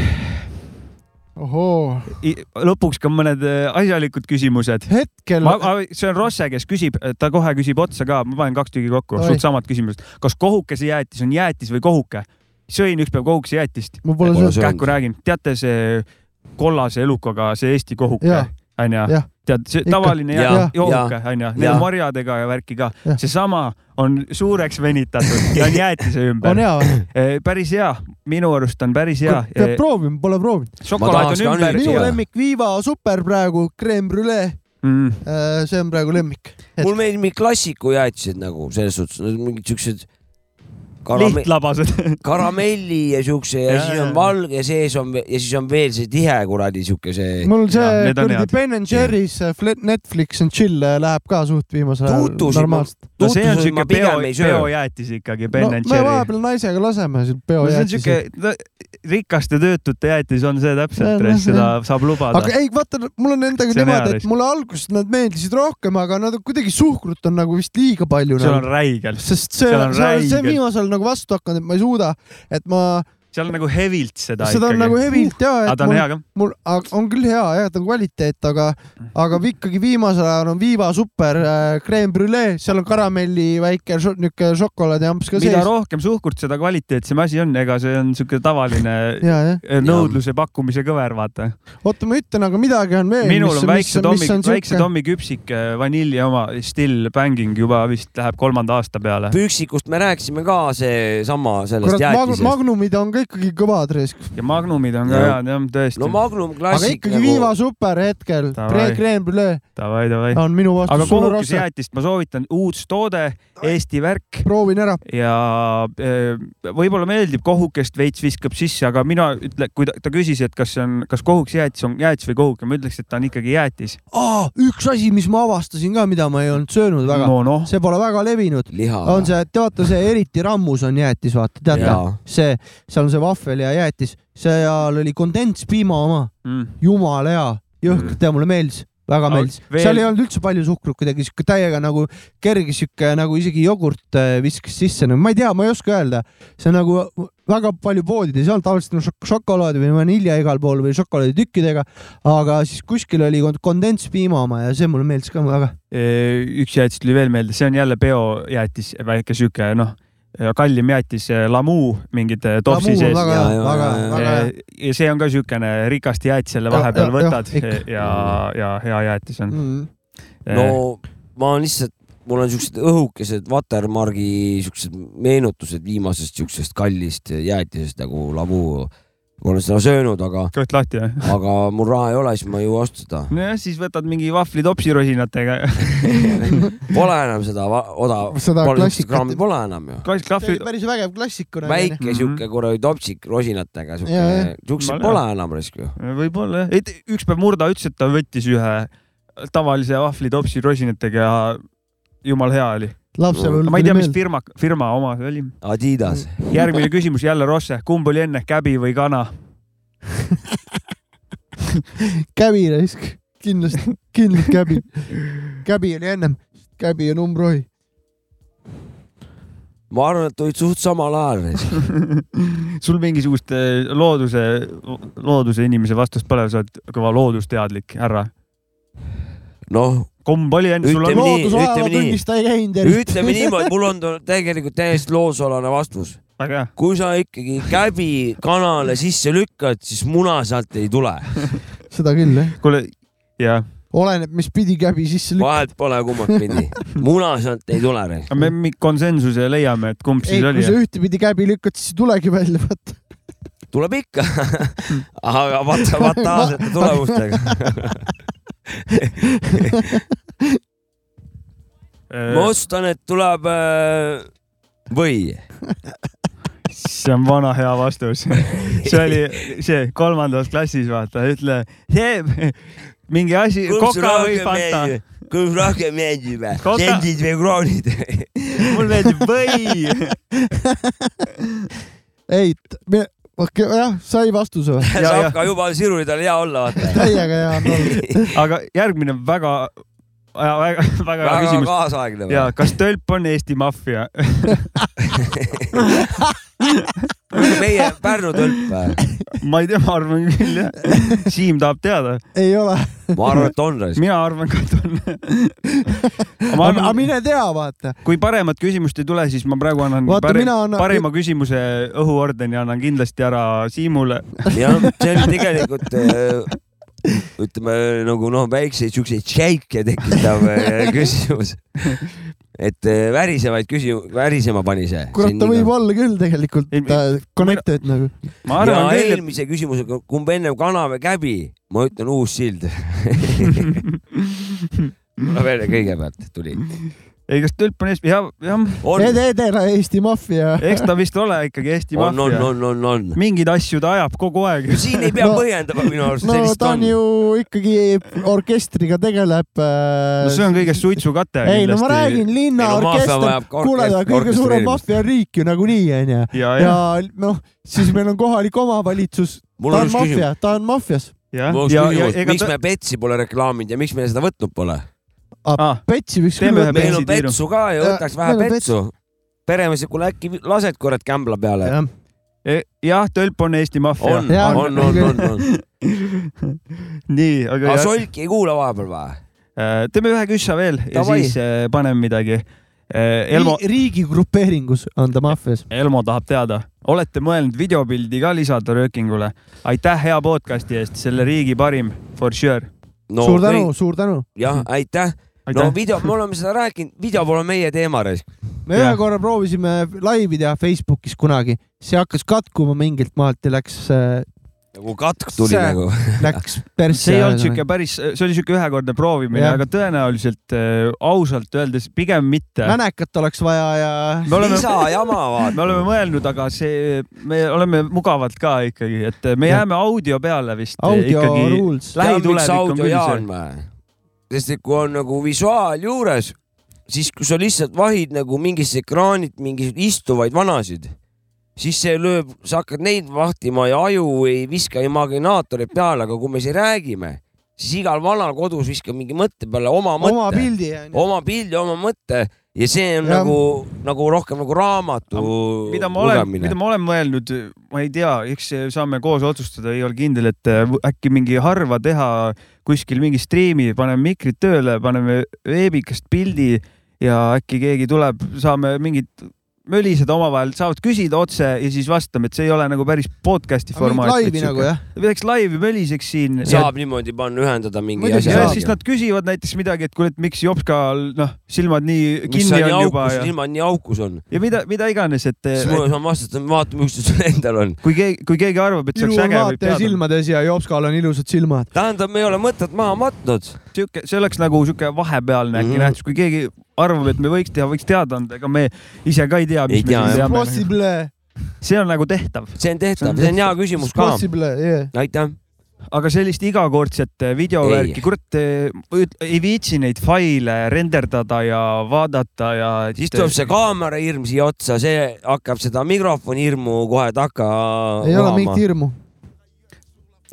ohoo ,
lõpuks ka mõned eh, asjalikud küsimused .
hetkel
Ma, ma- see on Rosse , kes küsib , ta kohe küsib otsa ka , ma panen kaks tükki kokku ,
Oi.
suht samad küsimused . kas kohukese jäätis on jäätis või kohuke ? sõin ükspäev kohukese jäätist ,
ma pole
Pole
söönud .
söönud.
kähku räägin , teate see kollase elukaga , see Eesti kohuke
Jah, ,
onju
jah. ?
tead , see
Ikka.
tavaline
Jah,
ja,
jah.
joohuke , onju , need
Jah.
on marjadega ja värki ka
Jah. .
seesama on suureks venitatud ja on jäätise
on
ümber .
hea või ?
päris hea , minu arust on päris hea .
peab proovima , pole proovinud .
šokolaad
tahaks ka
on ümber
nüüd.
minu
hea.
lemmik Viva super praegu , creme brulee ,
mm. .
see on praegu lemmik .
mul meeldib mingi klassiku jäätised nagu selles suhtes , mingid siuksed karame
lihtlabased .
karamelli ja siukse ja, ja
Jaa,
siis on
jaa.
valge sees on ve- ja siis on veel see tihe kuradi siuke see
mul
Jah,
see
need on
kuradi
head.
Ben and Jerry's see Fle- Netflix and chill äh, läheb ka suht viimasel ajal
Tutusid ma-
normaalselt .
no see on
Tutusid ma
siuke peo
pigem ei , söö.
peojäätis ikkagi , Ben
no
no, and
me
Jerry .
vahepeal naisega laseme siin peo
no see on siuke
jäätise .
no, , rikaste töötute jäätis on see
Ja,
täpselt
noh, , see
seda
on-
saab lubada
aga . ei , vaata , mul on
See
nendega
on hea
niimoodi , et
risk.
mulle alguses nad meeldisid rohkem , aga nad on kuidagi suhkrut on nagu vist liiga palju .
seal on räigelt ,
sest see ,
seal on
see on- see on
räigelt.
viimasel ajal nagu vastu hakanud , et ma ei suuda , et ma ,
seal on nagu hevilt seda
seda on
ikkagi .
nagu hevilt ja ,
aga
et
ta on
mul
hea , ka .
mul aga on küll hea jah , ta on kvaliteet , aga , aga vi- ikkagi viimasel ajal on Viva super äh, creme brulee , seal on karamelli väike šo- niuke šokolaadiamps ka sees .
mida rohkem suhkurt , seda kvaliteetsem asi on , ega see on siuke tavaline eh,
ja , jah .
nõudluse pakkumise kõver , vaata .
oota , ma ütlen , aga midagi on veel .
minul on väikse Tommy , väikse Tommy küpsik , vanilje oma , still banging juba vist läheb kolmanda aasta peale .
püksikust me rääkisime ka seesama sellest
kurat ,
jäätisest
Magnumid on ka ka ikkagi kõvad risk .
ja Magnumid on ka
Jah.
head jah , tõesti
no . Magnum nagu
aga
Classic
ikkagi Viiva super hetkel ,
nagu- Davai. Davai , davai .
Ah, on minu
aga
vastus sulle rohkem .
kohukesjäätist ma soovitan uus toode , Eesti värk
proovin ära .
ja eh, võib-olla meeldib kohukest veits viskab sisse , aga mina ütle , kui ta, ta küsis , et kas see on , kas kohukesjäätis on jäätis või kohuke , ma ütleks , et ta on ikkagi jäätis .
aa , üks asi , mis ma avastasin ka , mida ma ei olnud söönud väga ,
no noh ,
see pole väga levinud ,
liha .
on see , te vaata see eriti rammus on jäätis , vaata , teate
Jaa. ,
see , seal on see vahvel ja jäätis , seal oli kondentspiima oma , jumala hea , jõhk , tea , mulle meeldis väga
Mm. Aga
meeldis
veel-
veel... , seal ei olnud üldse palju suhkrut kuidagi , sihuke täiega nagu kerge sihuke nagu isegi jogurt äh, viskas sisse , no ma ei tea , ma ei oska öelda , see nagu väga palju poodides ei olnud , tavaliselt on šok šokolaadi või vanilja igal pool või šokolaaditükkidega , aga siis kuskil oli kond- kondentspiima oma ja see mulle meeldis ka väga .
Äh, üks jäätis tuli veel meelde , see on jälle biojäätis , väike sihuke noh , kallim jäätis , Lamu mingid eh, topsi
Lamu on
sees .
väga
jaa,
hea ,
jaa,
väga
jaa,
hea ,
jaa.
väga hea .
ja see on ka siukene rikast jäätis jälle
Jah,
vahepeal
jah,
võtad
jah, ikka.
ja , ja hea jäätis on .
Mm.
Äh,
no ma olen lihtsalt , mul on siuksed õhukesed Watermargi siuksed meenutused viimasest siuksest kallist jäätisest nagu labu . ma olen seda söönud , aga ,
kõht lahti või ?
aga mul raha ei ole , siis ma ei jõua osta seda .
nojah , siis võtad mingi vahvli topsirosinatega .
Pole enam seda va- odav ,
seda klassikat ,
pole enam ju .
kas
see
kahvli
oli , päris vägev klassik .
väike
Mhm.
siuke kuradi topsik rosinatega ,
Jaa, jah.
siuke , siukseid
Ma-
pole enam risk ju .
võib-olla jah . üks päev Murda ütles , et ta võttis ühe tavalise vahvli topsirosinatega ja jumala hea oli .
lapsepõlv .
ma ei tea , mis firma , firma oma see oli .
Adidas .
Mm.
järgmine küsimus jälle Rosse , kumb oli enne , käbi või kana ?
käbi raisk , kindlasti , kindlalt käbi . käbi oli ennem , käbi on umbrohi .
ma arvan , et olid suht samal ajal risk .
sul mingisugust eh, looduse , looduse inimese vastust pole , sa oled kõva loodusteadlik härra .
noh ,
kumb oli enne , sul on
Ütleme nii,
loodusajala
ütleme nii.
tunnis ta ei käinud eriti .
ütleme niimoodi , mul on tu- tegelikult täiesti loosolane vastus .
väga hea .
kui sa ikkagi käbi kanale sisse lükkad , siis muna sealt ei tule .
seda küll jah ,
kuule , jah ,
oleneb , mis pidi käbi sisse lükkab .
vahet pole kummat pidi . muna sealt ei tule .
aga me mi- konsensuse leiame , et kumb
ei
siis , oli
kui sa . ühtepidi käbi lükkad , siis ei tulegi välja , vaata .
tuleb ikka . aga vaata , vaata aastate tulemustega .
Äh,
ma otsustan , et tuleb äh, või .
see on vana hea vastus . see oli see kolmandas klassis , vaata , ütle , see mingi asi , koka või fanta ,
kus rohkem meeldib ,
Koka-
sendid või kroonid ?
mul meeldib või .
ei , jah , sai vastuse või ?
jah.
saab ka juba sirulitel hea olla , vaata .
täiega hea on olnud .
aga järgmine väga , väga , väga hea
väga
küsimus .
kaasaegne .
ja kas tölp on Eesti maffia ?
meie Pärnu tõlp , äh,
ma ei tea , ma arvan küll jah . Siim tahab teada ,
ei ole ,
ma arvan , et on raisk .
mina arvan ka , et
aga
on .
mine tea , vaata .
kui paremat küsimust ei tule , siis ma praegu annan
Vaata,
pare-
mina annan-
parima küsimuse õhuordeni annan kindlasti ära Siimule .
jah , see oli tegelikult äh, ütleme nagu noh , väikseid siukseid šeike tekitav äh, küsimus . et äh, värisevaid küsimusi , värisema pani see . nagu-
kurat , ta võib olla küll tegelikult
Ei,
äh, connected nagu .
ma
ja
arvan küll , et
eelmise küsimusega , kumb ennem kana või käbi , ma ütlen uus sild . no veel kõigepealt tuli .
ei , kas tülp on Eesti , jah , jah ,
on ,
Ede Edera , Eesti maffia .
eks ta vist ole ikkagi Eesti
on , on ,
maffia .
on , on , on .
mingeid asju ta ajab kogu aeg .
siin ei pea
No-
põhjendama minu arust
no
sellist
ta on ju ikkagi orkestriga tegeleb . äh,
no see on kõigest suitsukate
ei no ma räägin ,
Ei, no maffia
linnaorkester
vajab , ka
kuule ,
orkestri-
aga kõige suurem
orkestreerimist.
maffia on riik ju nagunii onju .
ja ,
ja
ja ,
noh , siis meil on kohalik omavalitsus ,
mul
ta
on
on
üks küsimus .
maffia , ta on maffias .
ja ,
mul on
ja ,
üks
ja
küsimus ,
ega
miks
ta ,
me Betsi pole reklaaminud ja miks me seda võtnud pole ?
aa ,
Petsi võiks
Teeme
küll
ühe
võtta.
meil on
bensitiiru.
Betsu ka ja
Ja,
võtaks vähe
Äh, meil on
Betsu . peremees , kuule äkki lased kurat kämbla peale .
Jah.
e-, jah , tölp on Eesti maffia
on ,.
Jah,
on , on ,
küll.
on , on .
nii , aga
aga
jah ,
solki ei kuula vahepeal või ?
teeme ühe küssa veel ja
Davai.
siis eh, paneme midagi . Elmo ,
Ri- riigi grupeeringus on ta maffias .
Elmo tahab teada , olete mõelnud videopildi ka lisada röökingule ? aitäh hea podcast'i eest , selle riigi parim , for sure .
no
suur tänu ,. suur tänu .
jah , aitäh . no
aitäh ,
video , me oleme seda rääkinud , video pole meie teema raisk .
me
Jah.
ühe korra proovisime laivi teha Facebookis kunagi see hakkas katkuma mingilt maalt ja läks ,
nagu katk tuli
See-
nagu .
läks persse .
see ei olnud siuke päris , see oli siuke ühekordne proovimine ,
Jah.
aga tõenäoliselt äh, ausalt öeldes pigem mitte .
mänekat oleks vaja ja
me oleme ,
lisajama
me
vaata .
oleme mõelnud , aga see , me oleme mugavad ka ikkagi , et me
Jah.
jääme audio peale vist
audio ikkagi...
ikkagi .
rules .
lähitulevik on
audio
küll
ja
see
on . vaja . sest et kui on nagu visuaal juures , siis kui sa lihtsalt vahid nagu mingisse ekraanilt mingisuguseid istuvaid vanasid , siis see lööb , sa hakkad neid vahtima ja aju ei viska imaginaatoreid peale , aga kui me siin räägime , siis igal vanal kodus viskab mingi mõtte peale oma
oma
mõtte ,
pildi onju .
oma pildi , oma mõtte ja see on
Jah.
ja. nagu , nagu rohkem nagu raamatu
mida ma olen ,
lugemine
mida . ma olen mõelnud , ma ei tea , eks saame koos otsustada , ei ole kindel , et äh, äkki mingi harva teha kuskil mingi striimi , paneme mikrid tööle , paneme veebikast pildi ja äkki keegi tuleb , saame mingid mölised omavahel , saavad küsida otse ja siis vastame , et see ei ole nagu päris podcast'i formaat .
laivi nagu jah .
peaks laivi möliseks siin .
saab niimoodi panna , ühendada mingi
Muidugi,
asja .
ja siis nad küsivad näiteks midagi , et kuule , et miks Jopskal noh , silmad nii
mis
kinni
on nii
on juba
aukus ,
ja,
silmad nii aukus on .
ja mida , mida iganes , et
siis mul on vastus , et vaatame , mis sul endal on .
kui keegi , kui keegi arvab , et see
Iru
oleks
on
äge , võib
vaataja
teada .
silmades ja Jopskal on ilusad silmad .
tähendab , me ei ole mõtet maha matnud .
sihuke , see oleks nagu sihuke vahepealne äkki
Mhm.
mm. nähtus , kui keegi arvab , et me võiks teha , võiks teada anda , ega me ise ka ei tea , mis
Ei
me
tea,
siin
jah.
teame .
Possible ,
see on nagu tehtav ,
see on tehtav , see on hea küsimus ka .
possible , jah .
aitäh .
aga sellist igakordset eh, videovärki ,
Ei.
kurat , ei viitsi neid faile renderdada ja vaadata ja .
siis tuleb see kaamera hirm siia otsa , see hakkab seda mikrofoni hirmu kohe taga
ei ole mingit . hirmu .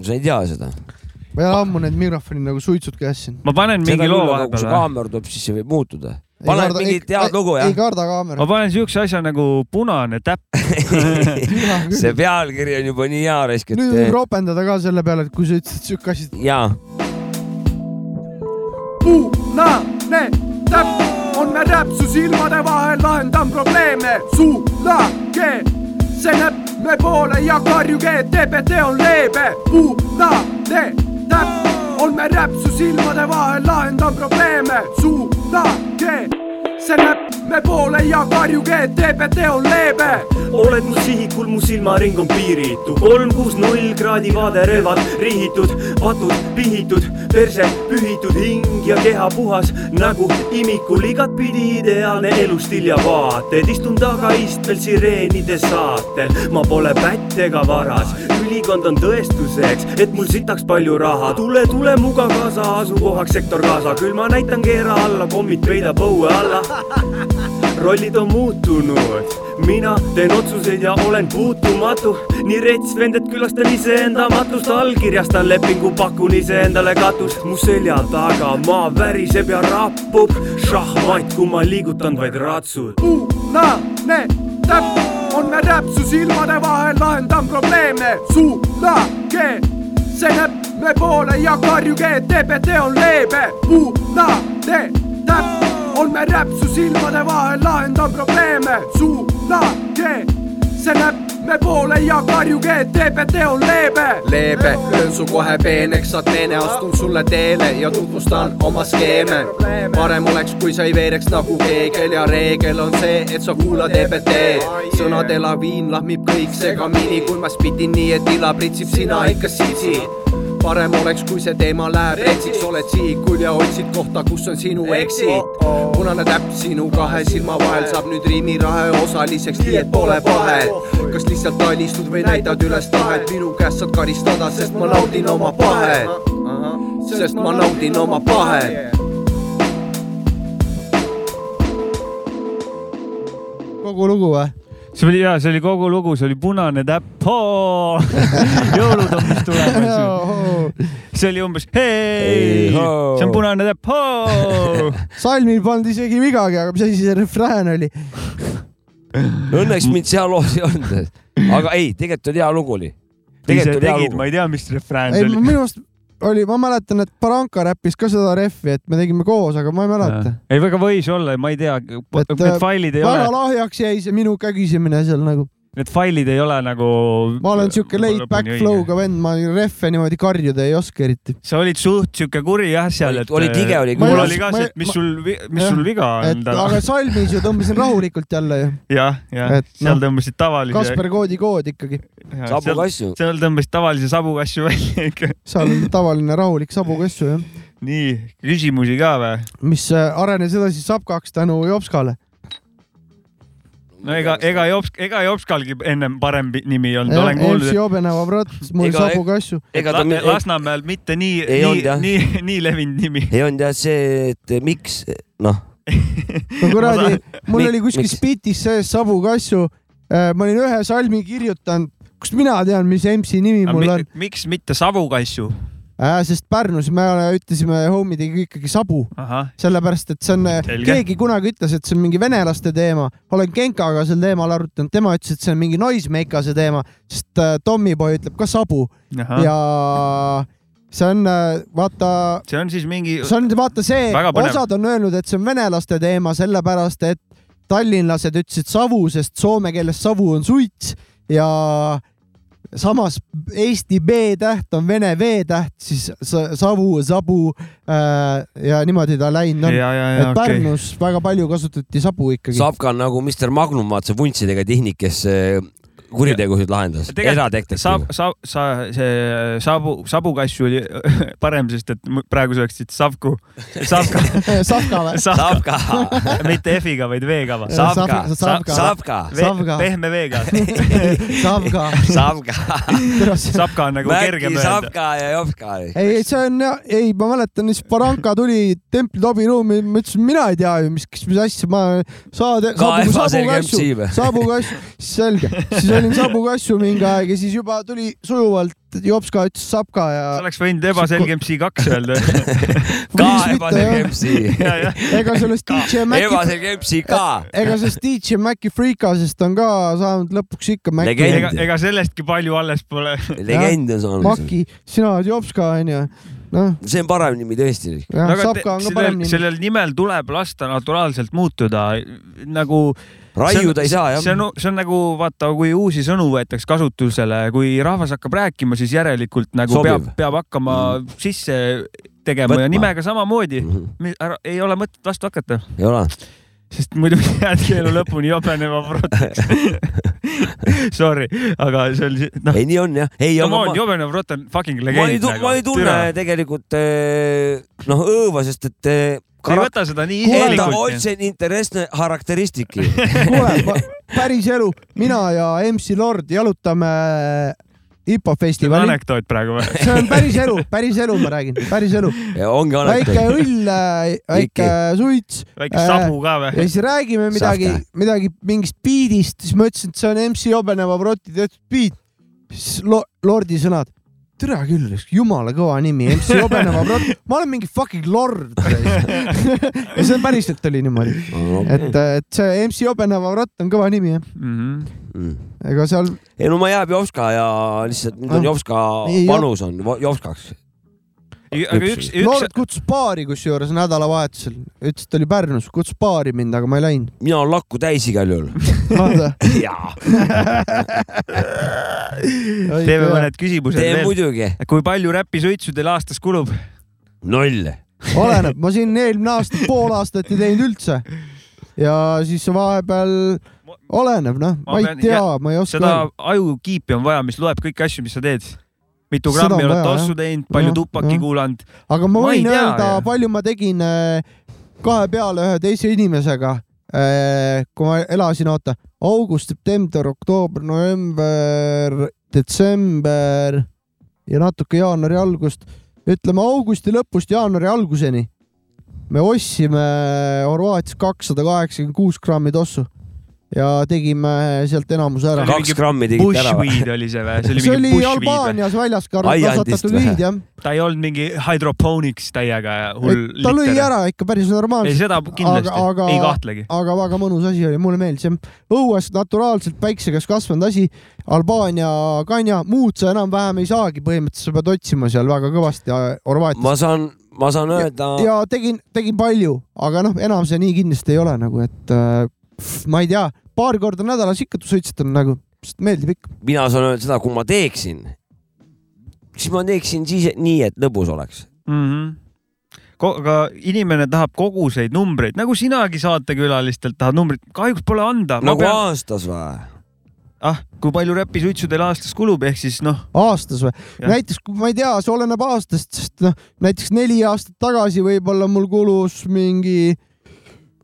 sa ei tea seda .
ma ei ole ammu need mikrofonid nagu suitsud käes siin .
ma panen mingi loo
kui nagu see
vahepeale .
kaamera tuleb , siis see võib muutuda . paned
karda-
mingit
ei-
head lugu
ei
jah ?
karda kaamera
ma . panen siukse asja nagu punane täpp .
see pealkiri on juba nii hea raisk ,
nüüd võib
et
ropendada ka selle peale , et kui sa ütlesid siuke asi ,
ja
punane täpp on me täpsus silmade vahel , lahendan probleeme , suulage see näpp me poole ja karjuge , et TBT on leebe . punane täpp on me täpsus silmade vahel , lahendan probleeme , suulage see näpp me poole ja karjuge , et TBT on leebe
oled mu sihikul , mu silmaring on piiritu , kolm , kuus , null kraadi vaaderelvad rihitud , patud pihitud , perse pühitud , hing ja keha puhas nagu imikul , igatpidi ideaalne elustiil ja vaated , istun tagaistmel sireenide saatel , ma pole pätt ega varas , ülikond on tõestuseks , et mul sitaks palju raha , tule , tule muga kaasa , asukohaks sektor kaasa , küll ma näitan keera alla , kommid peidab õue alla rollid on muutunud , mina teen otsuseid ja olen puutumatu , nii rets vended külastan iseenda matust , allkirjastan lepingu , pakun iseendale katust , mu selja taga maa väriseb ja rappub , šahmat , kui ma liigutan vaid ratsud .
punane täpp on me täpsus silmade vahel , lahendan probleeme , suunage see näpp me poole ja karjuge , et TBT on leebe . punane täpp on me täpsus silmade vahel , lahendan probleeme , suunage see näpp me poole ja karjuge , et TBT on leebe .
leebe , löön su kohe peeneks , saad meene , astun sulle teele ja tutvustan oma skeeme . parem oleks , kui sa ei veereks nagu keegel ja reegel on see , et sa kuulad EBT-d . sõnade laviin lahmib kõik segamini , kui ma spitin nii , et ila pritsib sina ikka sisi parem oleks , kui see teema läheb eksiks , oled sihikul ja otsid kohta , kus on sinu eksid . punane täpp sinu kahe silma vahel saab nüüd riimirahe osaliseks , nii et pole vahet . kas lihtsalt talistud või näitad üles tahet , minu käest saad karistada , sest ma naudin oma pahet . sest ma naudin oma pahet .
kogu lugu või ?
see oli ja see oli kogu lugu , see oli punane täpp . jõulud on vist tulemas . see oli umbes hei ,
Ei-hoo.
see on punane täpp .
salmil polnud isegi vigagi , aga mis asi see refrään oli ?
õnneks mind seal loos ei olnud . aga ei , tegelikult oli hea lugu oli .
ise
tegelikult oli hea
tegid ,
lugu
ma . ei tea , mis refrään
ei ,
see oli .
minu arust oli , ma mäletan , et Baranka räppis ka seda ref'i , et me tegime koos , aga ma ei mäleta .
ei , väga võis olla , ma ei tea ,
Et,
need
äh,
failid ei
väga
ole .
lahjaks jäi see minu kägisemine seal nagu .
need failid ei ole nagu .
ma olen siuke laid back flow'ga vend , ma rehve niimoodi karjuda ei oska eriti .
sa olid suht siuke kuri jah seal , et .
oli tige, oli
mul
kuras.
oli ka
Ma-
see , et mis
ma-
sul , mis
jah,
sul viga on
et
täna
aga . salmis ju tõmbasin rahulikult jälle ju .
jah , jah
et ,
seal
noh,
tõmbasid tavalise ,
Kasper Koodi kood ikkagi ,
sabu
seal,
kasju .
seal tõmbasid tavalise sabukasju välja ikka .
seal on tavaline rahulik sabukassu jah ,
nii , küsimusi ka või ?
mis äh, arenes edasi sapkaks tänu Jopskale .
no ega , ega Jops , ega Jopskalgi ennem parem pi- nimi ei olnud , olen kuulnud ,
MC Jobeneva brat , mul
Ega-
sabukassu .
et
ega ta
La-
mi-
Lasnamäel mitte nii ,
Ei olnud,
nii
jah. ,
nii , nii levinud nimi .
ei olnud jah see , et eh, miks , noh ,
no kuradi , mul
Mik-
oli kuskil
miks?
spitis sees sabukasju . ma olin ühe salmi kirjutanud , kust mina tean , mis MC nimi mul on ,
miks mitte Savukassu ?
sest Pärnus me ütlesime homidega ikkagi sabu
ahah ,
sellepärast et see on ,
Selge.
keegi kunagi ütles , et see on mingi venelaste teema , olen Genkaga sel teemal arutanud , tema ütles , et see on mingi noismeikase teema , sest äh, Tommyboy ütleb ka sabu
ahah ja... ,
ja see on , vaata ,
see on siis mingi ,
see on vaata see ,
Väga põnev.
osad on öelnud , et see on venelaste teema , sellepärast et tallinlased ütlesid savu , sest soome keeles savu on suits ja samas Eesti B-täht on vene V-täht , siis sa- savu , sabu äh, ja niimoodi ta läinud
ja ,
on .
ja , ja
et
okei okay. .
Pärnus väga palju kasutati sabu ikkagi .
Sapka on nagu Mr Magnum , vaata see vuntsidega tehnik , kes eh, kuritegusid lahendas ,
Sab-
eradetektiiv .,
Sab- , sa , see Sabu , Sabukassu oli parem , sest et mu- praegu sa oleksid Savku , Savka ,
Savka või ?
Savka ,
Sapka ,
mitte F-iga , vaid V-ga või ?
Sav-
Sapka ,
Savka.
Sapka ,
Savka.
pehme V-ga .
Savka .
Sapka ,
Savka on nagu
Mäki
kergem öelda .
Sapka ja Jopka .
ei , ei see on , ei , ma mäletan , siis Baranka tuli templi Tobi ruumi , ma ütlesin , mina ei tea ju , mis , mis asja ma , saad , saabu ,
Efa
saabu
selge
kassu
MC või? ,
saabu kassu , selge , siis olin saabu kassu mingi aeg ja siis juba tuli sujuvalt Jopska ütles Sapka ja
sa oleks võinud ebaselge MC2 öelda .
ka
miks mitte,
ebaselge
jah.
MC ,
ja , jah ,
ega sellest DJ Maci ,
ebaselge MC ka .
ega sellest DJ Maci Freekasest on ka saanud lõpuks ikka Maci
Legend. .
ega , ega sellestki palju alles pole .
legend on saanud .
Maki , sina oled Jopska onju , noh ,
see on parem nimi tõesti .
jah , Sapka on ka parem nimi .
sellel nimel tuleb lasta naturaalselt muutuda nagu .
raiuda ei saa
see
jah .
on , see on nagu vaata , kui uusi sõnu võetakse kasutusele , kui rahvas hakkab rääkima , siis järelikult nagu
Sobiv. Mm.
peab , peab hakkama sisse tegema Võtma. ja
Võtma.
nimega samamoodi .
ei
ei ole mõtet vastu hakata ,
Mhm. ole .
sest muidu jäädki elu lõpuni jobenema protiks . Sorry , aga see oli , noh ,
ei , nii on jah . ei ,
come
aga
on ,
ma ,
jobenev prot on fucking
ma ei
legend ., nagu.
ma ei tunne tegelikult eh, noh , õõva , sest et eh,
ei
karak-
võta seda nii
kuulda ,
isiklikult .
otse interessne karakteristiki .
kuule , päris elu , mina ja MC Lord jalutame hipofestivalil .
anekdoot praegu või ?
see on päris elu , päris elu , ma räägin , päris elu .
ongi
väike
anekdoot .
õll , väike suits
väike sabu ka või
ja ? siis räägime midagi , midagi mingist biidist , siis ma ütlesin , et see on MC Jobeneva Broti tehtud biit . siis lo- Lordi sõnad tere küll , jumala kõva nimi , MC Jobeneva Brot , ma olen mingi fucking lord . ja see on päriselt oli niimoodi , et , et see MC Jobeneva Brot on kõva nimi jah .
Mhm.
ega seal
Mhm. ei no ma jääb Jopska ja lihtsalt nüüd
Ah.
on Jopska
Ei, Jop-
panus on vo- Jopskaks .
aga üks , üks
Lord kutsus baari kusjuures nädalavahetusel , ütles , et oli Pärnus , kutsus baari mind , aga ma ei läinud .
mina olen lakku täis igal juhul . jaa ,
teeme mõned küsimused
teen
veel .
muidugi .
kui palju räpisuitsu teil aastas kulub ?
null .
oleneb , ma siin eelmine aasta pool aastat ei teinud üldse . ja siis vahepeal oleneb noh ,
Ma
ma ei
pean-
tea , ma ei oska
seda . ajukiipi on vaja , mis loeb kõiki asju , mis sa teed . mitu
Seda
grammi
on
oled
vaja,
tossu teinud , palju
Jah,
tupaki
jah.
kuulanud .
aga ma
ma ei
võin
tea,
öelda
jah. ,
palju ma tegin äh, kahe peale ühe teise inimesega . kui ma elasin , oota , august , september , oktoober , november , detsember ja natuke jaanuari algust , ütleme augusti lõpust jaanuari alguseni . me ostsime Horvaatias kakssada kaheksakümmend kuus grammi tossu ja tegime sealt enamuse ära .
kaks
mingi
grammi tegid ära või ?
Bushweed oli see või ? see oli
see oli
mingi bushweed või ?
Albaanias väljas ka
Aiandist
kasvatatud
või?
viid jah ,
ta ei olnud mingi hydroponics täiega ja hull
ta lõi
litter.
ära ikka päris normaalselt
ei , seda kindlasti
Aga- , aga-
ei kahtlegi .
aga väga mõnus asi oli , mulle meeldis jah . õues naturaalselt päikse käes kasvanud asi , Albaania kanja , muud sa enam-vähem ei saagi , põhimõtteliselt sa pead otsima seal väga kõvasti äh, Horvaatias .
ma saan , ma saan öelda ,
ja tegin , tegin palju , aga noh , enam see nii kindlasti ei ole nagu , et äh, pff, ma ei tea , paar korda nädalas ikka suitsetan nagu . sest meeldib ikka .
mina saan öelda seda , kui ma teeksin , siis ma teeksin siis nii , et lõbus oleks .
mm . -hmm. aga inimene tahab koguseid numbreid , nagu sinagi saatekülalistelt tahad numbrit , kahjuks pole anda .
nagu pean... . aastas või ?
ah , kui palju räpisuitsu teil aastas kulub , ehk siis noh ,
aastas või ?
Jah.
näiteks , ma ei tea , see oleneb aastast , sest noh , näiteks neli aastat tagasi võib-olla mul kulus mingi ,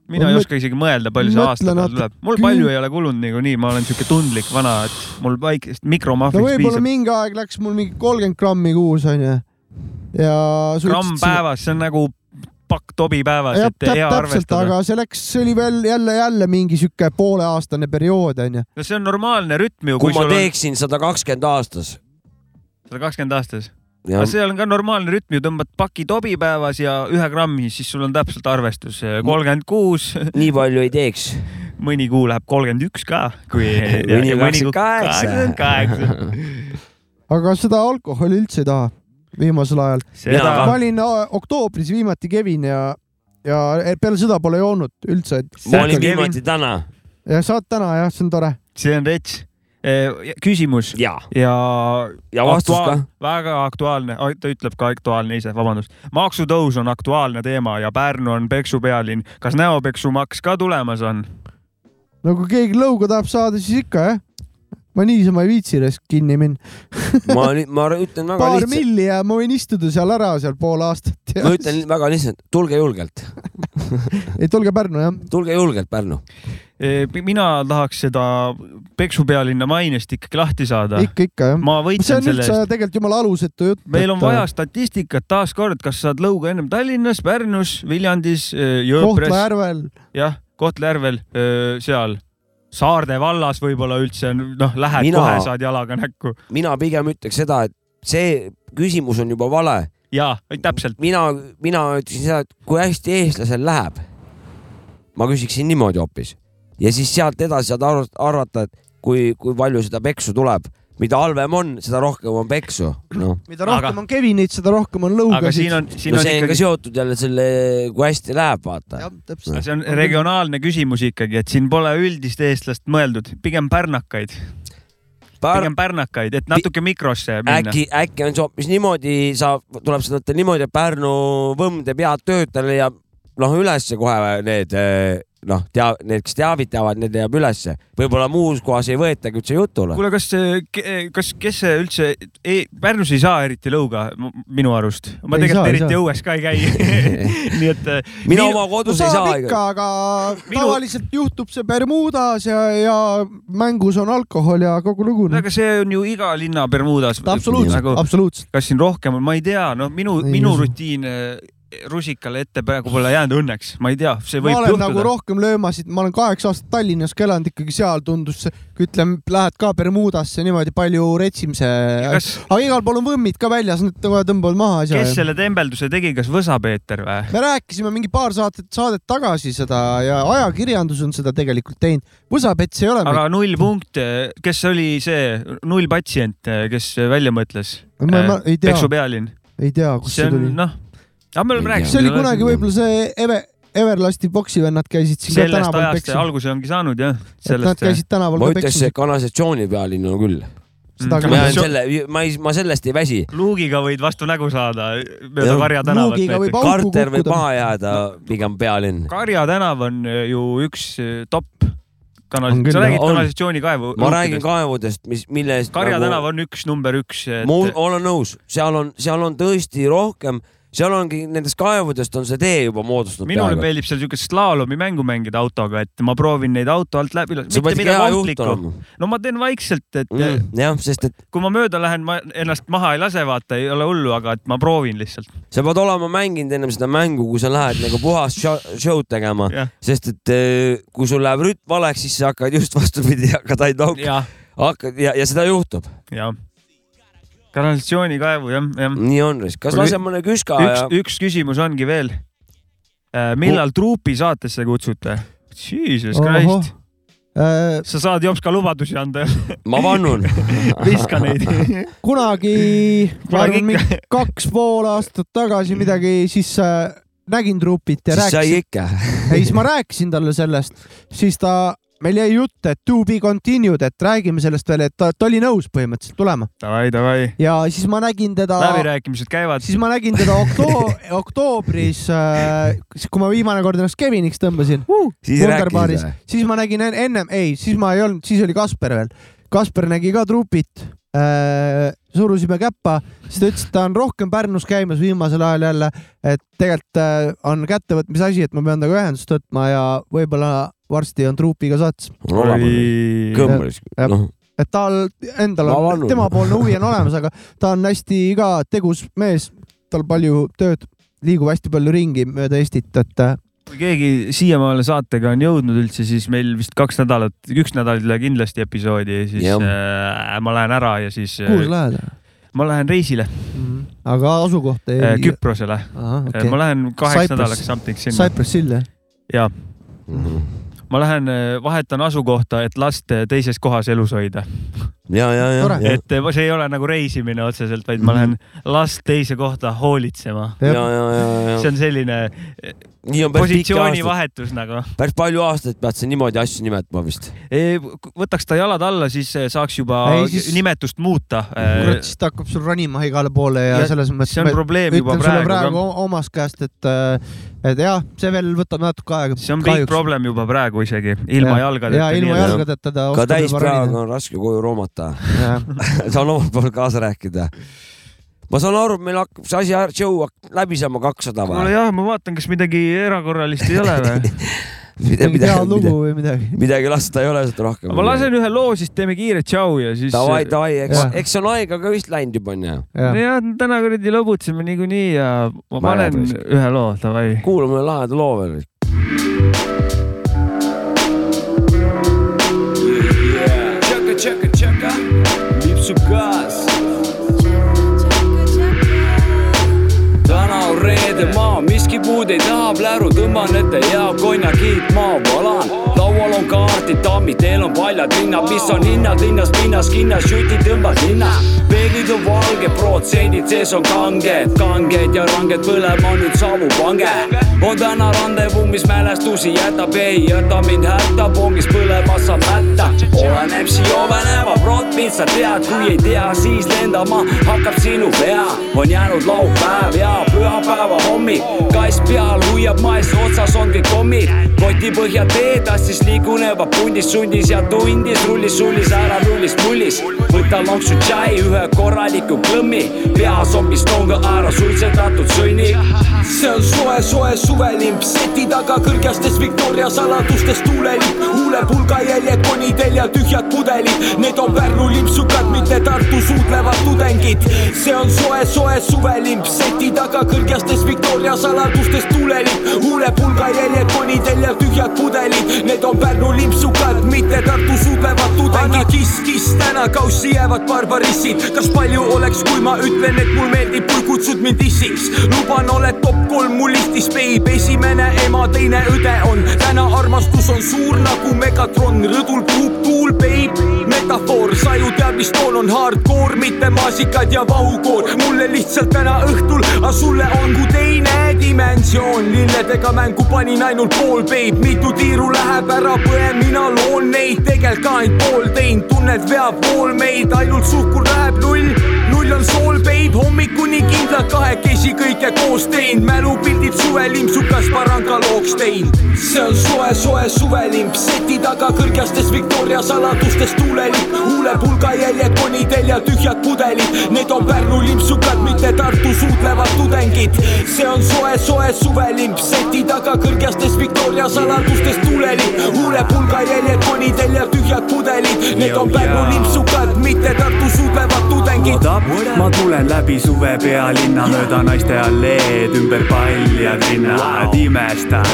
mina
Ma
ei
mõt-
oska isegi mõelda , palju see
mõtlen
aasta peale
natuke.
tuleb . mul palju ei ole kulunud niikuinii , ma olen siuke tundlik vana , et mul väikest
no
mikromahviks
võib-olla
piisab .
mingi aeg läks mul mingi kolmkümmend grammi kuus onju . ja .
gramm . päevas , see on nagu pakk tobi päevas ,
jah ,
et hea
täpselt ,
arvestada .
aga see läks , see oli veel jälle , jälle mingi sihuke pooleaastane periood onju .
no see on normaalne rütm ju ,
kui
kui
ma
sul on
teeksin sada kakskümmend aastas .
sada kakskümmend aastas .
ja
aga see on ka normaalne rütm ju , tõmbad paki tobi päevas ja ühe grammi , siis sul on täpselt arvestus kolmkümmend kuus ,
nii palju ei teeks .
mõni kuu läheb kolmkümmend üks ka , kui
Mõni
ja mõni kuu
28.
kaheksa .
aga seda alkoholi üldse ei taha viimasel ajal .
Mina
seda
ka. Ah.
ma olin o- oktoobris viimati Kevin ja , ja e, peale seda pole joonud üldse .
ma olin viimati täna .
ja saad täna jah , see on tore .
see on rets . küsimus
ja ,
ja .
ja vastus ka .
väga aktuaalne , ta ütleb ka aktuaalne ise , vabandust . maksutõus on aktuaalne teema ja Pärnu on peksu pealinn . kas näopeksumaks ka tulemas on ?
no kui Nagu keegi lõuga tahab saada , siis ikka jah . ma niisama ei viitsi raisk kinni minna .
ma , ma ütlen väga
paar
lihtsalt ,
milli ja ma võin istuda seal ära seal pool aastat ja
ma ütlen väga lihtsalt , tulge julgelt ,
ei tulge Pärnu jah .
tulge julgelt Pärnu .
Eh, mina tahaks seda peksu pealinna mainest ikkagi lahti saada .
ikka , ikka jah .
ma
see
võitlen
on
selle eest
üldse . tegelikult jumala alusetu jutt . äh,
meil
äh,
on vaja statistikat taaskord , kas saad lõuga ennem Tallinnas , Pärnus , Viljandis , eh, Jõhkras ,
Kohtla-Järvel ,
jah , Kohtla-Järvel , seal , Saarde vallas võib-olla üldse on , noh , lähed Mina...
Mina-
kohe saad jalaga näkku
mina pigem ütleks seda , et see küsimus on juba vale .
ja täpselt ,
mina , mina ütlesin seda , et kui hästi eestlasel läheb . ma küsiksin niimoodi hoopis ja siis sealt edasi saad aru- arvata , et kui , kui palju seda peksu tuleb , mida halvem on , seda rohkem on peksu , noh .
mida rohkem on Kevinit , seda rohkem on
aga siin
lõugasid .
on , siin
no
on
see on ka
ikkagi ,
seotud jälle selle , kui hästi läheb , vaata .
jah , täpselt .
see on regionaalne küsimus ikkagi , et siin pole üldist eestlast mõeldud , pigem pärnakaid , pigem pärnakaid , et natuke mikrosse minna .
äkki , äkki on see hoopis niimoodi , saab , tuleb seda võtta niimoodi , et Pärnu võmm teeb head tööd , tal leiab noh ülesse kohe need eh, noh , tea- , need , kes teavitavad , need leiab ülesse . võib-olla muus kohas ei võetagi üldse jutule .
kuule , kas , kas , kes see üldse e , Pärnus ei saa eriti lõuga m- minu arust , ma
Ei
tegelikult
saa, ei
eriti
saa.
õues ka ei käi . nii et äh,
mina
minu-
oma
no
kodus ei
saab
saa
ikka ,
ikka .
aga
Minu-
tavaliselt juhtub see Bermudas ja , ja mängus on alkohol ja kogu lugu .
no aga see on ju iga linna Bermudas . nagu
absoluutselt , absoluutselt .
kas siin rohkem on , ma ei tea , no minu ,
Ei
minu
usu.
rutiin eh, rusikale ette praegu pole jäänud õnneks , ma ei tea , see
ma
võib
olen
juhtuda
nagu . rohkem löömasid , ma olen kaheksa aastat Tallinnas ka elanud , ikkagi seal tundus see , ütleme , lähed ka Bermudasse niimoodi palju retsim see ,
kas ,
aga igal pool on võmmid ka väljas , nad kohe tõmbavad maha asja .
kes selle tembelduse tegi , kas Võsa-Peeter või ?
me rääkisime mingi paar saadet , saadet tagasi seda ja ajakirjandus on seda tegelikult teinud . võsapets ei ole
aga null punkt , kes oli see null patsient , kes äh, välja mõtles ?
meil . ma, ma ei tea ,
äh, peksu pealinn ,
ei tea , kust
see
see tuli
on . noh , aga me
Ei
oleme
tea.
rääkinud .
see oli kunagi võib-olla see Eve , Everlasti boksi vennad käisid siin ka
sellest
tänaval
ajast see
peksimas .
alguse ongi saanud jah ,
et nad
sellest .
käisid tänaval
ma
ka
ütleks ,
peksimas .
et kanalisatsiooni pealinn on küll .
seda
Mm.
küll.
ma
Kanalisatsioon-
jään selle , ma ei , ma sellest ei väsi .
luugiga võid vastu nägu saada äh, mööda
Jah.
Karja tänavat
luugiga
näiteks
võib . auku
Karter võib
kukkuda .
maha jääda , pigem pealinn .
Karja tänav on äh, ju üks eh, top kanal
On , küll,
sa räägid
jah. On.
kanalisatsioonikaevu .
ma räägin . kaevudest , mis , mille eest . nagu
Karja tänav on üks number üks , et
ma us- olen nõus , seal on , seal on tõesti rohkem , seal ongi nendest kaevudest on see tee juba moodustatud .
minule meeldib seal siukest slaalomi mängu mängida autoga , et ma proovin neid auto alt läbi lasta .
sa
mitte
pead ikka
midagi
hea juht
ohtlikku .
olema .
no ma teen vaikselt , et mm.
jah , sest et
kui ma mööda lähen , ma ennast maha ei lase , vaata , ei ole hullu , aga et ma proovin lihtsalt .
sa pead olema mänginud ennem seda mängu , kui sa lähed nagu puhast sho- show'd tegema ,
jah ,
sest et eh, kui sul läheb rütm valeks , siis sa hakkad just vastupidi , hakkad ainult auk- ,
jah ,
hakkad ja , ja seda juhtub .
jah . kanalisatsioonikaevu , jah , jah .
nii on , kas
Kuule,
laseme mõne küska
üks
ja ,
üks küsimus ongi veel . millal truupi saatesse kutsute ? Jesus Christ .
Äh,
sa saad Jopska lubadusi anda ,
ma vannun .
viska neid .
kunagi , ma
Kunagi
arvan , mingi kaks pool aastat tagasi midagi , siis äh, nägin trupit ja
siis sai
rääkisin ,
ikka .
ei siis ma rääkisin talle sellest , siis ta meil jäi jutt , et to be continued , et räägime sellest veel , et ta, ta oli nõus põhimõtteliselt tulema
Davai , davai .
ja siis ma nägin teda ,
läbirääkimised käivad .
siis ma nägin teda okto- , oktoobris äh, , kui ma viimane kord ennast Keviniks tõmbasin uh, .
siis rääkisid või ?
siis ma nägin en- ennem , ei , siis ma ei olnud , siis oli Kasper veel . Kasper nägi ka trupit äh, , surusime käppa , siis ta ütles , et ta on rohkem Pärnus käimas viimasel ajal jälle , et tegelikult äh, on kättevõtmise asi , et ma pean temaga ühendust võtma ja võib-olla varsti on trupiga sats .
kõmblis ,
Jah.
noh ,
et tal endal
Ma
on
vannun. ,
temapoolne huvi on olemas , aga ta on hästi ka tegus mees , tal palju tööd , liigub hästi palju ringi mööda Eestit , et äh,
kui keegi siiamaale saatega on jõudnud üldse , siis meil vist kaks nädalat , üks nädal ei tule kindlasti episoodi ja siis
Jah.
äh, ma lähen ära ja siis
kuhu
äh,
sa lähed ?
ma lähen reisile
aga asukoht
äh,
ei .
Küprosele okay. . ma lähen kaheks
Cyprus.
nädalaks something sinna .
Cypress Hill jah ?
ja
Mhm.
ma lähen , vahetan asukohta , et last äh, teises kohas elus hoida ,
ja , ja , ja
Tore. ,
ja ,
et äh, see ei ole nagu reisimine otseselt , vaid ma lähen last teise kohta hoolitsema .
ja , ja , ja , ja
see , on selline
nii on päris pikki aastaid ,
positsioonivahetus nagu .
päris palju aastaid pead sa niimoodi asju nimetama vist .
võtaks ta jalad alla , siis eh, saaks juba
Ei,
ei,
siis-
siis... nimetust muuta .
kurat , siis ta hakkab sul ronima igale poole ja, ja
Ja
selles mõttes .
see on probleem juba
sulle
praegu
praegu
ka.
o- omast käest , et , et jah , see veel võtab natuke aega .
see on big . problem juba praegu isegi , ilma ja. jalgadeta .
ja ilma
nii-öelda.
jalgadeta ta
ka
oskab juba
täispäevaga
ronida .
on raske koju roomata , saan omalt poolt kaasa rääkida . ma saan aru , et meil hakkab see asi , show hakkab läbi saama kakssada
kuule
või ?
jah , ma vaatan , kas midagi erakorralist ei ole või .
mingi hea lugu või midagi .
midagi lasta ei ole sealt rohkem .
ma lasen ühe loo , siis teeme kiire tšau ja siis .
Davai , davai , eks
Jah. ,
eks on aega ka vist läinud juba onju .
äh, jah , täna kuradi lõbutseme niikuinii ja ma
Ma ei
panen
tea,
ühe loo , davai .
kuulame ühe laheda loo veel .
tšaka , tšaka , tšaka , lipsub gaas . täna on reede maa , miski puud ei taha , pläru tõmban ette ja konjakiit ma valan . laual on kaardid , tammid , teel on paljad rinnad , mis on hinnad linnas , pinnas , kinnas , juti tõmbad linna . peeglid on valged , protsendid sees on kanged , kanged ja ranged , põlema nüüd savupange . on täna randevu , mis mälestusi jätab , ei jäta mind hätta , pongis põlemas saab hätta . olen MC Oveneva , Broadbeat , sa tead , kui ei tea , siis lendama hakkab sinu pea . on jäänud laupäev ja pühapäeva hommik , kass peal hoiab maes , otsas on kõik kommid . koti põhja teetas , siis liigunevad pundis , sundis ja tundis , rullis , sullis , ära rullis , mullis . võta lonksu tšai , ühe korraliku klõmmi , peas on pistonga , ära suitsetatud sõnni . see on soe , soe suvelimp , seti taga kõrgestes Victoria saladustes tuulelipp , huulepulga jäljed konidel ja tühjad pudelid , need on Pärnu limpsukad , mitte Tartu suudlevad tudengid . see on soe , soe suvelimp , seti taga kõrgestes Victoria saladustes tuulelipp , huulepulga jäljed konidel ja tühjad pudelid , need on Pärnu limpsukad , mitte Tartu suudlevad tudengid . kiss , kiss , täna kaussi jäävad barbarissid , kas palju oleks , kui ma ütlen , et mul meeldib , kui kutsud mind issiks , luban , oled top kolm mu listis , babe , esimene ema , teine õde on . täna armastus on suur nagu Megatron , rõdul puhub tuul , babe , metafoor , sa ju tead , mis toon on hardcore , mitte maasikad ja vahukoor . mulle lihtsalt täna õhtul , aga sulle on kui teine dimensioon , lilledega mängu panin ainult pool , babe , mitu tiiru läheb ära , põen mina loon neid , tegelikult ka ainult pool teinud , tunned veab pool meid , ainult suhkur läheb null null on sool , babe , hommikuni kindlalt kahekesi kõike koos teinud , mälupildid suvelimpsukas paranga looks teinud . see on soe , soe suvelimp , seti taga kõrgestes Victoria saladustes tuulelipp , huulepulga jäljed konidel ja tühjad pudelid , need on Pärnu limpsukad , mitte Tartu suudlevad tudengid . see on soe , soe suvelimp , seti taga kõrgestes Victoria saladustes tuulelipp , huulepulga jäljed konidel ja tühjad pudelid , need on Pärnu limpsukad , mitte Tartu suudlevad tudengid .
ma tulen läbi suve pealinna mööda naiste alleed ümber paljad rinnad imestan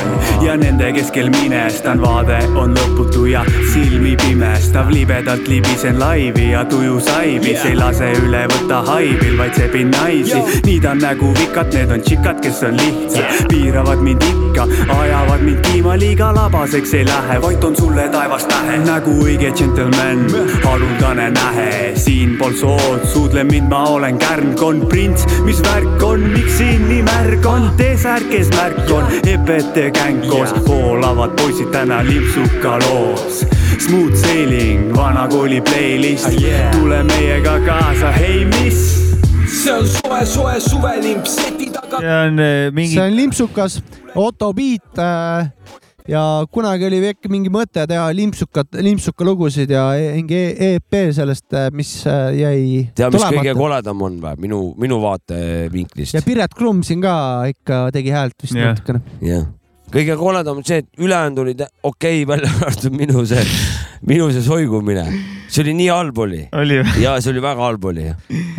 ja nende keskel minestan , vaade on lõputu ja silmi piir .
imestav , libedalt libisen laivi ja tuju saibis ei lase üle võtta haibil , vaid sebin naisi . niidan nägu vikad , need on tšikad , kes on lihtsad , piiravad mind ikka , ajavad mind kiima liiga labaseks ei lähe , vaid on sulle taevas tähe . nagu õige džentelmen , haruldane nähe , siinpool sood , suudle mind , ma olen kärnkond , prints , mis värk on , miks siin nii märg on , T-särk , kes märk on , EPT gäng koos , voolavad poisid täna limpsuka loos . Smooth sailing , vana kooli playlist ,
Ah,
tule meiega kaasa , hei miss .
see on soe , soe suvelimp seti taga .
see on eh, mingi
see , on limpsukas , Otto Beat äh, ja kunagi oli äkki mingi mõte teha limpsukat , limpsukalugusid ja e-, mingi EP sellest , mis äh, jäi
tea , mis kõige koledam on või ? minu , minu vaatevinklist
ja . Piret Krumm siin ka ikka tegi häält vist
Jah.
natukene .
jah . kõige koledam on see , et ülejäänud olid okei okay, , välja arvatud minu see , minu see soigumine . see oli nii halb oli
oli või ?
ja see oli väga halb oli ,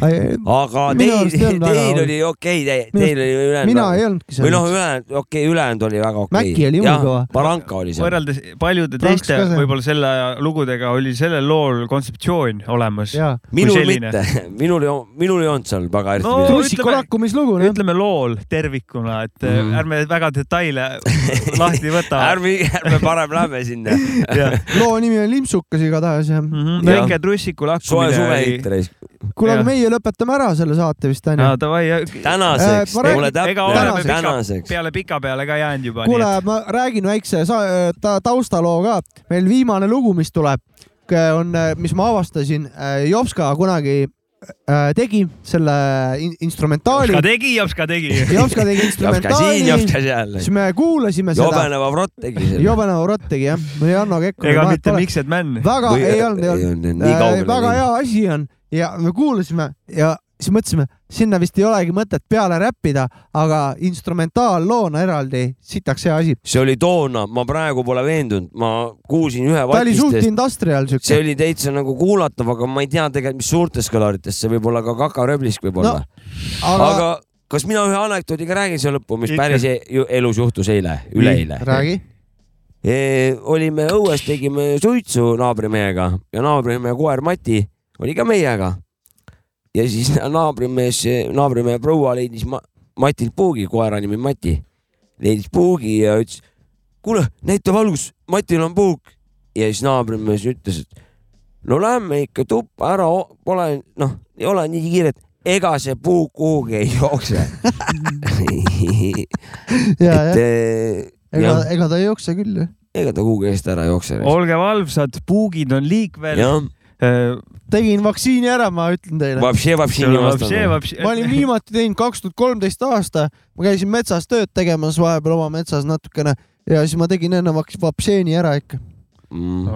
aga
Minu
teil ,
arust ei olnud väga
teil
halb.
oli okei okay, ,
Minu
teil oli ülejäänud
mina
väga-
ei olnudki
või noh ,
seal .
ülejäänud , okei okay, , ülejäänud oli väga okei okay. .
Mäkki oli jumala kõva.
Barranka oli seal .
võrreldes paljude
Pranks
teiste
ka see.
võib-olla selle aja lugudega oli sellel lool kontseptsioon olemas .
jaa ,
minul
selline.
mitte , minul ei olnud , minul ei olnud seal väga eriti
No,
midagi .
tussiku
ütleme-
lakkumislugu , jah .
ütleme lool tervikuna , et mm.
Mhm.
ärme väga detaile lahti võta .
ärme , ärme parem lähme sinna .
loo nimi on Limpsukas igatahes jah .
Mm,
Jah.
Mhm. väike trussiku
soe suve hitt
lakkumine .
reis .
kuule ,
Jah.
aga meie lõpetame ära selle saate vist onju .
Davai ,
tänaseks ,
ma
pole
räägin-
ega
täpne
oleme , pika-
tänaseks .
peale pika peale ka jäänud juba .
kuule , ma räägin väikse sa- ta- taustaloo ka . meil viimane lugu , mis tuleb , on , mis ma avastasin , Jopska kunagi äh, tegi selle in
Jopska
instrumentaali .
tegi , Jopska tegi .
Jopska tegi
Jopska siin ,
instrumentaali ,
Jopska seal .
siis me kuulasime seda .
jobeneva vrott tegi selle .
Jobena Urot tegi jah , või Hanno Kekkonen .
ega mitte Mixed Man .
väga
Või-
ei olnud , ei olnud .
nii
Äh, väga
kaugele .
hea asi on ja me kuulasime ja siis mõtlesime , sinna vist ei olegi mõtet peale räppida , aga instrumentaalloona eraldi , sitaks hea asi .
see oli toona , ma praegu pole veendunud , ma kuulsin ühe
ta oli suht
vatistest ,
industrial siuke
see . oli täitsa nagu kuulatav , aga ma ei tea tegelikult , mis suurtes kõlarites , see võib olla ka kakarööblisk võib-olla no, .
aga,
aga kas mina ühe anekdoodiga räägin siia lõppu , mis
Ikka.
Ikka. päris e- ju- elus juhtus eile , üleeile ?
räägi .
Eh, olime õues , tegime suitsu naabrimehega ja naabrimehe koer Mati oli ka meiega . ja siis naabrimees , naabrimehe proua leidis ma, Matilt puugi , koera nimi on Mati , leidis puugi ja ütles , kuule , näita valgus , Matil on puuk . ja siis naabrimees ütles , et no lähme ikka tuppa ära , pole noh , ei ole nii kiiret , ega see puuk kuhugi ei jookse .
ja , ja
et eh,
ega
jah ,
ega ta ei jookse küll ju .
ega ta kuhugi eest ära ei jookse .
olge valvsad , puugid on liikvel . Äh,
jah ,
tegin vaktsiini ära , ma ütlen teile .
vapšee , vapšee nii vastame .
ma olin viimati teinud kaks tuhat kolmteist aasta , ma käisin metsas tööd tegemas vahepeal oma metsas natukene ja siis ma tegin enne vaks- vaktsiini ära ikka .
see Mm. ei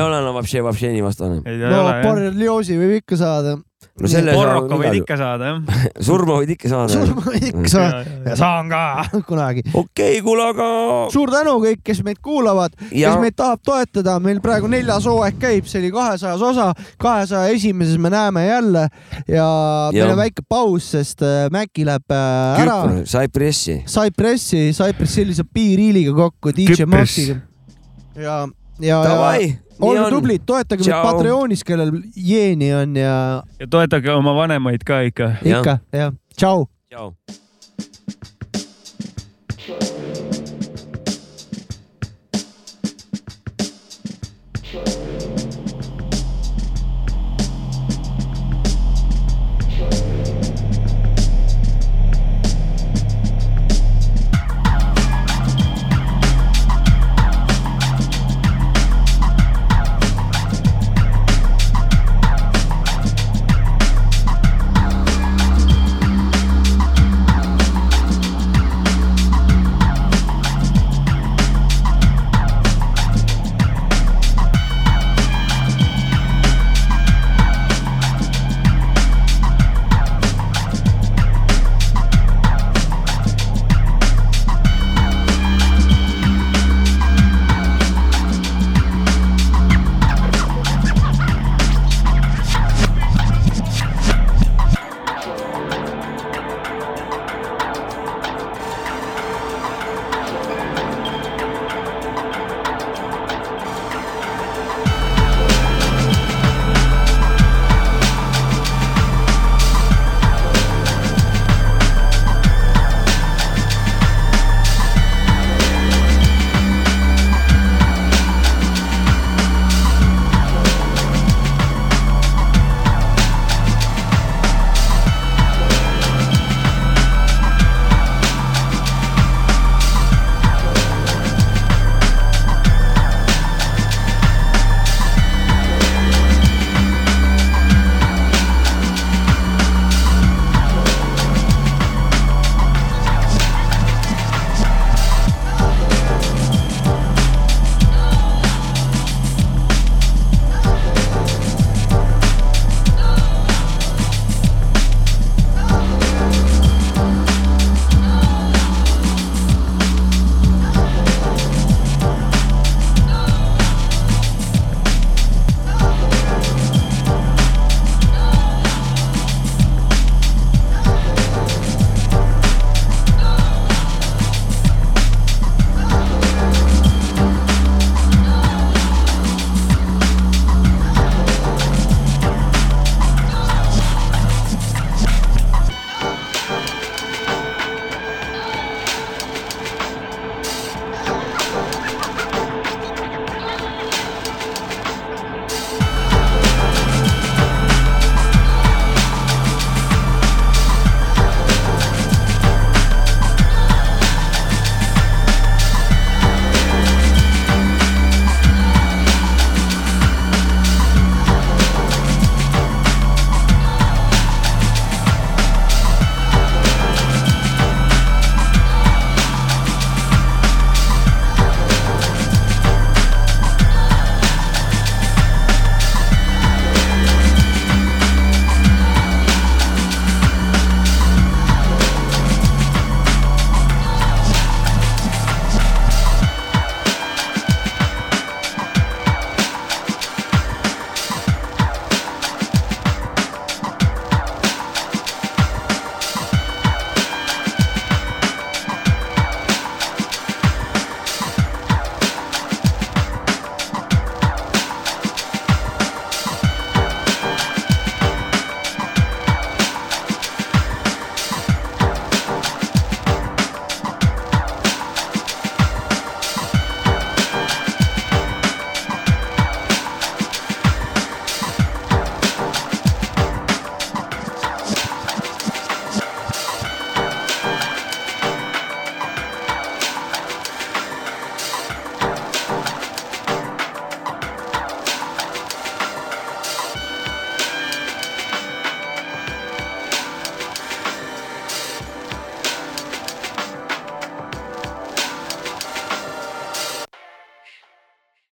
ole enam vapšee , vapšee nii vastane .
no borrelioosi võib ikka saada .
no selle
porroka võid . ikka saada jah .
surma võid ikka saada .
surma võib ikka saada . ja saan ka kunagi .
okei , kuule aga .
suur tänu kõik , kes meid kuulavad ,
ja
kes meid tahab toetada , meil praegu neljas hooaeg käib , see oli kahesajas osa , kahesaja esimeses me näeme jälle ja meil
Jah.
on väike paus , sest äh, Maci läheb äh, ära .
Küpr , Cypressi .
Cypressi , Cypress Hilli saab B-Realiga kokku , DJ
Küpros.
Maxiga . ja , ja , ja
Davai , nii
olge
on .
tublid , toetage meid
Tšau.
Patreonis , kellel jeeni on ja
ja toetage oma vanemaid ka ikka .
Jah.
ikka jah , tšau .
tšau .
Tšau .